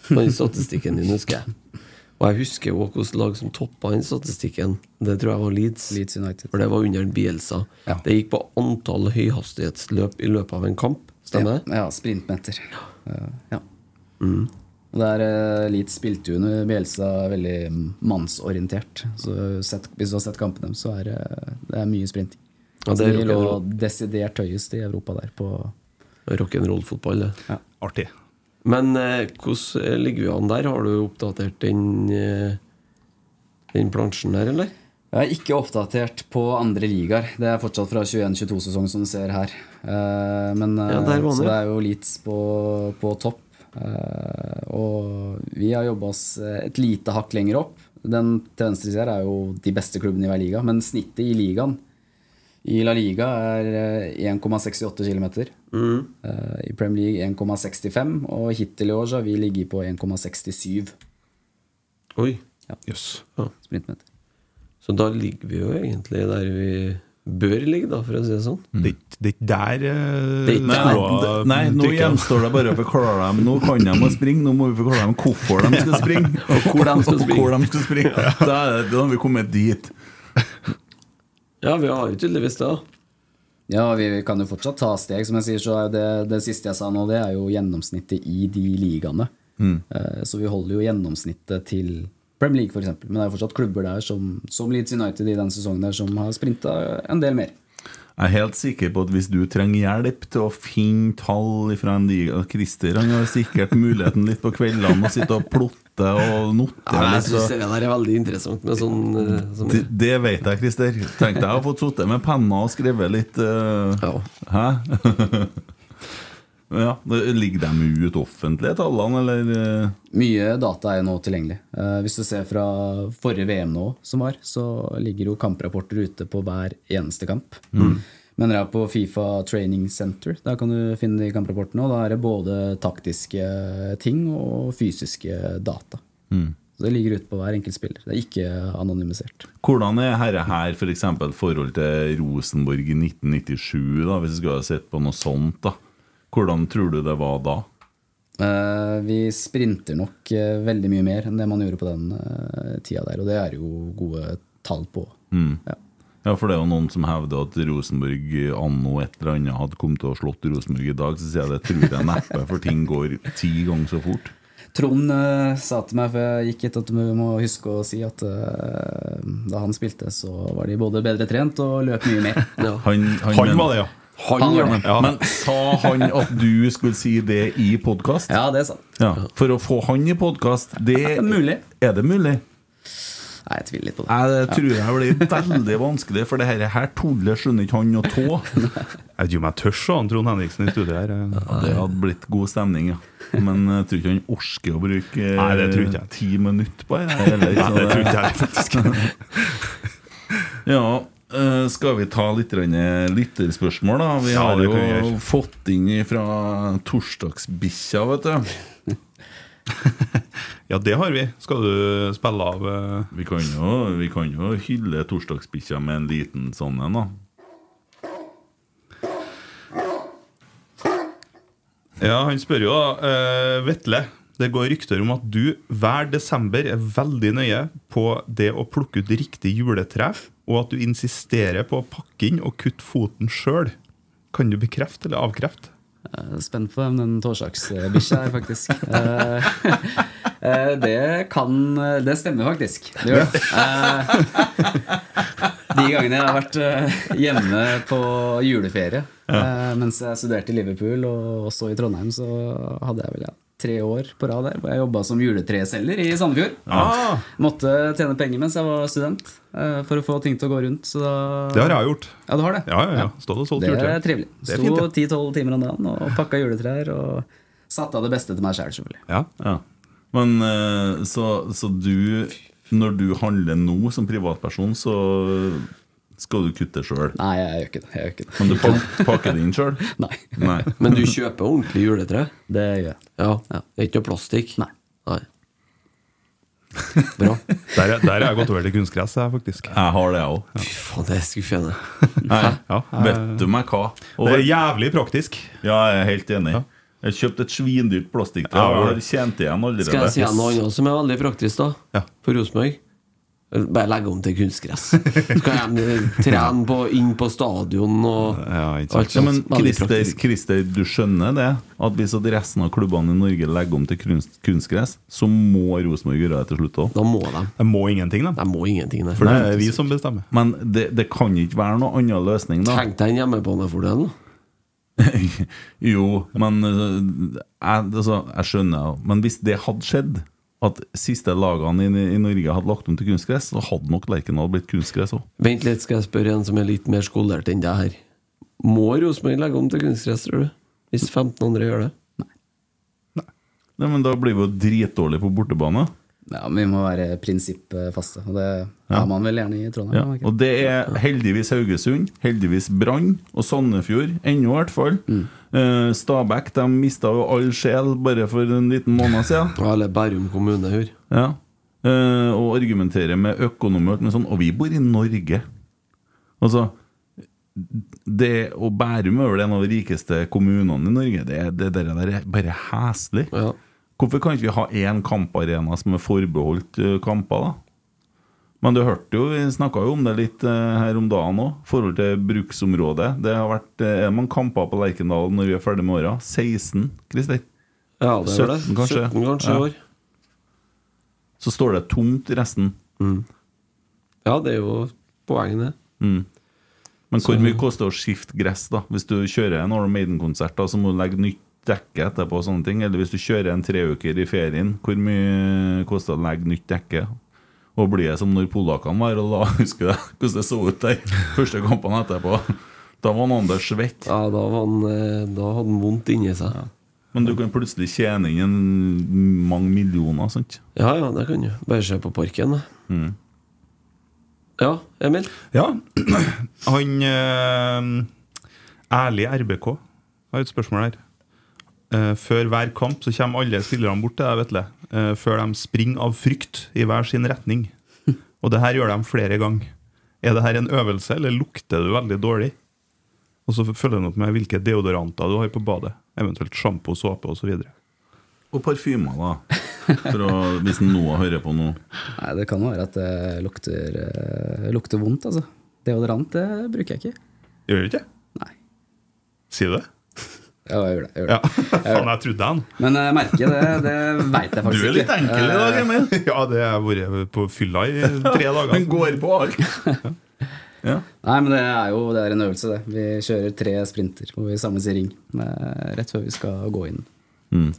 S6: på den statistikken din, husker jeg. Og jeg husker også hvilket lag som toppa den statistikken. Det tror jeg var Leeds. For det var under Bielsa. Det gikk på antall høyhastighetsløp i løpet av en kamp. Stemmer det?
S5: Ja, sprintmeter. Eh, ja.
S6: Mm.
S5: Og der eh, Leeds spilte jo under Bjelsa veldig mm, mannsorientert. Så sett, hvis du har sett kampen deres, så er det, det er mye sprint.
S6: Ja, det
S5: Så
S6: er
S5: de lå
S6: rock'n'roll.
S5: desidert høyest i Europa der. På
S6: Rock'n'roll-fotball, det.
S7: Artig.
S6: Men eh, hvordan ligger vi an der? Har du oppdatert den, eh, den plansjen der, eller?
S5: jeg er ikke oppdatert på andre ligaer. Det er fortsatt fra 21-22-sesongen, som du ser her. Eh, men, eh,
S6: Ja, der var
S5: så
S6: det.
S5: det er jo Leeds på, på topp. Eh, og vi har jobba oss eh, et lite hakk lenger opp. Den til venstre side her er jo de beste klubbene i hver liga, men snittet i ligaen i La Liga er eh, 1,68 km.
S6: Mm.
S5: Eh, I Premier League 1,65, og hittil i år så har vi ligget på 1,67.
S6: Oi.
S5: Ja.
S6: Sprintmeter. Så da ligger vi jo egentlig der vi bør ligge, da, for å si det sånn.
S4: Mm.
S7: Det er ikke der
S6: Det er ikke
S4: Nei, nei,
S6: der.
S4: nei, nå gjenstår det bare å forklare dem Nå kan de å springe, nå må vi forklare dem hvorfor de skal springe. Og hvor de skal springe. Hvor de skal springe. Da, er det, da har vi kommet dit.
S6: Ja, vi har jo tydeligvis det.
S5: Ja, vi kan jo fortsatt ta steg. Som jeg sier, så er jo det, det siste jeg sa nå, det er jo gjennomsnittet i de ligaene.
S3: Mm.
S5: Eh, Så vi holder jo gjennomsnittet til Premier League, f.eks. Men det er jo fortsatt klubber der som, som Leeds United i den sesongen der, som har sprinta en del mer.
S4: Jeg er helt sikker på at hvis du trenger hjelp til å finne tall fra en diger Christer han har sikkert muligheten litt på kveldene å sitte og plotte og notere
S6: Ja, jeg
S4: litt.
S6: syns
S4: så-
S6: det der er veldig interessant med sånn eh, som,
S4: Det, det vet jeg, Christer. Tenk deg å ha fått sittet med penna og skrevet litt eh, Hæ? ja, det- Ligger de ut offentlig, tallene, eller? eh?
S5: Mye data er jo nå tilgjengelig. Eh, Hvis du ser fra forrige VM nå, som var, så ligger jo kamprapporter ute på hver eneste kamp.
S3: Mm.
S5: Men dere er på Fifa Training Center. Der kan du finne de kamprapportene. Og da er det både taktiske ting og fysiske data.
S4: Mm.
S5: Så det ligger ute på hver enkelt spiller. Det er ikke anonymisert.
S4: Hvordan er herre her for eksempel forhold til Rosenborg i 1997, da, hvis vi skulle ha sett på noe sånt? da Hvordan tror du det var da?
S5: Eh, vi sprinter nok eh, veldig mye mer enn det man gjorde på den eh, tida der, og det er jo gode tall på.
S4: Mm. Ja. for det er jo noen som hevder at Rosenborg anno et eller annet hadde kommet til å ha slått Rosenborg i dag, så sier jeg det tror jeg neppe, for ting går ti ganger så fort.
S5: Trond eh, sa til meg før jeg gikk hit at du må huske å si at eh, da han spilte, så var de både bedre trent og løp mye mer.
S4: Han,
S5: Han
S4: men-
S5: var det, ja. Han
S4: var
S5: var
S4: det.
S5: det. Ja.
S4: Men sa han at du skulle si det i podkast?
S5: Ja, det sa han.
S4: For å få han i podkast, det
S5: mulig.
S4: Er det mulig?
S5: Nei, jeg tviler litt på det.
S4: Nei, det tror jeg blir veldig vanskelig, for det her, her tullet skjønner ikke han å tå. Jeg vet ikke om jeg tør se han Trond Henriksen i studio her. det hadde blitt god stemning, ja. Men jeg tror ikke han orker å bruke eh,
S7: Nei, det tror ikke jeg.
S4: ti minutter på det. her, heller,
S7: Nei,
S4: så
S7: det tror ikke jeg
S4: ja, eh, skal vi ta litt grann eh, lytterspørsmål, da? Vi
S7: Ja,
S4: har
S7: det
S4: jo
S7: kan vi gjøre.
S4: fått inn fra Torsdagsbikkja, vet du.
S7: Ja, det har vi. Skal du spille av eh?
S4: vi, kan jo, vi kan jo hylle Torsdagsbikkja med en liten sånn en, da.
S7: Ja, Han spør jo, da. eh, Vetle, det går rykter om at du hver desember er veldig nøye på det å plukke ut riktig juletre, og at du insisterer på å pakke inn og kutte foten sjøl. Kan du bekrefte eller avkrefte?
S5: Jeg er Spent på hvem den torsdagsbikkja er, faktisk. Eh, eh, det kan Det stemmer faktisk. Det gjør det. Eh, de gangene jeg har vært eh, hjemme på juleferie eh, mens jeg studerte i Liverpool og også i Trondheim, så hadde jeg vel ja, tre år på rad der hvor jeg jobba som juletreselger i Sandefjord.
S7: Ah.
S5: Måtte tjene penger mens jeg var student eh, for å få ting til å gå rundt. Så da,
S7: Det har jeg gjort.
S5: Ja, du har det?
S7: Ja, ja, ja. Stått og solgt
S5: Det
S7: juletre.
S5: er trivelig.
S7: Det er fint,
S5: Sto ti-tolv timer om dagen og pakka juletrær. Og satte av det beste til meg sjæl, selvfølgelig.
S7: Ja.
S4: Men eh, så, så du Når du handler nå som privatperson, så skal du kutte sjøl?
S5: Nei, jeg gjør ikke det. Jeg gjør ikke det.
S4: Men du pak- pakker det inn sjøl?
S5: Nei.
S6: Men du kjøper ordentlig juletre?
S5: Det gjør jeg.
S6: Ja. Det er ikke noe plastikk?
S5: Nei.
S6: Bra.
S7: Der, er- der er jeg gått over til kunstgress, jeg, faktisk.
S4: Jeg har det, jeg òg.
S6: Fy faen, det er skuffende.
S4: Nei,
S7: Ja,
S4: vet du meg hva?
S7: Det er jævlig praktisk.
S4: Ja, jeg er helt enig. Jeg kjøpte et svindyrt plastikktre.
S6: Ja,
S4: Jeg
S6: ja.
S4: har tjent igjen allerede.
S6: Skal jeg si deg noe annet som er veldig praktisk, da? For Rosenborg? Bare legge om til kunstgress. Så kan de trene på, inn på stadion og alt
S4: Ja, men
S6: sånt. Veldig
S4: Christer,
S6: praktisk.
S4: Christer, du skjønner det? At hvis at resten av klubbene i Norge legger om til kunst, kunstgress, så må Rosenborg gjøre det til slutt òg.
S6: Da må de.
S7: De må ingenting, de.
S6: må ingenting,
S4: For det er vi
S7: som bestemmer.
S4: Men det, det kan ikke være noen annen løsning, da.
S6: Tenk deg en hjemmebanefordel, da.
S4: Jo, men øh, jeg, altså, jeg skjønner jo. Men hvis det hadde skjedd, at siste lagene i, i Norge hadde lagt om til kunstgress, så hadde nok Lerkendal blitt kunstgress òg.
S6: Vent litt, skal jeg spørre en som er litt mer skolert enn deg her. Må Rosenborg legge om til kunstgress, tror du? Hvis 15 andre gjør det?
S4: Nei, men da blir vi jo dritdårlige på bortebane.
S5: Ja, men Vi må være prinsippfaste, og det
S4: Ja.
S5: er man vel gjerne i Trondheim.
S4: Ja.
S5: er man ikke
S4: Og det er heldigvis Haugesund, heldigvis Brann og Sandefjord, ennå i hvert fall. Eh, Stabæk de mista jo all sjel bare for en liten måned siden.
S6: Ja, eller Bærum kommune, hør.
S4: Ja. Eh, og argumentere med økonomer og alt mulig sånn. Og vi bor i Norge. Altså det, Og Bærum er vel en av de rikeste kommunene i Norge. Det, det der, der er bare heslig. Hvorfor kan ikke vi ha én kamparena som er forbeholdt eh, kamper, da? Men du hørte jo, vi snakka jo om det litt eh, her om dagen òg, forhold til bruksområdet. Det har vært eh, er man kamper på Lerkendal når vi er ferdig med åra. 16, Christer?
S6: Ja, det er vel det.
S4: 17 kanskje.
S6: 17 kanskje i
S4: Ja.
S6: år.
S4: Så står det tomt resten.
S6: Ja, det er jo poenget, det.
S4: Mm. Men hvor
S6: Så-
S4: mye koster det å skifte gress, da? Hvis du kjører en Arm Maiden-konsert, da, så må du legge nytt dekke etterpå og sånne ting. Eller hvis du kjører en treuker i ferien, hvor mye koster det å legge nytt dekke? Og blir det som når polakkene var og la Husker du hvordan det så ut der? Første kampene etterpå. Da var han Anders svett.
S6: Ja, da, var han, eh, da hadde han vondt inni seg.
S4: Men du kan plutselig tjene inn en- mange millioner, sant?
S6: Ja, ja, det kan du. Bare se på parken, da. Ja, Emil?
S7: Ja. Han eh, Ærlig RBK har et spørsmål her. Eh, før hver kamp så kommer alle spillerne bort til deg, Vetle. Eh, før de springer av frykt i hver sin retning. Og det her gjør de flere ganger. Er det her en øvelse, eller lukter du veldig dårlig? Og så følger den opp med hvilke deodoranter du har på badet. Eventuelt sjampo, såpe osv.
S4: Og parfymer, da. For å, hvis Noah hører på nå.
S5: Nei, Det kan være at det lukter, eh, lukter vondt, altså. Deodorant det bruker jeg ikke.
S7: Gjør du ikke?
S5: Nei.
S7: Sier du det?
S5: Ja, jeg gjør det. Jeg gjør
S7: Ja.
S5: det.
S7: Faen, jeg trodde han.
S5: Men jeg merker det. Det veit jeg faktisk ikke. Eh,
S7: Emil. Ja, det har jeg vært på fylla i tre dager.
S4: Han går på alt.
S5: Nei, men det er jo det er en øvelse, det. Vi kjører tre sprinter hvor vi samles i ring
S4: Mm.
S5: eh, rett før vi skal gå inn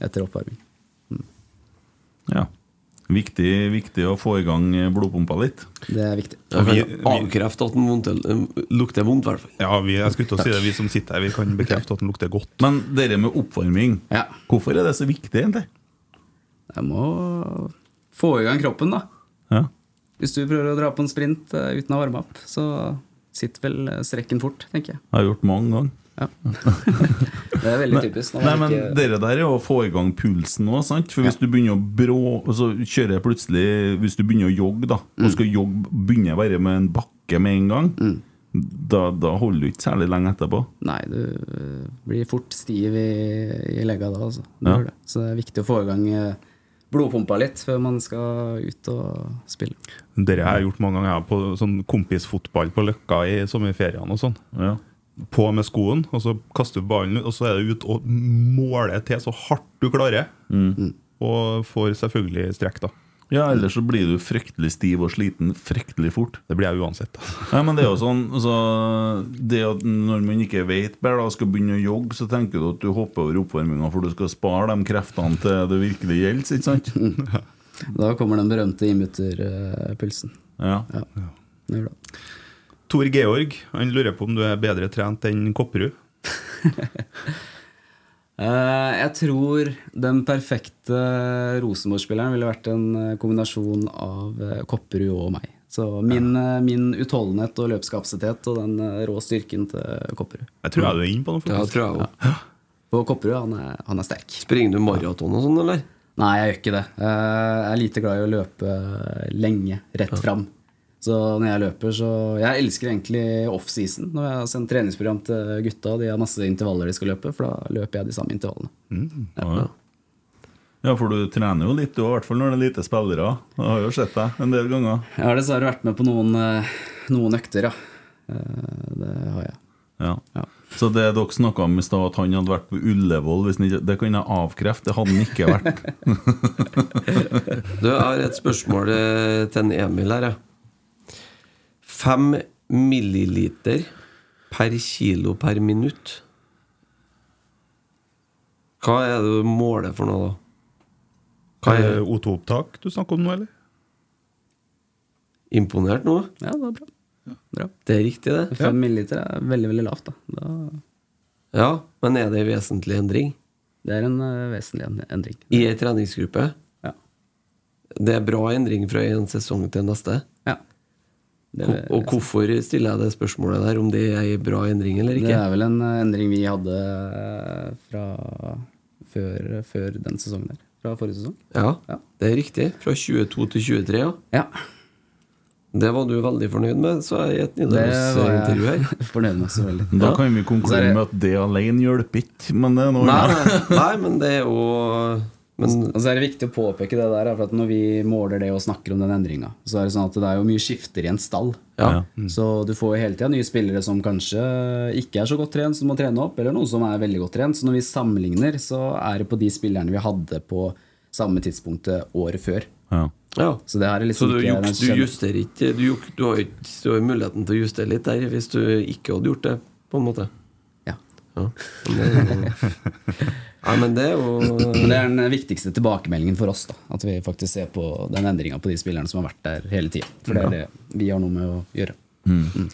S5: etter oppvarming.
S4: Ja. Viktig, viktig å få i gang blodpumpa litt.
S5: Det er viktig.
S6: Jeg kan avkrefte at den vondte- lukter vondt, i hvert fall.
S7: Ja, vi, jeg skulle til å si det, vi som sitter her, vi kan bekrefte at den lukter godt.
S4: Men dere med oppvarming, hvorfor er det så viktig, egentlig?
S5: Jeg må få i gang kroppen, da.
S4: Ja.
S5: Hvis du prøver å dra på en sprint eh, uten å varme opp, så sitter vel eh, strekken fort, tenker jeg.
S4: Jeg har gjort mange ganger.
S5: Det er veldig typisk. når
S4: Nei,
S5: man
S4: men
S5: sånn ikke-
S4: Dere der er å få i gang pulsen òg, sant? For hvis du begynner å brå og Så kjører jeg plutselig Hvis du begynner å jogge, da, og skal jogge, begynner jeg bare med en bakke med en gang, da, da holder du ikke særlig lenge etterpå.
S5: Nei, du eh, blir fort stiv i, i legga da, altså. Du
S4: Ja.
S5: gjør det. Så det er viktig å få i gang eh, blodpumpa litt før man skal ut og spille.
S7: Dere har jeg gjort mange ganger jeg, på sånn kompisfotball på Løkka i sommerferiene og sånn. På med skoen, og så kaster du ballen ut, og så er det ut og måler til så hardt du klarer. Og får selvfølgelig strekk, da.
S4: Mm. Ja, ellers så blir du fryktelig stiv og sliten fryktelig fort.
S7: Det blir jeg uansett.
S4: Nei, men det er jo sånn altså, det at Når man ikke vet bedre og skal begynne å jogge, så tenker du at du hopper over oppvarminga, for du skal spare de kreftene til det virkelig gjelder, ikke sant?
S5: Da kommer den berømte innbytterpulsen.
S4: Ja.
S5: Det gjør det.
S7: Tor Georg han lurer på om du er bedre trent enn Kopperud.
S5: Eh, jeg tror den perfekte Rosenborg-spilleren ville vært en eh, kombinasjon av eh, Kopperud og meg. Så min, eh, min utholdenhet og løpskapasitet og den eh, rå styrken til Kopperud.
S7: Jeg
S4: Mm.
S7: tror jeg du er inne på noe.
S6: Ja, tror jeg også.
S5: Og Kopperud, han er, han er sterk.
S6: Springer du maraton og sånn, eller?
S5: Nei, jeg gjør ikke det. Eh, Jeg er lite glad i å løpe eh, lenge, rett fram. Så når jeg løper, så Jeg elsker egentlig offseason. Når jeg har sendt treningsprogram til gutta, de har masse intervaller de skal løpe, for da løper jeg de samme intervallene.
S4: Ja. ja, for du trener jo litt, du, i hvert fall når det er lite spillere. Jeg har jo sett deg en del ganger.
S5: Jeg har dessverre vært med på noen, eh, noen økter, ja. Eh, Det har jeg.
S4: Ja. Så det dere snakka om i stad, at han hadde vært på Ullevål, hvis han ikke, det kan jeg avkrefte. Det hadde han ikke vært.
S6: Du, jeg har et spørsmål eh, til en Emil her, jeg. Fem milliliter per kilo per minutt. Hva er det du måler for noe, da? Hva er det?
S7: O2-opptak du snakker om nå, eller?
S6: Imponert nå?
S5: Ja, det er bra.
S6: Det er riktig, det.
S5: Fem milliliter er veldig, veldig lavt, da. da.
S6: Ja, men er det en vesentlig endring?
S5: Det er en eh, vesentlig en- endring.
S6: I ei treningsgruppe?
S5: Ja.
S6: Det er bra endring fra en sesong til neste?
S5: Ja. Det-
S6: Hvor- og hvorfor stiller jeg det spørsmålet der, om det er ei bra endring eller ikke?
S5: Det er vel en eh, endring vi hadde eh, fra før, før den sesongen der. Fra forrige sesong.
S6: Ja, det er riktig. Fra 22 til 23, ja. Det var du veldig fornøyd med, så jeg i et Nidaros-intervju her.
S5: fornøyd med så veldig.
S4: Da
S6: Ja.
S4: kan vi
S6: Så er
S4: konkludere
S6: det-
S4: med at det alene hjelper ikke, men det er noe
S6: Nei, nei, men det er jo
S5: Og så er det viktig å påpeke det der, for at når vi måler det og snakker om den endringa, så er det sånn at det er jo mye skifter i en stall.
S6: Ja.
S5: Så du får jo hele tida nye spillere som kanskje ikke er så godt trent, som må trene opp, eller noen som er veldig godt trent. Så når vi sammenligner, så er det på de spillerne vi hadde på samme tidspunktet året før.
S4: Ja.
S5: Så det her er
S6: Så
S5: liksom
S6: du,
S5: ikke
S6: juks- du justerer ikke Du, juk, du har jo ikke du har jo muligheten til å justere litt der hvis du ikke hadde gjort det, på en måte.
S5: Ja.
S6: Men det er jo, Nei, men det er jo
S5: Men det er den viktigste tilbakemeldingen for oss. da At vi faktisk ser på den endringa på de spillerne som har vært der hele tida. For det er
S4: Ja.
S5: det vi har noe med å gjøre.
S4: Mm.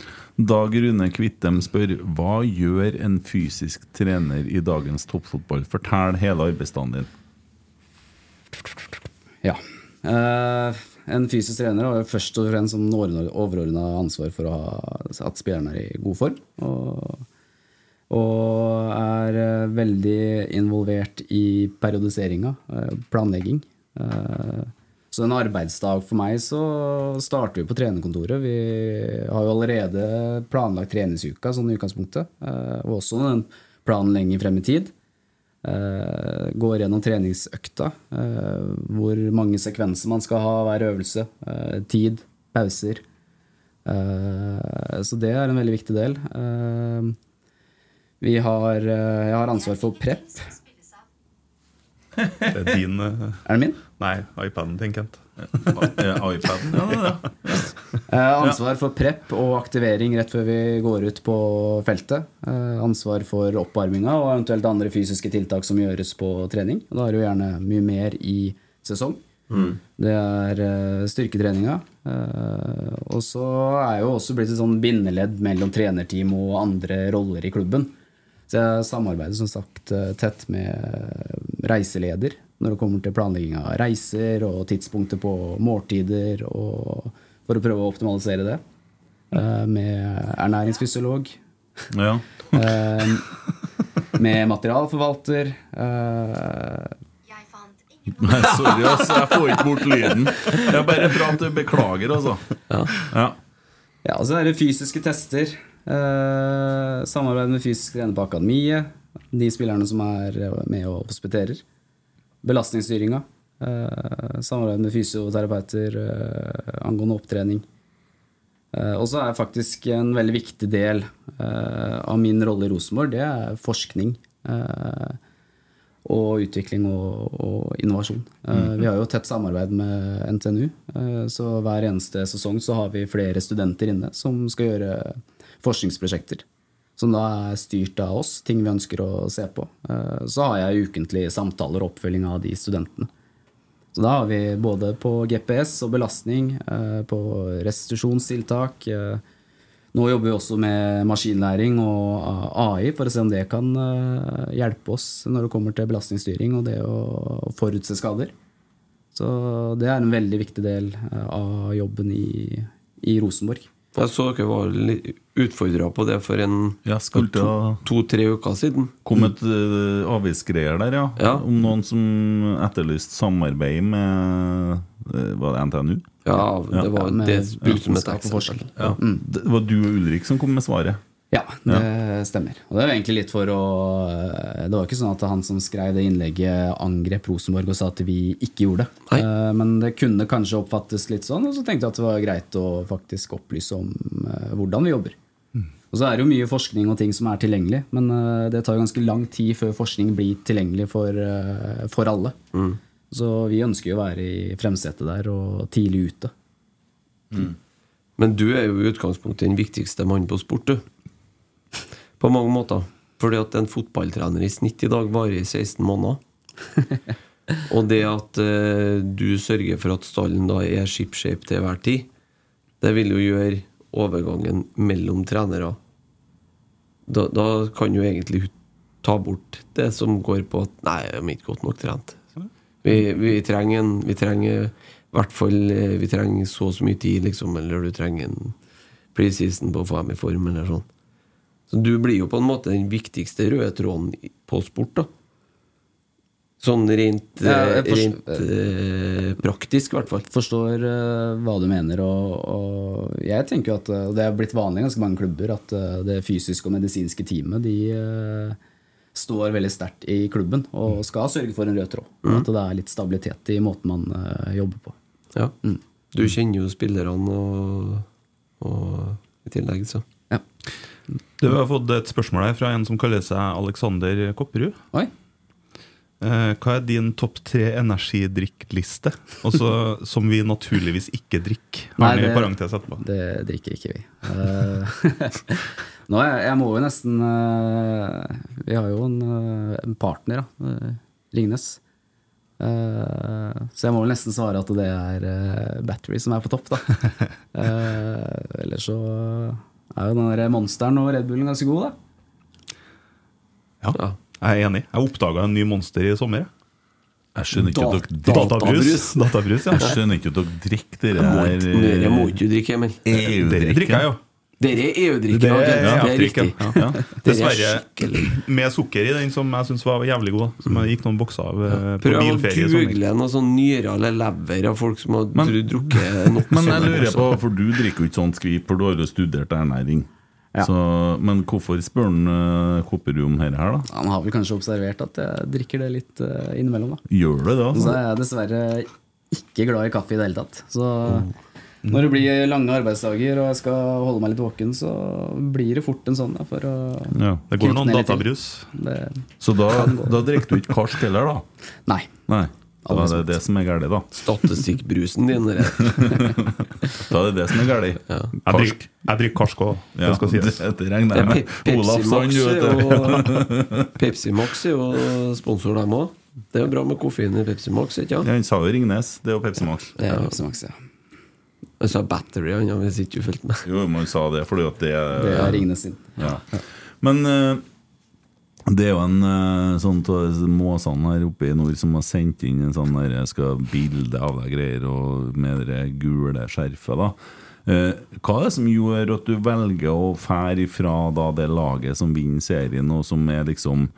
S4: Dag Rune Kvittem spør hva gjør en fysisk trener i dagens toppfotball? Fortell hele arbeidsdagen din.
S5: Ja. Eh, en fysisk trener har jo først og fremst som overordna ansvar for å ha, at spillerne er i god form. Og, og er eh, veldig involvert i periodiseringa, eh, planlegging. Eh, så en arbeidsdag for meg så starter vi på trenerkontoret. Vi har jo allerede planlagt treningsuka sånn i utgangspunktet, eh, og også en plan lenger frem i tid. Eh, går gjennom treningsøkta. eh, hvor mange sekvenser man skal ha hver øvelse. eh, tid, pauser. Eh, så det er en veldig viktig del. Eh, vi har, eh, jeg har ansvar for prep.
S7: Det er din eh,
S5: Er det min?
S7: Nei, iPaden til Kent.
S4: iPaden, ja,
S5: Eh, ansvar for prep og aktivering rett før vi går ut på feltet. Eh, ansvar for oppvarminga og eventuelt andre fysiske tiltak som gjøres på trening. Da er det jo gjerne mye mer i sesong. Mm. Det er eh, styrketreninga. Eh, og så er jeg jo også blitt et sånn bindeledd mellom trenerteam og andre roller i klubben. Så jeg samarbeider som sagt eh, tett med eh, reiseleder når det kommer til planlegging av reiser og tidspunkter på måltider, og for å prøve å optimalisere det. Eh, med ernæringsfysiolog.
S4: Ja.
S5: Eh, med materialforvalter. eh,
S4: Nei, sorry, altså. Jeg får ikke bort lyden. Jeg bare prater. Beklager, altså.
S5: Ja.
S4: ja.
S5: og så er det fysiske tester. Eh, samarbeid med fysisk trener på akademiet. De spillerne som er med og hospiterer. Belastningsstyringa. Eh, samarbeid med fysioterapeuter eh, angående opptrening. Eh, og så er faktisk en veldig viktig del eh, av min rolle i Rosenborg, det er forskning. Eh, og utvikling og, og innovasjon. Eh,
S10: Mhm.
S5: Vi har jo tett samarbeid med NTNU, eh, så hver eneste sesong så har vi flere studenter inne som skal gjøre forskningsprosjekter. Som da er styrt av oss, ting vi ønsker å se på. Eh, Så har jeg ukentlige samtaler og oppfølging av de studentene. Så da har vi både på GPS og belastning, eh, på restitusjonstiltak. eh, Nå jobber vi også med maskinlæring og AI for å se om det kan eh, hjelpe oss når det kommer til belastningsstyring og det å forutse skader. Så det er en veldig viktig del eh, av jobben i, i Rosenborg.
S6: Jeg så dere var utfordra på det for en to-tre uker siden.
S4: Kom et eh, avgiftsgreier der, ja. Om noen som etterlyste samarbeid med eh, Var det NTNU?
S6: Ja, det var det brukte som et
S5: eksempel.
S4: Ja. Det var du og Ulrik som kom med svaret?
S5: Ja, det stemmer. Og det er jo egentlig litt for å Det var jo ikke sånn at han som skrev det innlegget, angrep Rosenborg og sa at vi ikke gjorde det. Eh, Men det kunne kanskje oppfattes litt sånn, og så tenkte jeg at det var greit å faktisk opplyse om eh, hvordan vi jobber. Og så er det jo mye forskning og ting som er tilgjengelig, men eh, det tar jo ganske lang tid før forskning blir tilgjengelig for, eh, for alle. Så vi ønsker jo å være i fremsetet der og tidlig ute.
S6: Men du er jo i utgangspunktet den viktigste mannen på sport, du. På mange måter. Fordi at en fotballtrener i snitt i dag varer i 16 måneder. Og det at eh, du sørger for at stallen da er shipshape til hver tid, det vil jo gjøre overgangen mellom trenere Da, da kan jo egentlig hun ta bort det som går på at 'nei, de er ikke godt nok trent'.
S5: Sånn.
S6: Vi, vi trenger en Vi trenger i hvert fall eh, Vi trenger så og så mye tid, liksom, eller du trenger en preseason på å få dem i form, eller sånn. Så du blir jo på en måte den viktigste røde tråden i- på sport, da. Sånn rent,
S5: Ja,
S6: eh,
S5: jeg forst-
S6: rent eh, praktisk, i hvert fall.
S5: Forstår eh, hva du mener, og, og jeg tenker jo at eh, det er blitt vanlig i ganske mange klubber at eh, det fysiske og medisinske teamet de eh, står veldig sterkt i klubben og skal sørge for en rød tråd.
S6: Mm.
S5: At det er litt stabilitet i måten man eh, jobber på.
S6: Ja. Du kjenner jo spillerne og, og i tillegg, så.
S7: Du har fått et spørsmål her fra en som kaller seg Alexander Kopperud. Eh, Hva er din topp tre energidrikkliste? Også som vi naturligvis ikke drikker. Har den i parentes etterpå.
S5: det drikker ikke vi. Eh, Nå, jeg, jeg må jo nesten eh, Vi har jo en, eh, en partner, da. eh, Ringnes. Eh, så jeg må vel nesten svare at det er eh, Battery som er på topp, da. Eh, ellers så er jo den der Monsteren og Red Bullen ganske god, da.
S7: Ja, jeg er enig. Jeg oppdaga en ny monster i sommer. jeg.
S4: Jeg skjønner ikke at dere
S7: Databrus. Databrus, ja.
S4: Jeg skjønner ikke at dere drikker det eh,
S6: Må ikke- dere må ikke drikke, Emil.
S7: Dere drikker jeg jo.
S6: Dere er EU-drikker.
S7: Dere
S6: ja, det-
S7: er
S6: det er
S7: drikken.
S6: riktig.
S7: Ja.
S6: Dere er
S4: eh,
S7: Dessverre med sukker i den, som jeg syns var jævlig god. da. Som jeg gikk noen bokser av eh, på
S6: Prøv å
S7: bilferie. i sommer.
S6: google noe sånn nyrer eller lever av folk som har dru- drukket nok sånn, altså.
S4: Men jeg
S6: sånne
S4: lurer på,
S6: også.
S4: for du drikker jo ikke sånn skvip, for du har jo studert ernæring. Så, men hvorfor spør han uh, Kopperud om dette her, da?
S5: Han har vel kanskje observert at jeg drikker det litt eh, innimellom, da.
S4: Gjør det altså?
S5: Og
S4: det,
S5: Så er jeg dessverre ikke glad i kaffe i det hele tatt. Så når det blir lange arbeidsdager og jeg skal holde meg litt våken, så blir det fort en sånn. Da, for å
S4: Ja. Det går
S5: kutte
S4: noen
S5: ned litt til.
S4: databrus.
S5: Det-
S4: Så da,
S5: Kan gå.
S4: da drikker du ikke karsk heller, da?
S5: Nei.
S4: Nei. Da er det det som er galt, da.
S6: Statistikkbrusen din, det
S4: Da er det det som er galt.
S7: Jeg drikker- Jeg drikker karsk òg,
S4: Ja,
S7: det skal sies.
S4: det- det regner jeg med.
S6: Pepsi
S4: Olav Sand,
S6: Max
S4: du vet
S6: er
S4: det.
S6: jo- Pepsi Max er jo sponsor, dem òg. Det er jo bra med koffein i Pepsi Max, ikke sant?
S4: Ja, Han sa jo Ringnes. Det er jo Pepsi Max.
S6: Det er Pepsi
S5: Max, ja.
S6: Han sa Battery, han, ja, hvis ikke du fulgte med.
S4: Jo, man sa det fordi at det
S6: Det er Ringnes
S5: sin.
S4: Ja. Men eh, det er jo en eh, sånn av måsene her oppe i nord som har sendt inn en sånn der jeg skal ha bilde av deg greier, og med det der gule skjerfet, da. Eh, hva er det som gjør at du velger å fære ifra da det laget som vinner serien, og som er liksom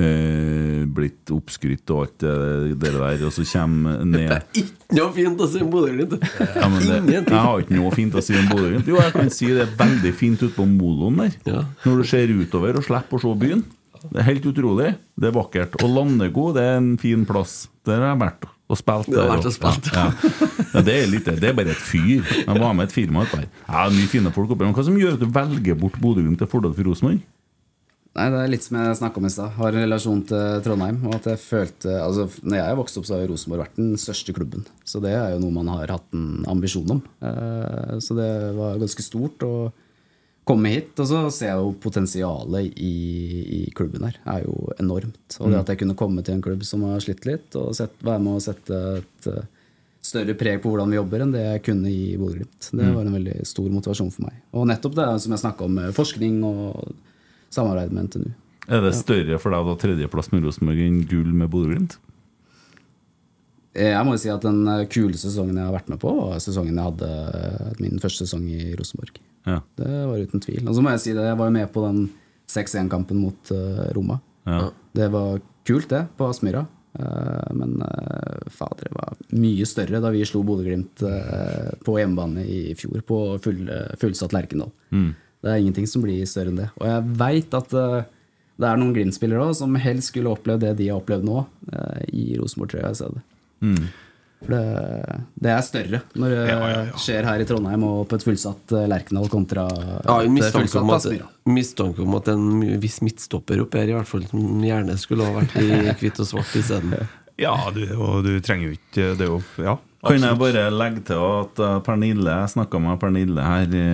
S4: eh, blitt oppskrytt og alt det det der, og så kommer ned
S6: Ikke noe fint å se Bodø-Glimt!
S4: ja, men det,
S6: Ingenting.
S4: jeg har ikke noe fint å si om Bodø-Glimt. Jo, jeg kan si det er veldig fint ute på moloen der. Når du ser utover og slipper å se byen. Det er helt utrolig. Det er vakkert. Og Landego det er en fin plass. Der har jeg vært og spilt.
S6: Det har
S4: der
S6: vært og
S4: også. Ja, ja. Ja, det, er litt, det er bare et fyr. Jeg var med et firma oppe her. Ja, mye fine folk oppe her. Men hva som gjør at du velger bort Bodø-Glimt til fordel for Rosenborg?
S5: Nei, Det er litt som jeg snakka om i stad. Har en relasjon til Trondheim. Og at jeg følte, altså når jeg vokste opp, så har jo Rosenborg vært den største klubben. Så det er jo noe man har hatt en ambisjon om. Eh, Så det var ganske stort å komme hit. Og så ser jeg jo potensialet i, i klubben her. er jo enormt. Og
S10: Mm.
S5: det at jeg kunne komme til en klubb som har slitt litt, og sett, være med å sette et eh, større preg på hvordan vi jobber enn det jeg kunne i Bodø-Glimt. Det
S10: Mm.
S5: var en veldig stor motivasjon for meg. Og nettopp det som jeg snakka om, eh, forskning og samarbeid med NTNU.
S4: Er det større for deg å ta tredjeplass med Rosenborg enn gull med Bodø-Glimt?
S5: Eh, Jeg må jo si at den eh, kuleste sesongen jeg har vært med på, var sesongen jeg hadde eh, min første sesong i Rosenborg.
S4: Ja.
S5: Det var uten tvil. Og så må jeg si det, jeg var jo med på den 6-1-kampen mot eh, Roma.
S4: Ja.
S5: Det var kult, det, på Aspmyra. Eh, Men eh, fader, det var mye større da vi slo Bodø-Glimt eh, på hjemmebane i fjor, på full, eh, fullsatt Lerkendal.
S3: Mm.
S5: Det er ingenting som blir større enn det. Og jeg veit at eh, det er noen Glimt-spillere òg som helst skulle opplevd det de har opplevd nå, eh, i Rosenborg-trøya i stedet.
S4: Mm.
S5: For det, det er større når det skjer her i Trondheim og på et fullsatt eh, Lerkendal kontra
S6: Jeg har en
S5: et
S6: mistanke om, at,
S5: Aspmyra.
S6: mistanke om at det er en viss midtstopper oppe her, i hvert fall, som gjerne skulle ha vært i hvitt og svart isteden.
S7: Ja, du, og du trenger jo ikke Det er jo Ja.
S4: Kan jeg
S7: absolutt.
S4: bare legge til at eh, Pernille Jeg snakka med Pernille her i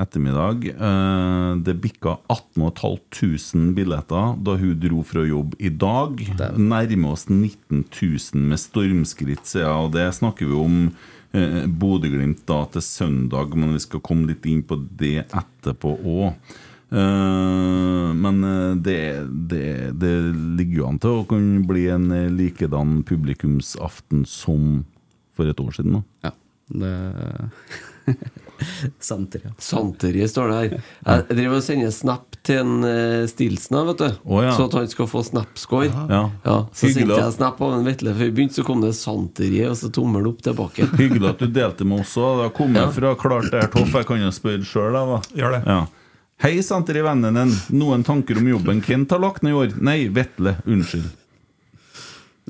S4: ettermiddag. Eh, Det bikka 18.500 billetter da hun dro fra jobb i dag. Nærmer oss 19 000 med stormskritt siden, og det snakker vi om eh, Bodø-Glimt da til søndag, men vi skal komme litt inn på det etterpå òg. Eh, Men eh, det, det, det ligger jo an til å kunne bli en eh, likedan publikumsaften som for et år siden. Da.
S5: Santer, ja.
S6: Santeriet står det her. Jeg driver og sender snap til en eh, Stilsen her, vet du.
S4: Å, ja.
S6: Så at han skal få snapscore.
S4: Ja.
S6: så
S4: Hyggelig
S6: sendte
S4: at-
S6: jeg snap av en Vetle før vi begynte, så kom det Santeriet, og så tommel opp tilbake.
S4: Hyggelig at du delte med oss òg. Det har kommet fra Klart det er toff. Jeg kan jo spørre sjøl, jeg, da.
S7: Gjør det.
S4: Ja. Hei, senter i vennen din. Noen tanker om jobben Kent har lagt ned i år? Nei, Vetle. Unnskyld.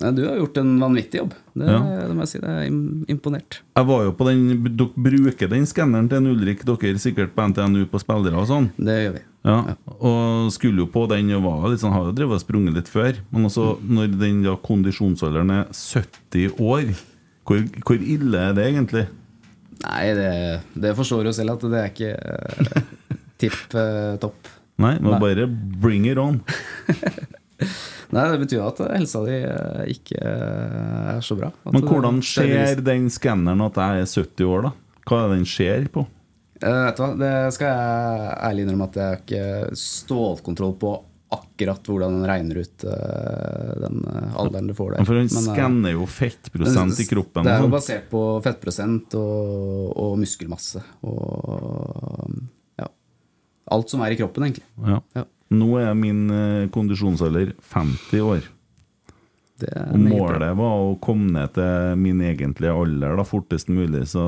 S5: Nei, Du har gjort en vanvittig jobb. Det,
S4: Ja.
S5: det må jeg si. Det er im- imponert.
S4: Jeg var jo på den Dere bruker den skanneren til en Ulrik, dere sikkert på NTNU på spillere og sånn?
S5: Det gjør vi.
S4: Ja, Og skulle jo på den og var jo litt sånn, har jo drevet og sprunget litt før. Men også når den da kondisjonsalderen er 70 år, hvor, hvor ille er det egentlig?
S5: Nei, det, det forstår du selv at det er ikke eh, tipp eh, topp.
S4: Nei, men
S5: Nei.
S4: bare bring it on.
S5: Nei, Det betyr jo at helsa di eh, ikke eh, er så bra. At
S4: Men
S5: det-
S4: hvordan
S5: det er bevisst.
S4: skjer den skanneren at jeg er 70 år, da? Hva er det den skjer på?
S5: Eh, vet du hva, Det skal jeg ærlig innrømme at jeg har ikke stålkontroll på akkurat hvordan den regner ut eh, den eh, alderen du får
S4: Ja,
S5: der.
S4: for den
S5: Men, eh,
S4: skanner jo fettprosent i kroppen
S5: Det er
S4: og sånn.
S5: jo basert på fettprosent og, og muskelmasse og ja, alt som er i kroppen, egentlig.
S4: Ja. Nå er min eh, kondisjonsalder 50 år. og
S5: meget bra.
S4: målet var å komme ned til min egentlige alder da, fortest mulig, så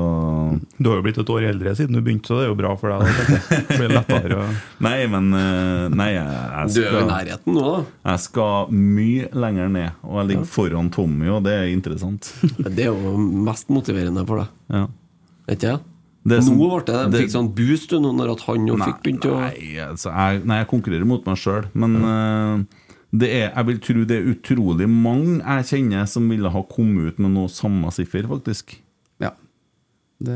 S7: Du har jo blitt et år eldre siden du begynte, så det er jo bra for deg. da, tenker jeg. Det blir lettere å
S4: Nei, men eh, Nei, jeg, jeg
S6: Du er jo i nærheten nå, da.
S4: Jeg skal mye lenger ned, og jeg ligger foran Tommy, og det er interessant.
S6: Det er jo mest motiverende for deg.
S4: Ja.
S6: Vet ikke jeg?
S4: Det som-
S6: nå ble det, de
S4: det-
S6: fikk sånn boost du, nå når at han jo
S4: Nei,
S6: fikk begynt å
S4: Nei, altså, jeg, nei, jeg konkurrerer mot meg sjøl, men eh, det er, jeg vil tro det er utrolig mange jeg kjenner som ville ha kommet ut med noe samme siffer, faktisk.
S5: Ja. Det,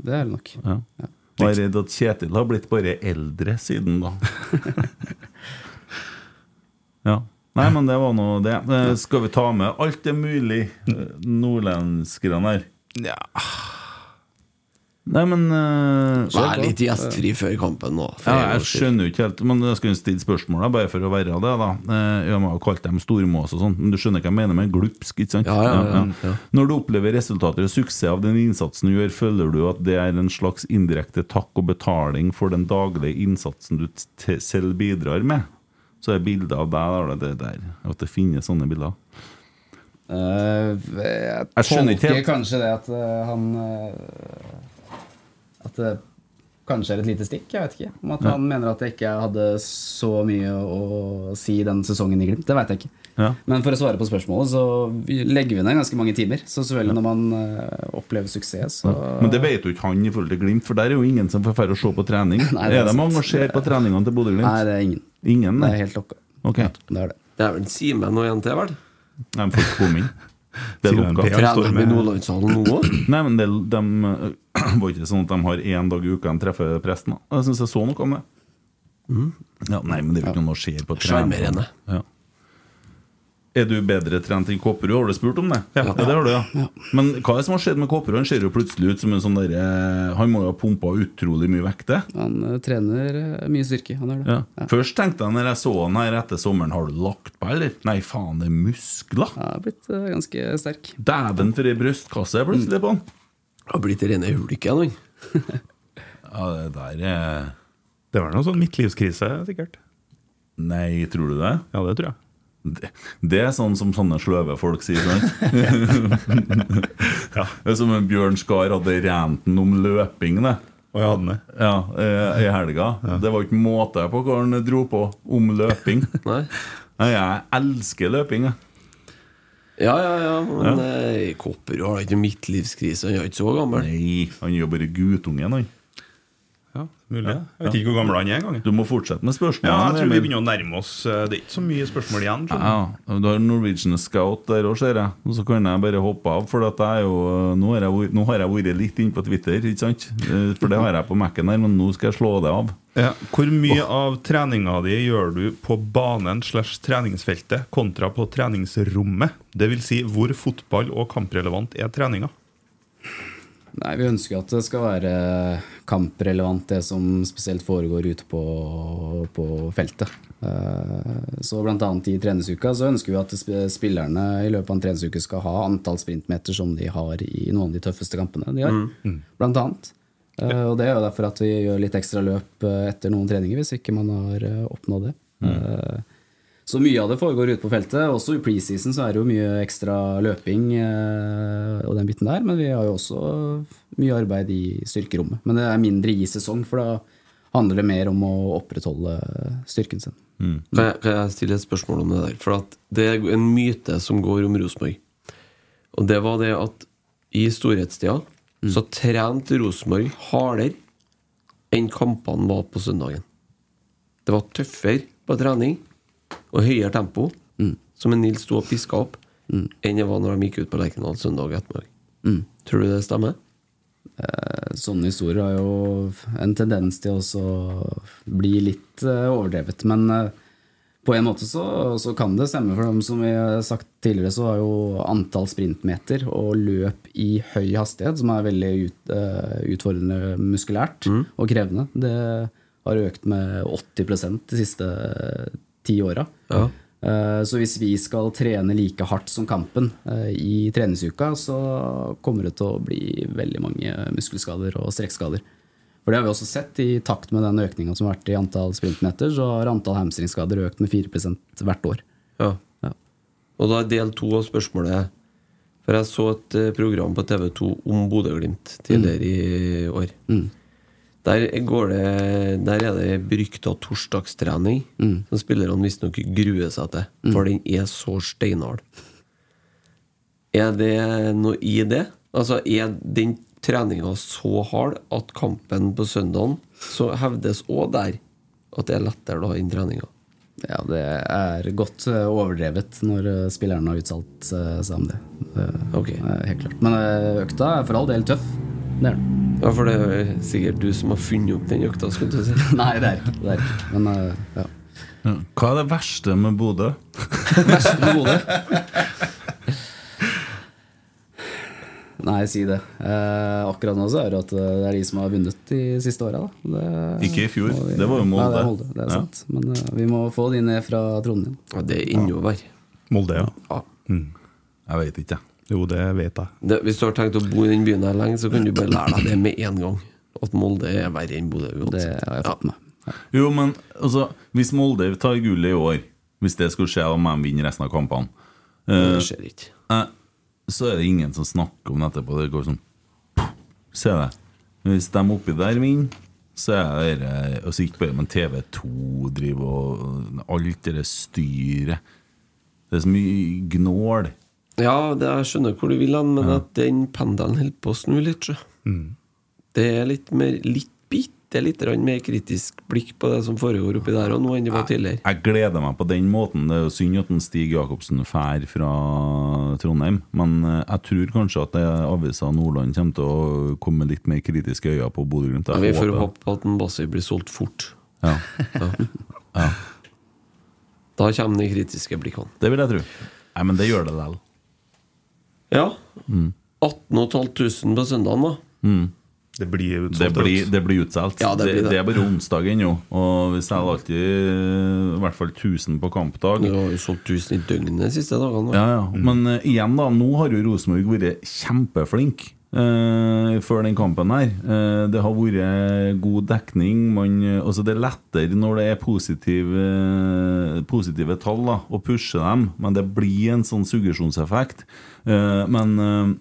S5: det er det nok.
S4: Ja. Og jeg er redd at Kjetil har blitt bare eldre siden da. ja. Nei, men det var nå det. Eh, Skal vi ta med alt er mulig eh, nordlenskerne her?
S6: Ja.
S4: Nei, men eh,
S6: Vær litt gjestfri før kampen nå. for en
S4: Ja, jeg
S6: gangs skyld.
S4: skjønner jo ikke helt Men jeg skulle stille spørsmål da, bare for å være det. da Eh, Jeg må ha kalt dem stormås og sånn, men du skjønner hva jeg mener med glupsk? ikke sant?
S6: ja, ja, ja.
S4: Når du opplever resultater og suksess av den innsatsen du gjør, føler du at det er en slags indirekte takk og betaling for den daglige innsatsen du t selv bidrar med? Så er bildet av deg der, det der At det finnes sånne bilder.
S5: jeg,
S4: Jeg skjønner
S5: Eh,
S4: ikke
S5: tolker
S4: helt.
S5: kanskje det at eh, han eh, At det kanskje er et lite stikk, jeg vet ikke. Om at
S4: Ja.
S5: han mener at jeg ikke hadde så mye å si den sesongen i Glimt. Det veit jeg ikke.
S4: Ja.
S5: Men for å svare på spørsmålet, så vi- legger vi ned ganske mange timer. Så selvfølgelig når man eh, opplever suksess, så
S4: Men det vet jo ikke han i forhold til Glimt, for der er jo ingen som får færre å se på trening.
S5: Nei, det
S4: er,
S5: er
S4: det
S5: sant.
S4: mange som ser på treningene til Bodø-Glimt?
S5: Nei, det er ingen.
S4: Ingen?
S5: Det er helt lukka.
S4: Ok.
S5: Det er det.
S6: Det er vel Simen og en til, vel?
S4: Nei, men folk kom inn. Det er
S6: Simen
S4: lukka.
S6: Per Trener står med- de Nordlandshallen nå også?
S4: Nei, men det, de, eh, var ikke sånn at de har én dag i uka de treffer presten. da. Jeg syns jeg så noe om det. Mm. Ja, nei, men det er jo ikke noe man ser på trening.
S6: Sjarmerende.
S4: Ja. Er du bedre trent enn Kopperud? Har du spurt om det? Ja, det har du, ja. Men hva er det som har skjedd med Kopperud? Han ser jo plutselig ut som en sånn derre Han må jo ha pumpa utrolig mye vekt, det.
S5: Han eh, trener eh, mye styrke. Han gjør det.
S4: Ja. Først tenkte jeg når jeg så han her etter sommeren, har du lagt på, eller? Nei, faen, det er muskler!
S5: Jeg har blitt eh, ganske sterk.
S4: Dæven for ei brystkasse jeg plutselig på han!
S6: Har blitt rene hulken, han.
S4: Ja, det der eh, er
S7: Det var noe sånn midtlivskrise, sikkert.
S4: Nei, tror du det?
S7: Ja, det tror jeg.
S4: Det, det er sånn som sånne sløve folk sier, sant? Det er som en Bjørn Skar hadde renten om løping, det.
S7: Og jeg hadde den
S4: Ja, eh, I helga. Det var ikke måte på hva han dro på om løping.
S6: Nei.
S4: Jeg elsker løping, jeg.
S6: Ja, ja, ja. Men
S4: Ja.
S6: eh, Kopperud har da ikke midtlivskrise, han er ikke så gammel.
S4: Nei, han er jo bare guttungen, han.
S7: Ja, mulig. Jeg vet ikke hvor gammel han er engang.
S4: Du må fortsette med spørsmål.
S7: Ja, jeg tror vi begynner å nærme oss eh, Det er ikke så mye spørsmål igjen. tror jeg.
S4: Ja, ja. Du har Norwegian Scout der òg, ser jeg. Og så kan jeg bare hoppe av, for at jeg er jo, eh, nå, har jeg, vært- nå har jeg vært litt inne på Twitter, ikke sant? Eh, For det har jeg på Mac-en her, men nå skal jeg slå det av.
S7: Ja, Hvor mye av treninga di gjør du på banen slash treningsfeltet kontra på treningsrommet? Det vil si, hvor fotball- og kamprelevant er treninga?
S5: Nei, Vi ønsker jo at det skal være kamprelevant, det som spesielt foregår ute på, på feltet. Eh, Så bl.a. i treningsuka så ønsker vi at sp- spillerne i løpet av en treningsuke skal ha antall sprintmeter som de har i noen av de tøffeste kampene de har,
S6: Mm. Mm.
S5: blant annet. Eh, Og det er jo derfor at vi gjør litt ekstra løp eh, etter noen treninger, hvis ikke man har eh, oppnådd det. Eh, Så mye av det foregår ute på feltet. Også i preseason så er det jo mye ekstra løping eh, og den biten der. Men vi har jo også mye arbeid i styrkerommet. Men det er mindre i sesong, for da handler det mer om å opprettholde styrken sin.
S6: Kan, jeg, kan jeg stille et spørsmål om det der? For at det er en myte som går om Rosenborg. Og det var det at i storhetstida så trente Rosenborg hardere enn kampene var på søndagen. Det var tøffere på trening og høyere tempo, som en Nils sto og piska opp, enn det var når de gikk ut på Lerkendal søndag ettermiddag. Tror du det stemmer?
S5: Eh, Sånne historier har jo en tendens til å også bli litt eh, overdrevet. Men eh, på en måte så, så kan det stemme, for dem som vi har sagt tidligere, så har jo antall sprintmeter og løp i høy hastighet, som er veldig ut, eh, utfordrende muskulært og krevende, det har økt med 80 de siste eh, ti åra.
S6: Ja.
S5: Eh, Så hvis vi skal trene like hardt som kampen eh, i treningsuka, så kommer det til å bli veldig mange muskelskader og strekkskader. For det har vi også sett i takt med den økninga som har vært i antall sprintmeter, så har antall hamstringsskader økt med 4 hvert år.
S6: Ja. Og da er del to av spørsmålet For jeg så et eh, program på TV2 om Bodø-Glimt tidligere i år. Der, går det, der er det berykta torsdagstrening
S5: Mm.
S6: som spillerne visstnok gruer seg til, for den er så steinhard. Er det noe i det? Altså, er den treninga så hard at kampen på søndagen så hevdes òg der at det er lettere da enn treninga?
S5: Ja, det er godt eh, overdrevet når eh, spillerne har uttalt eh, seg om det. Eh, eh, Helt klart. Men eh, økta er for all del tøff. Det er den.
S6: Ja, for det er sikkert du som har funnet opp den økta, skulle du si.
S5: Nei, det er ikke det. Er ikke. Men eh, ja.
S4: Ja. Hva er det verste med Bodø?
S5: Verste med Bodø? Nei, si det. Eh, akkurat nå så er det at eh, det er de som har vunnet de siste åra.
S4: Ikke i fjor. Det var jo Molde.
S5: Nei, det er Molde. Det er
S4: Ja.
S5: sant. Men eh, vi må få de ned fra Trondheim.
S6: Ja, det er innover.
S7: Molde, ja. Mm.
S4: Jeg vet ikke,
S7: Jo, det vet jeg.
S6: Det, hvis du har tenkt å bo i den byen her lenge, så kan du bare lære deg det med en gang. At Molde er verre enn Bodø. Det har jeg fått med
S4: Jo, men altså, hvis Molde tar gullet i år, hvis det skulle skje om de vinner resten av kampene eh,
S6: Det skjer ikke.
S4: eh, Så er det ingen som snakker om det etterpå. Det går sånn Se det. Hvis de oppi der vinner, så er det eh, altså ikke bare men TV2 driver og alt det der styret. Det er så mye gnål.
S6: Ja, det, jeg skjønner hvor du vil hen, men at den pendelen holder på å snu litt. sjø.
S4: Mm.
S6: Det er litt mer litt bitte litt grann mer kritisk blikk på det som foregår oppi der og nå enn det var tidligere.
S4: Jeg gleder meg på den måten. Det er jo synd at en Stig Jacobsen fær fra Trondheim, men eh, jeg tror kanskje at det avisa Nordland kommer til å komme med litt mer kritiske øyne på Bodø-Glimt.
S6: vi
S4: Jeg
S6: får
S4: håper-
S6: håpe at en Bassi blir solgt fort.
S4: Ja. Ja.
S6: Da kommer de kritiske blikkene.
S4: Det vil jeg tro. Nei, men det gjør det likevel.
S6: Ja.
S4: Mm.
S6: 18.500 på søndagen, da.
S4: Mm.
S7: Det blir
S6: utsolgt,
S4: Det blir,
S6: vet du.
S4: det blir utsolgt.
S6: Ja, det blir det.
S4: er bare onsdag ennå. Og vi selger alltid eh, i hvert fall 1000 på kampdag.
S6: Du har jo solgt 1000 i døgnet de siste dagene. da.
S4: Ja, ja. Men eh, igjen, da. Nå har jo Rosenborg vært kjempeflink. eh, før den kampen her. Eh, det har vært god dekning. Man, altså det er lettere når det er positive, positive tall da, å pushe dem, men det blir en sånn suggesjonseffekt. Eh, men eh,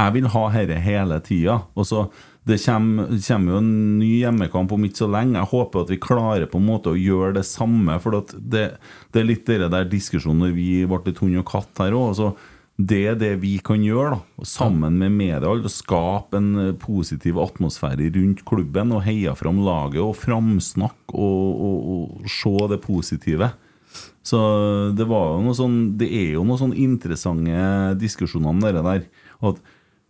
S4: jeg vil ha dette hele tida. Og så det kommer, kommer jo en ny hjemmekamp om ikke så lenge. Jeg håper at vi klarer på en måte å gjøre det samme. For at det, det er litt det der diskusjonen når vi ble litt hund og katt her òg. Altså, det er det vi kan gjøre, da, og sammen med media. og Skape en eh, positiv atmosfære rundt klubben og heie fram laget og framsnakke og, og, og se det positive. Så det var jo noe sånn Det er jo noen sånn interessante diskusjoner om det der. At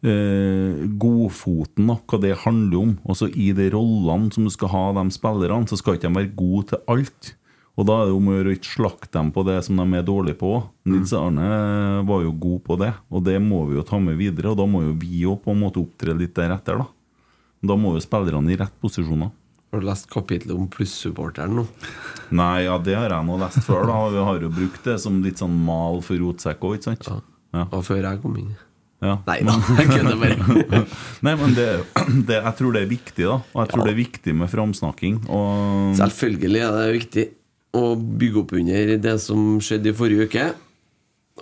S4: eh, godfoten, da, hva det handler om. Også i de rollene som du skal ha de spillerne, så skal ikke de være gode til alt. Og da er det om å gjøre å ikke slakte dem på det som de er dårlige på. Nils Arne var jo god på det, og det må vi jo ta med videre. Og da må jo vi òg på en måte opptre litt deretter, da. Da må jo spillerne i rett posisjoner.
S6: Har du lest kapitlet om plussupporteren nå?
S4: Nei, ja, det har jeg nå lest før. da og Vi har jo brukt det som litt sånn mal for rotsekk òg, ikke sant? Ja.
S6: Og før jeg kom inn.
S4: Ja.
S6: Nei da, jeg kødder bare.
S4: Nei, men det, det, jeg tror det er viktig, da. Og jeg tror det er viktig med framsnakking. Og
S6: Selvfølgelig er det viktig å bygge opp under det som skjedde i forrige uke.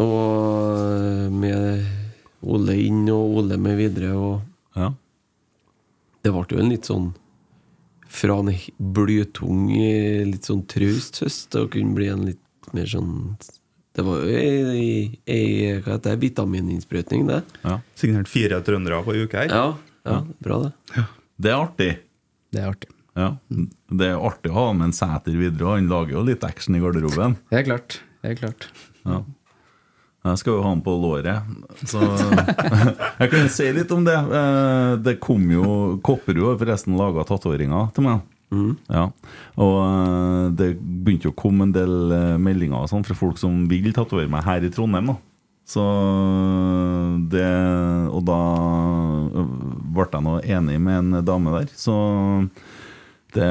S6: Og eh, med Ole inn og Ole med videre og Det ble jo en litt sånn Fra en h- blytung, eh, litt sånn traust høst og kunne bli en litt mer sånn Det var jo ei, ei- ei hva heter det, vitamininnsprøytning, det.
S7: Signert fire trøndere på ei uke her.
S6: Ja, ja, bra det.
S4: det er artig.
S5: Det er artig.
S4: Ja. Det er artig å ha med en Sæter videre, og han lager jo litt action i garderoben.
S5: Helt klart. Helt klart.
S4: Ja. Jeg skal jo ha den på låret, så jeg kan jo si litt om det. Eh, Det kom jo Kopperud har forresten laga tatoveringer til meg. Ja. Og eh, det begynte jo å komme en del eh, meldinger og sånn fra folk som vil tatovere meg her i Trondheim. da så eh, det Og da eh, ble jeg nå enig med en dame der, så det,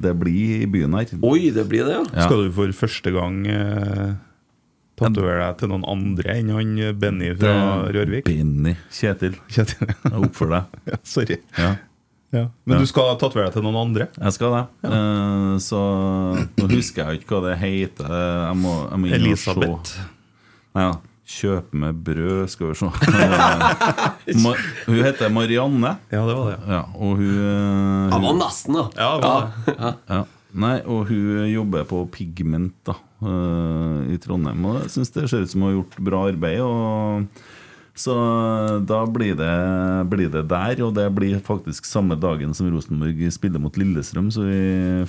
S4: det blir i byen her.
S6: Oi, det blir det,
S4: Ja.
S7: Skal du for første gang eh, tatovere deg til noen andre enn han eh, Benny fra
S4: Det-
S7: Rørvik?
S4: Benny. Kjetil.
S7: Kjetil.
S4: Opp for deg.
S7: Sorry.
S4: Ja.
S7: Ja. Men
S4: Ja.
S7: du skal tatovere deg til noen andre?
S4: Jeg skal det. Eh, så nå husker jeg jo ikke hva det heter. Jeg må, jeg må inn og se.
S7: Elisabeth.
S4: Nei, ja. Kjøpe med brød, skal vi se. Ma hun heter Marianne.
S7: Ja, det var det.
S4: Ja, og hun, eh,
S6: Jeg
S4: hun
S6: var nesten, da.
S7: Ja,
S6: det var det.
S4: ja. Nei, og hun jobber på Pigment da, eh, i Trondheim. Og jeg syns det ser ut som hun har gjort bra arbeid. Og så da blir det, blir det der, og det blir faktisk samme dagen som Rosenborg spiller mot Lillestrøm. Så vi,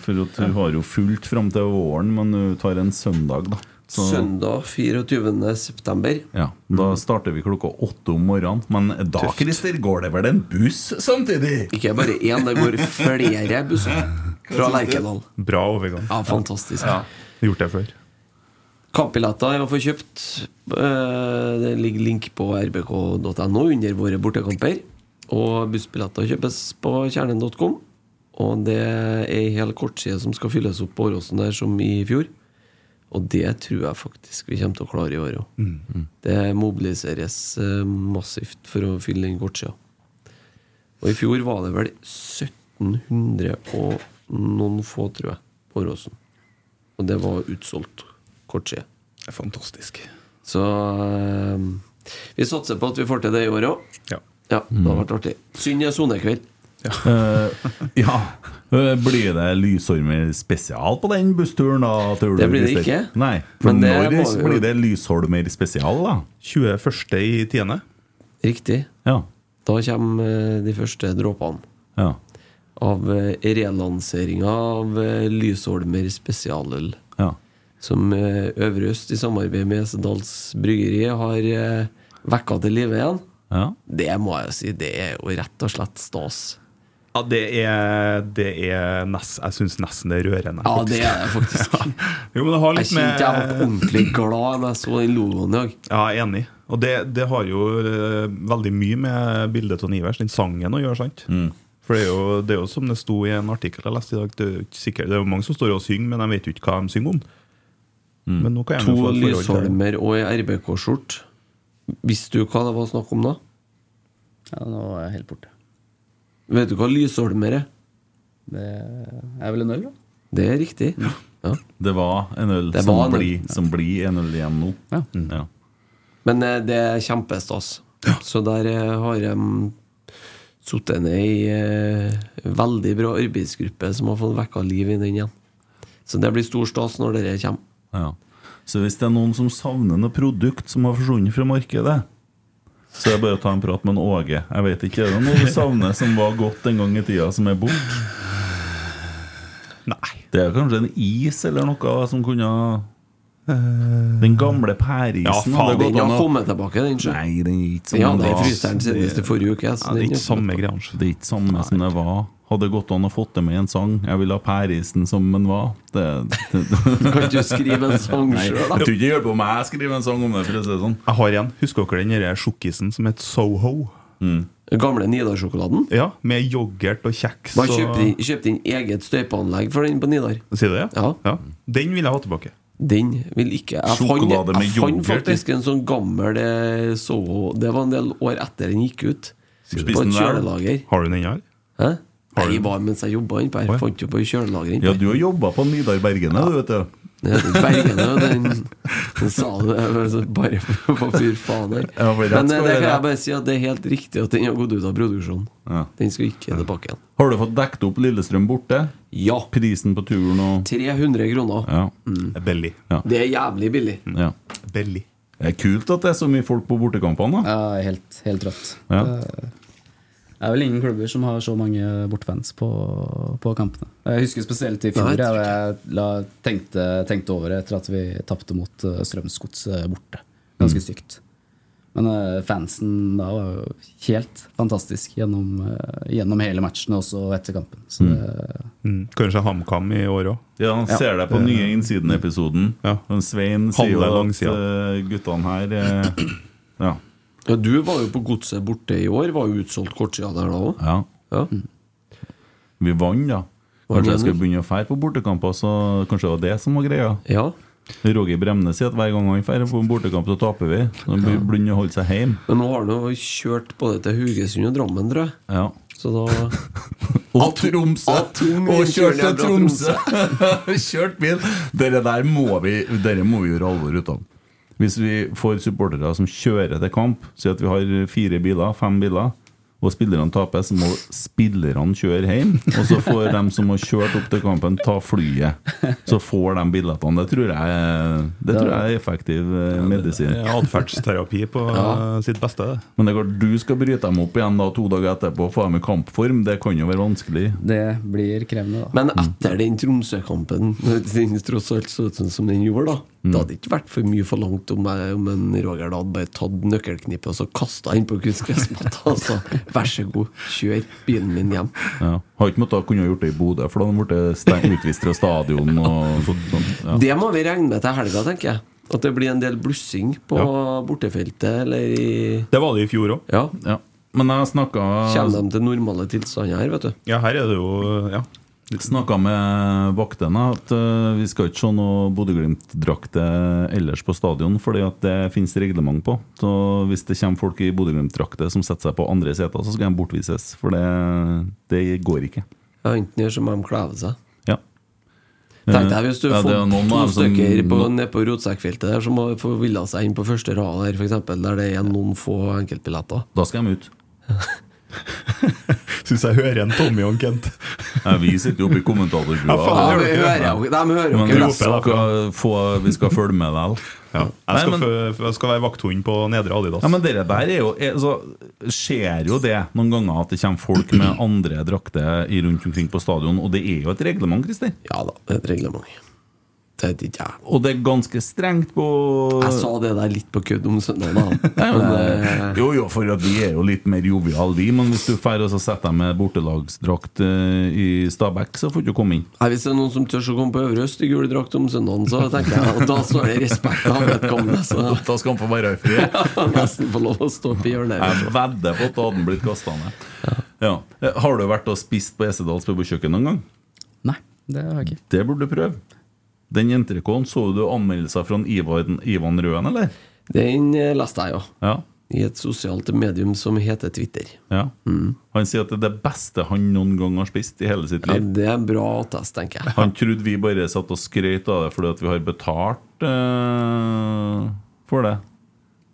S4: for at hun har jo fullt fram til våren, men hun tar en søndag, da. Så,
S6: Søndag 24. september.
S4: Ja, Da starter vi klokka åtte om morgenen. Men da
S6: Tøft.
S4: Christer, går det vel en buss samtidig?
S6: Ikke bare én, det går flere busser. Fra Lerkendal.
S7: Bra overgang.
S6: Ja, fantastisk.
S7: Ja. Gjort det før.
S6: Kampbilletter er å få kjøpt. Eh, Det ligger link på rbk.no under våre bortekamper. Og bussbilletter kjøpes på kjernen.com. Og det er ei hel kortside som skal fylles opp på Åråsen der som i fjor. Og det tror jeg faktisk vi kommer til å klare i år òg. Det mobiliseres eh, massivt for å fylle den kortsida. Og i fjor var det vel 1700 og noen få, tror jeg, på Åråsen. Og det var utsolgt kort siden.
S7: Fantastisk.
S6: Så eh, vi satser på at vi får til det i år òg.
S7: Ja.
S6: det har vært artig. Synd det er sonekveld.
S4: Eh, ja. Eh, Blir det lysormer spesial på den bussturen, da? tror du,
S6: Det blir det
S4: Christer?
S6: ikke.
S4: Nei, for
S6: Men det
S4: når
S6: må vi jo-
S4: blir det lysholmer spesial, da?
S7: 21. i tiende.
S6: Riktig. Da kommer eh, de første dråpene.
S4: Ja.
S6: Av eh, relanseringa av eh, Lysholmer spesialøl.
S4: Ja.
S6: Som eh, Øvre Øst i samarbeid med Esedals Bryggeri har eh, vekka til live igjen. Det må jeg jo si, det er jo rett og slett stas.
S7: Ja, det er, det er nest, Jeg syns nesten det er rørende.
S6: Ja, det er det faktisk.
S7: jo, men det har litt
S6: Ah, jeg kjente jeg
S7: med-
S6: ble ordentlig glad da jeg så den logoen i dag.
S7: Ja, jeg er enig. Og det, det har jo eh, veldig mye med bildet av Nivers, den sangen, å gjøre. sant?
S4: Mm.
S7: For det er, jo, det er jo som det sto i en artikkel jeg leste i dag, det er jo ikke sikkert, det er jo mange som står og synger, men de vet jo ikke hva de synger om.
S4: Mm.
S7: Men nå kan jeg jo
S6: To
S7: få et forhold til det.
S6: lysholmer og ei RBK-skjort. Visste du hva det var snakk om da?
S5: Ja, nå var jeg helt borte.
S6: Vet du hva lysholmer er?
S5: Det er vel en øl, da?
S6: Det er riktig. Ja.
S4: Det var en øl
S6: Det
S4: som,
S6: var en øl.
S4: Blir, som blir en øl igjen nå. Mm, Ja.
S6: Men eh, det er kjempestas. Så der eh, har de sittet ned ei eh, veldig bra arbeidsgruppe som har fått vekka liv i den igjen. Så det blir stor stas når dere kommer.
S4: Ja. Så hvis det er noen som savner noe produkt som har forsvunnet fra markedet, så er det bare å ta en prat med en Åge. Jeg vet ikke, Er det noe du savner som var godt en gang i tida, som er borte? Nei. Det er kanskje en is eller noe som kunne Den gamle pæreisen.
S7: Ja, faen,
S4: hadde gått
S7: den har
S4: an å-
S7: kommet
S6: tilbake, den.
S4: Nei, den er ikke som
S6: Ja,
S4: den
S6: den er i
S4: var.
S6: fryseren siden
S4: Det-
S6: siste forrige uke, så
S4: Ja, det er
S6: den
S4: ikke
S6: er
S4: samme greia. altså. Det er ikke samme som det var. Hadde gått an å fått det med en sang. Jeg vil ha pærisen som den var. Det, det,
S6: Kan ikke du skrive en sang
S4: Nei,
S6: selv, da?
S4: Jeg tror ikke det hjelper om jeg skriver en sang om det. For å si det sånn.
S7: Jeg har en. Husker dere den der sjokkisen som het Soho?
S6: Den gamle Nidar-sjokoladen?
S7: Ja, med yoghurt og kjeks.
S6: Man
S7: og-
S6: kjøpte inn, kjøpte inn eget støypeanlegg for den på Nidar.
S7: Sier du det?
S6: Ja.
S7: Den vil jeg ha tilbake.
S6: Den vil ikke Jeg fant,
S7: Sjokolade med
S6: jeg fant
S7: yoghurt i.
S6: faktisk en sånn gammel eh, Soho Det var en del år etter den gikk ut.
S7: Sier du
S6: På
S7: det?
S6: et kjølelager.
S7: Har du den ennå?
S6: Hæ? Nei, jeg var mens jeg jobba innpå her. Fant jo på kjølelageret
S4: Ja, du har jobba på Nidar Bergene, du, vet du.
S6: Ja, Bergene, den, den sa det jeg var så bare for for fyr faen her.
S4: Ja, for rett
S6: Men
S4: skal
S6: eh, det
S4: være rett.
S6: kan jeg bare si at det er helt riktig at den har gått ut av produksjon. Den skal ikke tilbake igjen.
S4: Har du fått dekket opp Lillestrøm borte?
S6: Ja.
S4: Prisen på turen og
S6: 300 kroner.
S4: Ja.
S7: Billig.
S4: Ja.
S6: Det er jævlig billig.
S4: Ja. Det er kult at det er så mye folk på bortekampene.
S5: da. Ja, helt, helt rått.
S4: Ja.
S5: Det det er vel ingen klubber som har så mange bortefans på, på kampene. Jeg husker spesielt i
S6: Nei,
S5: fjor.
S6: jeg tror
S5: Jeg, jeg la, tenkte, tenkte over det etter at vi tapte mot eh, Strømsgodset borte. Ganske stygt. Men eh, fansen da var jo helt fantastisk gjennom, eh, gjennom hele matchen og også etter kampen. Så det,
S7: Mm. Kanskje HamKam i år òg.
S4: Ja, han ser deg på nye Innsiden-episoden. Men Svein sier jo
S7: Halve
S4: at
S7: langsida.
S4: eh, guttene her eh, Ja.
S6: Ja, du var jo på Godset borte i år. Var jo utsolgt kortsida der da Mm. òg.
S4: Ja. Vi vant, da.
S6: Vant
S4: Kanskje jeg skulle
S6: igjen,
S4: begynne å fære på bortekamper, så kanskje det var det som var greia.
S6: Ja.
S4: Roger Bremnes sier at hver gang han drar på en bortekamp, så taper vi. Så Han blir blind og holder seg hjemme.
S6: Men nå har han jo kjørt både til Haugesund og Drammen, tror jeg.
S4: Ja.
S6: Så da
S4: Og Tromsø! Og kjørt til Tromsø! Kjørt bil! Dere der må vi, dere må vi gjøre alvor ut av. Hvis vi får supportere som kjører til kamp, si at vi har fire biler, fem biler, og spillerne taper, så må spillerne kjøre hjem. Og så får de som har kjørt opp til kampen, ta flyet. Så får de billettene. Det tror jeg, det tror jeg er effektiv eh, medisin.
S7: Atferdsterapi på
S4: Ja.
S7: eh, sitt beste. det.
S4: Men det er klart, du skal bryte dem opp igjen da to dager etterpå og få dem i kampform. Det kan jo være vanskelig.
S5: det blir krevende, da.
S6: Men etter den Tromsø-kampen, når den tross alt så ut sånn som den gjorde, da Det hadde ikke vært for mye forlangt om, jeg- om en Roger da hadde bare tatt nøkkelknippet og så kasta inn på kunstgressmatta. Altså, vær så god, kjør bilen min hjem.
S4: Ja. Har ikke måttet kunne ha gjort det i Bodø, for da hadde han blitt steng- utvist fra stadion. Og sånt, sånt. Ja.
S6: Det må vi regne med til helga, tenker jeg. At det blir en del blussing på bortefeltet eller i
S7: Det var det i fjor òg.
S6: Ja.
S4: Men jeg snakka
S6: Kommer de til normale tilstander her, vet du?
S7: Ja, her er det jo ja.
S4: Snakka med vaktene at eh, vi skal ikke se noe Bodø-Glimt-drakter ellers på stadion, fordi at det finnes reglement på. Så hvis det kommer folk i Bodø-Glimt-drakter som setter seg på andre seter, så skal de bortvises. For det, det går ikke.
S6: Ja, enten gjør som de kler av seg.
S4: Ja.
S6: Tenk deg hvis du
S4: Ja, det
S6: får
S4: er noen
S6: to
S4: av dem som-
S6: stykker på, ned på rotsekkfeltet der som har forvilla seg inn på første rad der, for eksempel, der det er noen få enkeltbilletter.
S4: Da skal de ut.
S7: Syns jeg hører en Tommy og en Kent.
S4: Nei, vi sitter jo oppe i kommentatorbua.
S7: Ja, faen, det
S6: hører jeg jo- de hører jo
S4: Men
S6: ikke
S4: vi
S6: resten.
S4: skal få, vi skal følge med deg. Ja.
S7: Jeg skal, fø- jeg skal være vakthund på Nedre Adidas.
S4: Ja, men dere der er jo er, altså, Skjer jo det noen ganger at det kommer folk med andre drakter i- rundt omkring på stadion, og det er jo et reglement, Christer?
S6: Ja da, det er et reglement. Det er ikke jeg.
S4: Og det er ganske strengt på
S6: Jeg sa det der litt på kødd om søndagen, da.
S4: Nei,
S6: Men,
S4: men,
S6: eh,
S4: jo, jo, for at vi er jo litt mer joviale, vi. Men hvis du drar og så setter deg med bortelagsdrakt eh, i Stabæk, så får du ikke komme inn.
S6: Nei, Hvis det er noen som tør å komme på Øvre Øst i gul drakt om søndagen, så tenker jeg at da står det respekt av vedkommende. Så
S4: Da skal han få være høyfri.
S6: nesten få lov å stå opp i hjørnet.
S4: Jeg vedder på at da hadde han blitt kasta ned. Ja. Eh, Har du vært og spist på Esedals pubekjøkken noen gang?
S5: Nei, det har jeg ikke.
S4: Det burde du prøve. Den entrecôten, så du anmeldelser fra en Ivan, Ivan Røen, eller?
S6: Den eh, leste jeg, ja.
S4: Ja.
S6: I et sosialt medium som heter Twitter.
S4: ja. Han sier at det er det beste han noen gang har spist i hele sitt
S6: Ja,
S4: liv.
S6: det er bra attest, tenker jeg.
S4: Han trodde vi bare satt og skrøt av det fordi at vi har betalt eh, for det.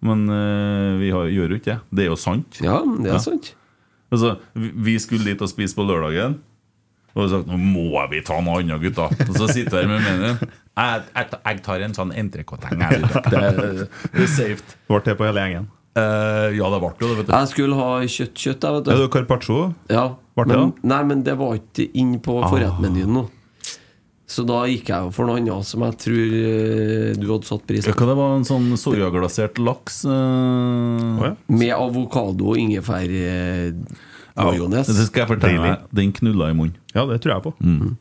S4: Men eh, vi har, gjør jo ikke det. Det er jo sant.
S6: Ja, det er sant.
S4: Altså, vi vi skulle dit og spise på lørdagen, og vi sagt nå må vi ta noe annet, gutta. Og så sitter vi her med menyen. Jeg, jeg, jeg tar en sånn entrecôteng. jeg, vet du. Det er- det er safe. Eh,
S7: Ble det på hele gjengen?
S4: ja, det ble jo det, vet du.
S6: Jeg skulle ha kjøtt-kjøtt, jeg, vet
S7: Er
S6: du.
S7: det Carpaccio?
S6: Ja,
S7: Ble det
S6: men, nei, men det var ikke inn på
S7: Ah.
S6: forrettmenyen nå. Så da gikk jeg jo for noe annet som jeg tror eh, du hadde satt pris
S4: Ja,
S6: på.
S4: hva det var en sånn soyaglasert laks eh,
S6: Med avokado og ingefær eh,
S4: ja,
S6: majones.
S4: Det skal jeg fortelle deg. Den knulla i munnen. Mm.
S7: Ja, det tror jeg på. Mm.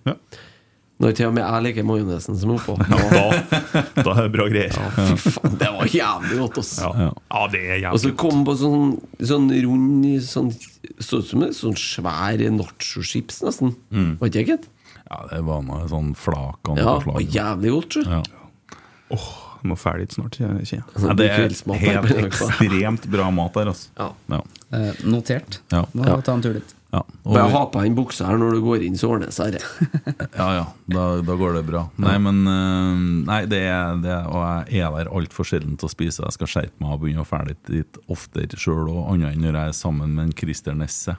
S6: Når til og med jeg liker majonesen som er oppå.
S7: Da, da er det bra greier.
S6: Ja, fy faen, det var jævlig godt, ass.
S7: Ja. ja, det er
S6: Og så
S7: jævlig.
S6: kom på sånn, sånn rund sånn, Så ut som en sånn svær nacho-chips, nesten.
S7: Mm.
S6: Var ikke det godt?
S4: Ja, det var noe sånn flak av
S6: Ja,
S4: noe
S6: var
S4: slag.
S6: jævlig godt, sjø.
S4: Ja.
S7: Jeg må ferdig litt snart, kjenner jeg.
S4: Ja, det er
S6: Altså, Kveldsmat her på
S4: helt
S6: NRK.
S4: ekstremt bra mat der, altså.
S6: Ja.
S4: Ja.
S5: Eh, notert.
S4: Ja.
S5: Må
S6: Ja.
S5: ta en tur dit.
S4: Ja. Og-
S6: Bare ha på deg en bukse her når du går inn, så ordner det seg. det.
S4: Ja, ja, da, da går det bra. Nei, men eh, Nei, det er det, er- og jeg er der altfor sjelden til å spise. Jeg skal skjerpe meg og begynne å ferde litt oftere sjøl, og annet enn når jeg er sammen med en Christer Nesse.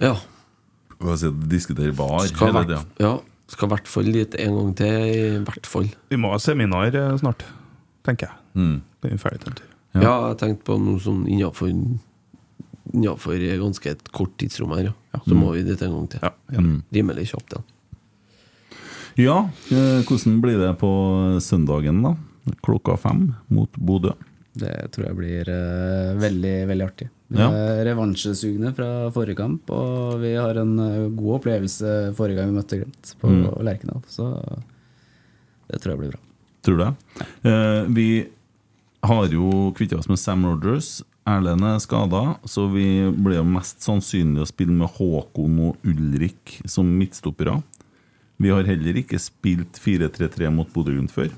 S6: Ja.
S4: Hva sier du, Diskutere bar
S6: Skal
S4: hele
S6: hvert,
S4: tida.
S6: ja. Skal i hvert fall dit en gang til. I hvert fall.
S7: Vi må ha seminar eh, snart, tenker jeg.
S4: Mm.
S7: Da er vi ferdig til en tur.
S6: Ja. jeg tenkte på noe sånn innafor Innenfor ganske et kort tidsrom her, ja. Så må vi dit en gang til.
S4: Mm.
S6: Rimelig kjapt, ja.
S4: Ja, eh, hvordan blir det på søndagen, da? Klokka fem mot Bodø.
S5: Det tror jeg blir eh, veldig, veldig artig. Vi
S4: Ja.
S5: er revansjesugne fra forrige kamp, og vi har en eh, god opplevelse forrige gang vi møtte Glimt på
S4: Mm.
S5: Lerkendal, så det tror jeg blir bra.
S4: Tror du det? Eh, vi har jo kvittet oss med Sam Rogers. Erlend er skada, så vi blir jo mest sannsynlig å spille med Håkon og Ulrik som midtstoppere. Vi har heller ikke spilt 4-3-3 mot Bodø-Glimt før.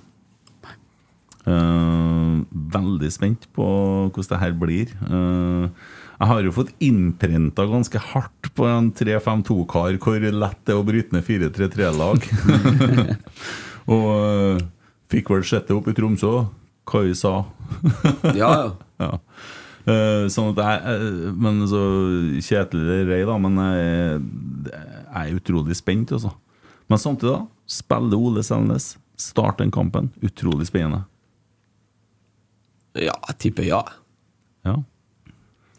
S4: Eh, veldig spent på hvordan det her blir. Eh, jeg har jo fått innprenta ganske hardt på en 3-5-2-kar hvor lett det er å bryte ned 4-3-3-lag. Og eh, fikk vel sett det opp i Tromsø, hva jeg sa.
S6: Ja, ja.
S4: Ja. Eh, sånn at jeg, eh, men så Kjetil Rei, da, men jeg, jeg er utrolig spent, altså. Men samtidig, da. Spiller Ole Selnes. Start den kampen. Utrolig spennende.
S6: Ja, jeg tipper ja.
S4: Ja.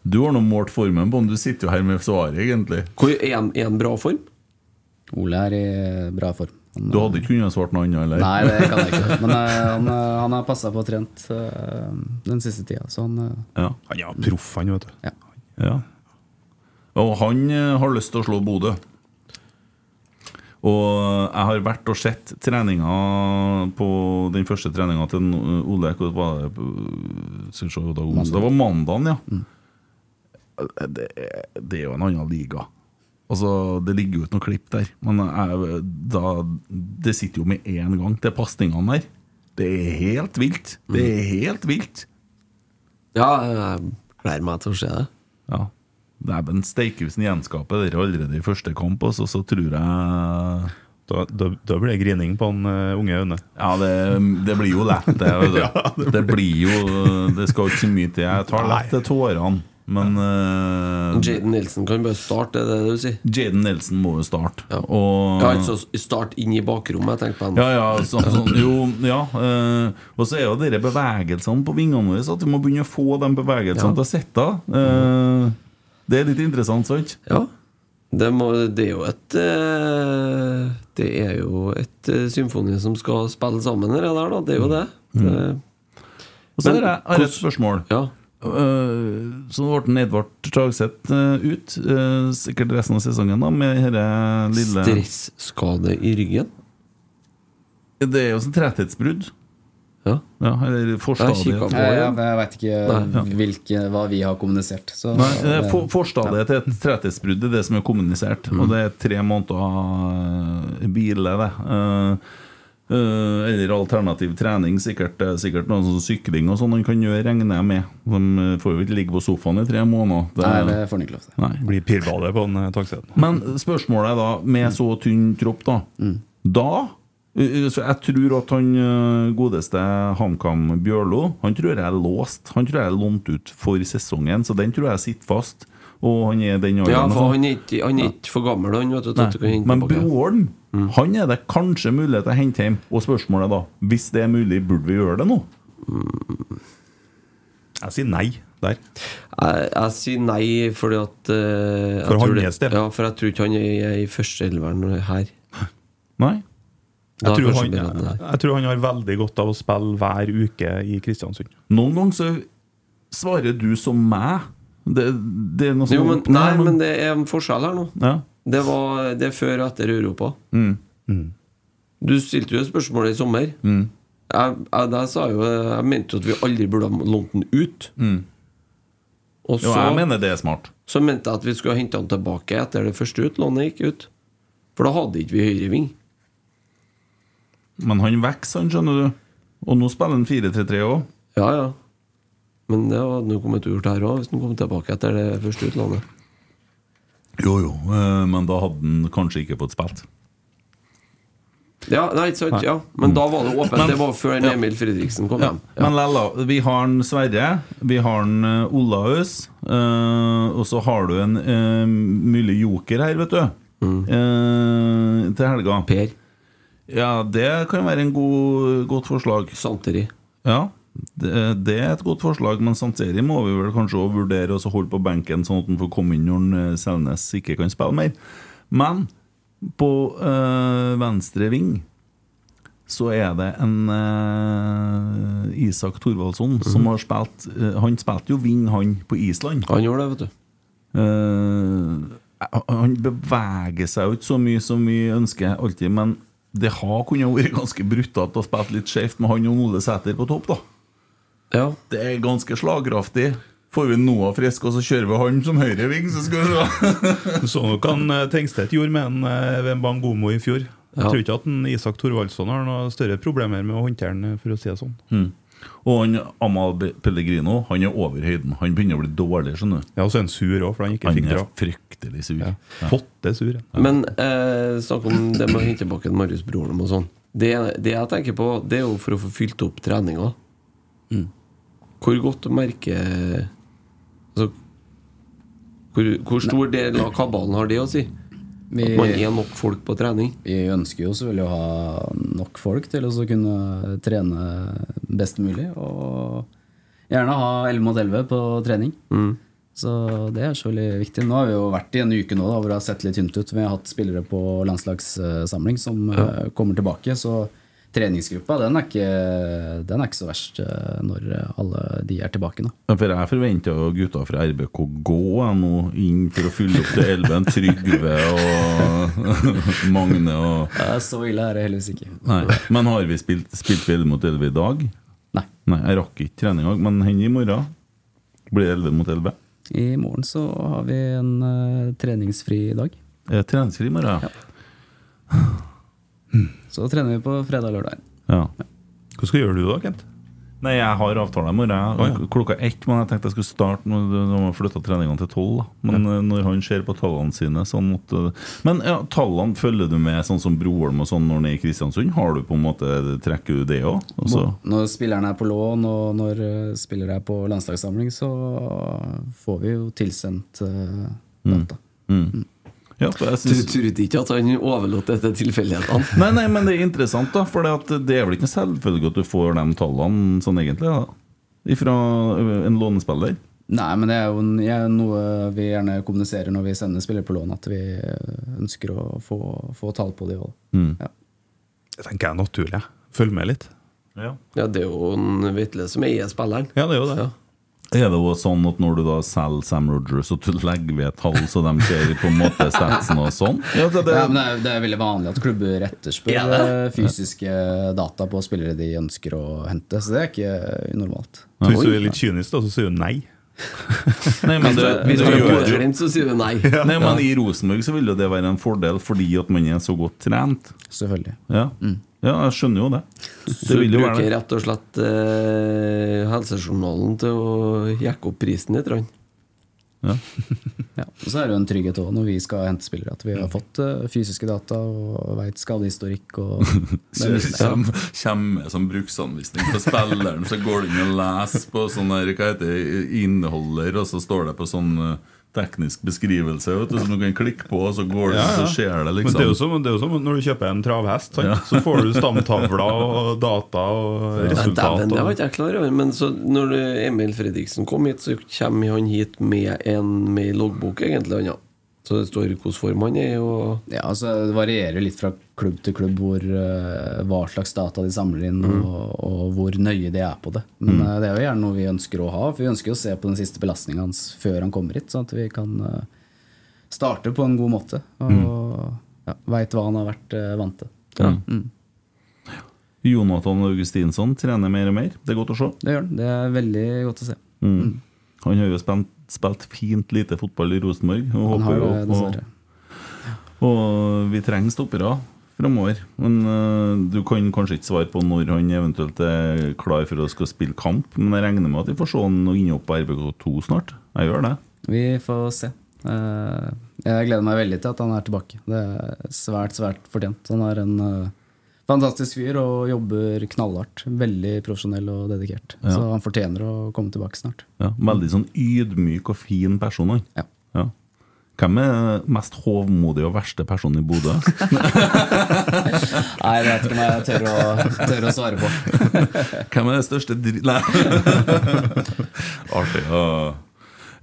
S4: Du har nå målt formen på om du sitter jo her med svaret, egentlig.
S6: Hvor er en, er en bra form?
S5: Ole er i bra form.
S4: Du hadde ikke kunnet svart noe annet, eller?
S5: Nei, det kan jeg ikke. Men eh, han, eh, han har passa på og trent eh, den siste tida, så han eh,
S4: Ja. Han er proff, han, vet du. Ja. Og han eh, har lyst til å slå Bodø. Og eh, jeg har vært og sett treninga på den første treninga til en- Ole hvor var det, på- skal vi se, det var onsdag. Det var mandagen, ja. Eh, Det, er- det er jo en annen liga. Altså, Det ligger jo ikke noe klipp der, men jeg, da, det sitter jo med én gang til pasningene der. Det er helt vilt. Det er helt vilt.
S6: Ja, jeg gleder meg til å se det.
S4: Ja. Dæven steike hvis han gjenskaper dere allerede i første kamp, og så, så tror jeg
S7: Da, da, da blir det grining på han eh, unge Aune.
S4: Ja, det, det blir jo lett, det. vet du.
S7: Ja,
S4: det, blir jo Det skal jo ikke så mye til. Jeg tar lett til tårene, men eh,
S6: Jaden Nilsen kan bare starte, det er det du sier?
S4: Jaden Nelson må jo starte. Og
S6: Ja, altså start inn i bakrommet, jeg tenkte på han.
S4: Mm. Ja, ja, sånn, sånn, jo, ja eh, Og så er jo dere bevegelsene på vingene våre At vi må begynne å få de bevegelsene
S6: Ja. Mm.
S4: til å sitte Eh, Det er litt interessant, sant?
S6: Ja, det, må, det er jo et eh, Det er jo et eh, symfoni som skal spille sammen, det der, da. Det er jo det.
S4: Mm.
S6: Eh,
S4: Og så
S6: men
S4: har jeg har jeg et
S6: hvordan-
S4: spørsmål Eh, Så ble den Edvard Tragseth eh, ut eh, Sikkert resten av sesongen da Med denne lille
S6: Stressskade i ryggen
S4: Det er jo sånn tretthetsbrudd
S6: Ja,
S4: Eller forstadiet
S5: Nei, Jeg, Eh, jeg veit ikke
S4: Nei.
S5: hvilke, hva vi har kommunisert. Så,
S4: Nei, eh,
S5: det- Mm.
S4: for, Forstadiet til et tretthetsbrudd er det som er kommunisert. Og det er tre måneder eh, hvile, det. Eh, eh, eller alternativ trening, sikkert, eh, sikkert noe sånn sykling og sånn han kan gjøre, regner jeg med. De eh, får jo ikke ligge på sofaen i tre måneder.
S5: Nei, det får han ikke lov til.
S7: Blir pirbadet på en eh, taksett.
S4: Men spørsmålet er da, med så tynn tropp, da
S6: Mm.
S4: Da eh, så Jeg tror at han eh, godeste HamKam Bjørlo Han tror jeg er låst. Han tror jeg er lånt ut for sesongen, så den tror jeg sitter fast. Og han er den
S6: ja
S4: alderen,
S6: for
S4: altså.
S6: han er ikke han er ikke for gammel, han. Vet du, til
S4: Nei,
S6: at du kan hente
S4: Men
S6: tilbake.
S4: broren,
S6: Mm.
S4: han er det kanskje mulig til å hente hjem. Og spørsmålet da, hvis det er mulig, burde vi gjøre det nå?
S6: Mm.
S7: Jeg sier nei der.
S6: Jeg, jeg sier nei fordi at eh, jeg
S7: For
S6: tror
S7: hans
S6: det- Ja, for jeg tror ikke han er i førsteelveren her.
S4: Nei.
S7: Jeg
S6: Da er
S7: tror,
S6: kanskje
S7: han,
S6: billetten
S7: jeg,
S6: her.
S7: jeg tror han har veldig godt av å spille hver uke i Kristiansund.
S4: Noen ganger så svarer du som meg. Det, det er noe som
S6: Jo, men, nei, men det er en forskjell her nå.
S4: Ja.
S6: Det, var, det er før og etter Europa.
S4: Mm.
S6: Du stilte jo et spørsmål i sommer.
S4: Mm.
S6: Jeg, jeg, der sa jo, jeg mente jo at vi aldri burde ha lånt den ut.
S4: Mm.
S6: Og
S4: Jo, jeg mener det er smart.
S6: Så mente jeg at vi skulle hente han tilbake etter det første utlånet gikk ut. For da hadde ikke vi høyreving.
S4: Men han vokser, han, skjønner du. Og nå spiller han 4-3-3 òg.
S6: Ja, ja. Men det hadde jo kommet til å gjort her òg, hvis han kom tilbake etter det første utlånet.
S4: Jo, jo, eh, men da hadde han kanskje ikke fått spilt.
S6: Ja, nei, ikke sant,
S4: Nei. Mm.
S6: ja. Men da var det åpent.
S4: Men-
S6: det var før
S4: ja.
S6: Emil Fredriksen kom
S4: Ja,
S6: hjem.
S4: Men lella, vi har en Sverre, vi har en eh, Olaus, eh, og så har du en eh, mulig joker her, vet du.
S6: Mm.
S4: Eh, til helga.
S6: Per.
S4: Ja, det kan være en god, godt forslag.
S6: Santeri.
S4: Ja, det, det er et godt forslag, men Santeri må vi vel kanskje også vurdere og så holde på benken, sånn at han får komme inn når han, eh, Selnes ikke kan spille mer. Men på eh, venstre ving så er det en eh, Isak Thorvaldsson som har spilt eh, Han spilte jo Ving, han, på Island.
S6: Han gjorde det, vet du.
S4: Eh, han beveger seg jo ikke så mye som vi ønsker alltid, men det har kunnet vært ganske brutalt å spille litt skjevt med han og Ole Sæter på topp, da. Det er ganske slagkraftig. Får vi Noah frisk, og så kjører vi han som høyreving, så skal vi se.
S7: Så nok han eh, Tengstedt gjorde med en eh, ved en Bangomo i fjor. Jeg
S4: Ja.
S7: tror ikke at en Isak Thorvaldsson har noe større problemer med å håndtere den, for å si det sånn.
S4: Mm. Og han Amal Be- Pellegrino han er over høyden. Han begynner å bli dårlig. skjønner du
S7: Ja, Og så er han sur òg, for han ikke
S4: Han
S7: fikk
S4: er
S7: dra.
S4: fryktelig sur.
S7: Potte sur.
S6: Men eh, snakk om det med å hente tilbake en Marius Broholm og sånn. Det, det jeg tenker på, det er jo for å få fylt opp treninga. Mm. Hvor godt å merke altså, hvor, hvor stor del av kabalen har det å si?
S5: Vi-
S6: At man er nok folk på trening?
S5: Vi ønsker jo selvfølgelig å ha nok folk til å så kunne trene best mulig. Og gjerne ha 11 mot 11 på trening. Så det er så veldig viktig. Nå har vi jo vært i en uke nå da, hvor det har sett litt tynt ut. Vi har hatt spillere på landslagssamling som eh, kommer tilbake. Så treningsgruppa den er ikke, den er ikke så verst eh, når alle de er tilbake nå.
S4: Ja, For jeg forventa jo gutta fra RBK gå jeg, nå inn for å fylle opp til elven. Trygve og Magne og
S5: Så ille er det heldigvis ikke.
S4: Nei. Men har vi spilt, spilt vi 11 mot 11 i dag?
S5: Nei.
S4: Jeg rakk ikke trening i dag, men hen i morgen blir det 11 mot 11.
S5: I morgen så har vi en eh, treningsfri dag.
S4: Er det treningsfri i morgen? Ja.
S5: Så trener vi på fredag og lørdag.
S4: ja. Hva skal gjøre du da, Kent? Nei, jeg har avtale i morgen.
S5: Å, ja.
S4: Klokka ett, men jeg tenkte jeg skulle starte Nå nå har vi flytta treningene til tolv. da. Men eh, når han ser på tallene sine sånn at, eh, Men ja, tallene følger du med, sånn som Broholm og sånn når han er i Kristiansund? Har du på en måte, Trekker du det Altså, òg?
S5: Når spillerne er på lån og når eh, spillere er på landslagssamling, så får vi jo tilsendt eh,
S4: Mm.
S5: data.
S4: Ja, for jeg synes-
S6: Du tror ikke at han overlot dette til tilfeldighetene?
S4: Nei, nei, men det er interessant, da. For det at det er vel ikke en selvfølge at du får de tallene sånn egentlig, da. Ifra ø, en lånespiller.
S5: Nei, men det er jo det er jo noe vi gjerne kommuniserer når vi sender spillere på lån, at vi eh, ønsker å få, få tall på det òg.
S7: Det tenker jeg er naturlig. Følg med litt.
S4: Ja.
S6: det er jo en Vetle som eier spilleren.
S7: Ja, det er jo det.
S4: Er det jo sånn at når du da selger Sam Rogers, at du legger ved et tall så de ser på en måte statsen og sånn? Ja, det, det,
S5: Ja, men det, er, det er veldig vanlig at klubber etterspør
S4: Er det?
S5: eh, fysiske data på spillere de ønsker å hente, så det er ikke unormalt.
S7: Så hvis du er litt kynisk, da, så sier du nei.
S4: Nei, men det-
S6: Hvis
S4: det
S6: du er
S4: gjør jo-
S6: Bodø-Glimt, så sier du nei.
S4: Nei,
S6: Ja.
S4: men I Rosenborg så vil jo det være en fordel fordi at man er så godt trent.
S5: Selvfølgelig.
S4: Ja,
S6: Mm.
S4: ja jeg skjønner jo det. Det
S6: Så du
S4: vil jo være
S6: bruker
S4: det.
S6: rett og slett eh, helsejournalen til å jekke opp prisen litt? Rann.
S5: Ja, og så er det jo en trygghet også når vi skal hente spillere, at vi
S4: Mm.
S5: har fått eh, fysiske data og veit skadehistorikk og det er mye-
S4: Kjem, kjem med som bruksanvisning på spilleren, så går du inn og leser på sånn der, hva heter det, innholder, og så står det på sånn eh, teknisk beskrivelse vet du, som du kan klikke på, og så går det, så skjer det
S7: Men det er jo
S4: liksom.
S7: som, det er jo som når du kjøper en travhest. Sant?
S4: Ja.
S7: Så får du stamtavler og data og
S6: Ja,
S7: resultat.
S6: dæven, det var
S7: Og,
S6: ikke jeg klar over. Men så når eh, Emil Fredriksen kom hit, så kommer han hit med en med en loggbok, egentlig. Han, ja. Så det står hvordan form han er, og
S5: Ja, altså Det varierer litt fra klubb til klubb hvor, eh, hva slags data de samler inn, og, og hvor nøye de er på det. Men
S6: Mm.
S5: eh, det er jo gjerne noe vi ønsker å ha, for vi ønsker jo å se på den siste belastninga hans før han kommer hit, sånn at vi kan eh, starte på en god måte. Og ja, veit hva han har vært eh, vant til.
S4: Ja. Jonathan Augustinsson trener mer og mer. Det er godt å se.
S5: Det gjør han. Det er veldig godt å se.
S4: Mm. Han har jo spilt, spilt fint lite fotball i Rosenborg.
S5: Han
S4: Og
S5: har
S4: håper jo
S5: det,
S4: på
S5: dessverre.
S4: Og vi trenger stoppere framover. Men eh, du kan kanskje ikke svare på når han eventuelt er klar for å skal spille kamp. Men jeg regner med at vi får se han inne på RBK2 snart. Jeg gjør det.
S5: Vi får se. Eh, Jeg gleder meg veldig til at han er tilbake. Det er svært, svært fortjent. Han er en eh, fantastisk fyr og jobber knallhardt. Veldig profesjonell og dedikert.
S4: Ja.
S5: Så han fortjener å komme tilbake snart.
S4: Ja, veldig sånn ydmyk og fin person. Han. Ja. Hvem er mest hovmodig og verste person i Bodø?
S5: Nei, det vet ikke om jeg tør å, tør å svare på.
S4: Hvem er det største dritt... Nei. Artig. Ja.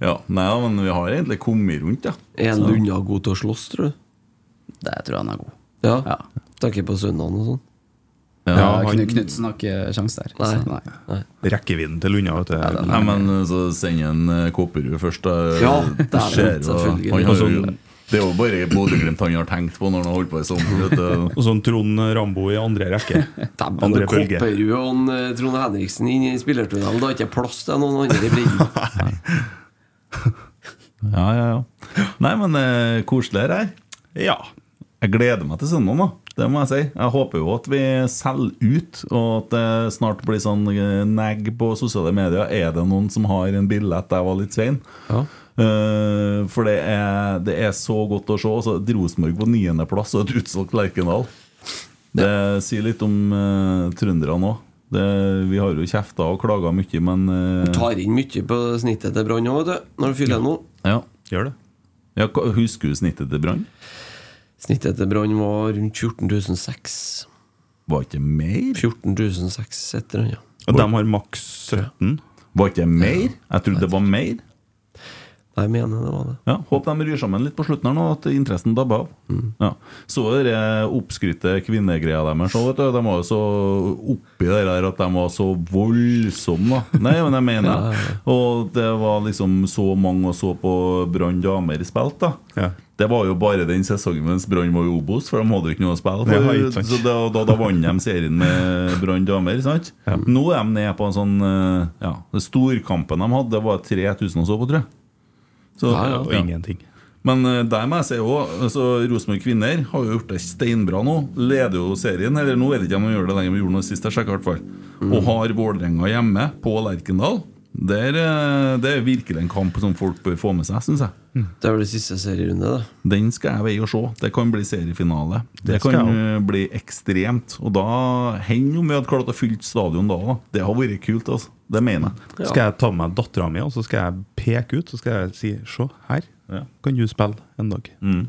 S4: Ja, nei, ja, men vi har egentlig kommet rundt, ja.
S6: Er
S4: Så-
S6: Lunna god til å slåss, tror du?
S5: Det tror jeg han er god.
S6: Ja? Tenker på søndagen og sånn.
S5: Ja, Eh, Knutsen har ikke sjans der. så Nei.
S7: Rekkevidden til Lunna, vet du.
S4: Nei, men så send en eh, Kopperud først, da.
S7: Ja,
S4: det
S7: det er
S4: skjer,
S7: det,
S4: jo.
S7: selvfølgelig.
S4: Han har jo,
S7: Og sånn-
S4: det er jo bare Bodø-Glimt han har tenkt på når han har holdt på i sommer. vet du.
S7: og sånn Trond Rambo i andre rekke.
S6: Både
S7: andre bølge.
S6: Kopperud og en, eh, Trond Henriksen inn i spillertunnelen. Da er det ikke plass til noen andre i bredden.
S4: Ja, ja, ja. Nei, men eh, koselig her. her.
S7: Ja.
S4: Jeg gleder meg til søndag, da. Det må jeg si. Jeg håper jo at vi selger ut, og at det snart blir sånn eh, nag på sosiale medier. Er det noen som har en billett? Jeg var litt sein. Eh, for det er, det er så godt å se. Altså, Rosenborg på niendeplass og et utsolgt Lerkendal. Det sier litt om uh, trønderne òg. Vi har jo kjefta og klaga mye, men eh,
S6: Tar inn mye på snittet til Brann òg, vet du. Når du fyller nå.
S4: ja.
S7: Gjør det.
S4: Ja, hva- husker du snittet til Brann?
S6: Snittet til Brann var rundt 14 600.
S4: Var ikke mer?
S6: 14 600 et eller annet.
S7: Og de har maks 17?
S4: Var ikke mer? Jeg trodde det var mer.
S6: Jeg mener det var det.
S4: Ja, Håper de ryr sammen litt på slutten her nå, at interessen dabber av. Ja. Så det der oppskrytte kvinnegreia deres. så vet du, De var jo så oppi det der at de var så voldsomme, da. Nei, men jeg mener
S6: Ja, ja,
S4: Og det var liksom så mange og så på Brann damer spilt, da. Det var jo bare den sesongen mens Brann var i Obos, for de hadde jo ikke noe å spille.
S7: Nei,
S4: For,
S7: ikke sant.
S4: så da, da, da vant de serien med Brann damer. Sant? Nå er de nede på en sånn eh, ja, det Storkampen de hadde, det var 3000 og så på, tror jeg. Så,
S7: Ja, ja. Ingenting.
S4: Men eh, der må jeg si også, altså, Rosenborg kvinner har jo gjort det steinbra nå. Leder jo serien, eller nå vet jeg ikke om de gjør det lenger, men gjorde noe sist jeg sjekket i hvert fall.
S7: Mm.
S4: Og har Vålerenga hjemme på Lerkendal. Der, eh, det er virkelig en kamp som folk bør få med seg, syns jeg.
S6: Det er vel det siste serierunde, da.
S4: Den skal jeg veie og se. Det kan bli seriefinale. Det,
S6: Det skal
S4: kan
S6: jeg
S4: eh, bli ekstremt. Og da hender jo om vi hadde klart å fylle stadion da òg. Det har vært kult, altså. Det mener jeg.
S7: Skal jeg ta med meg dattera mi, og så skal jeg peke ut, så skal jeg si Se, her kan du spille en dag.
S4: Mm.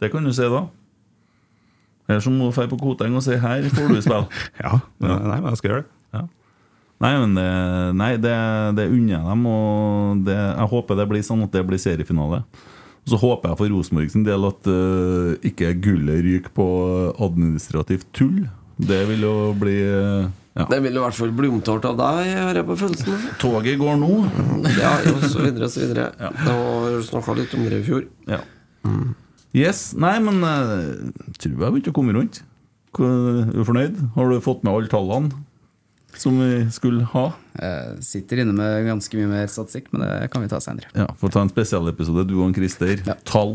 S4: Det kan du si da. Eller så må du dra på Koteng og si 'her får du spille'. ja,
S7: Nei, men jeg skal gjøre det.
S4: Nei, men det, nei, det, det unner jeg dem, og det, jeg håper det blir sånn at det blir seriefinale. Og så håper jeg for Rosenborg sin del at eh, ikke gullet ryker på administrativt tull. Det vil jo bli eh, ja.
S6: Det vil i hvert fall bli omtalt av deg, har jeg på følelsen.
S4: Toget går nå.
S6: Ja, og så videre og så videre. Og snakka litt om det i fjor.
S4: Ja. Yes. Nei, men eh, tror jeg begynte å komme rundt. Hva- Er du fornøyd? Har du fått med alle tallene som vi skulle ha?
S5: Jeg Eh, sitter inne med ganske mye mer statistikk, men det kan vi ta senere.
S4: Ja, Får ta en spesialepisode, du og en Christer. Tall.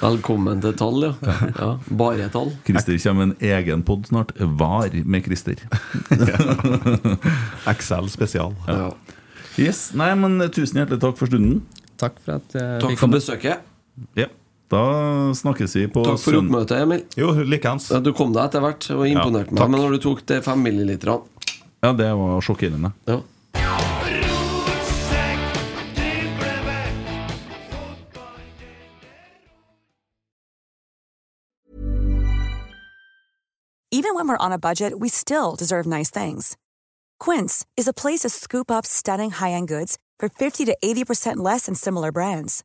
S6: Velkommen til tall, ja. ja. Bare tall.
S4: Christer kommer med en egen pod snart. Var med Christer.
S7: Excel spesial.
S4: Ja. Yes. Nei, men tusen hjertelig takk for stunden.
S5: Takk for at eh, jeg
S6: Takk for besøket.
S4: Ja. Da snakkes vi på
S6: Takk for
S4: søn-
S6: oppmøtet, Emil.
S7: Jo, likeens.
S6: Du kom deg etter hvert og imponerte meg. Men når du tok de fem milliliterne
S4: Ja, det var sjokkerende.
S6: Ja.
S1: Even when we're on a budget, we still deserve nice things. Quince is a place to scoop up stunning high-end goods for 50 to 80% less than similar brands.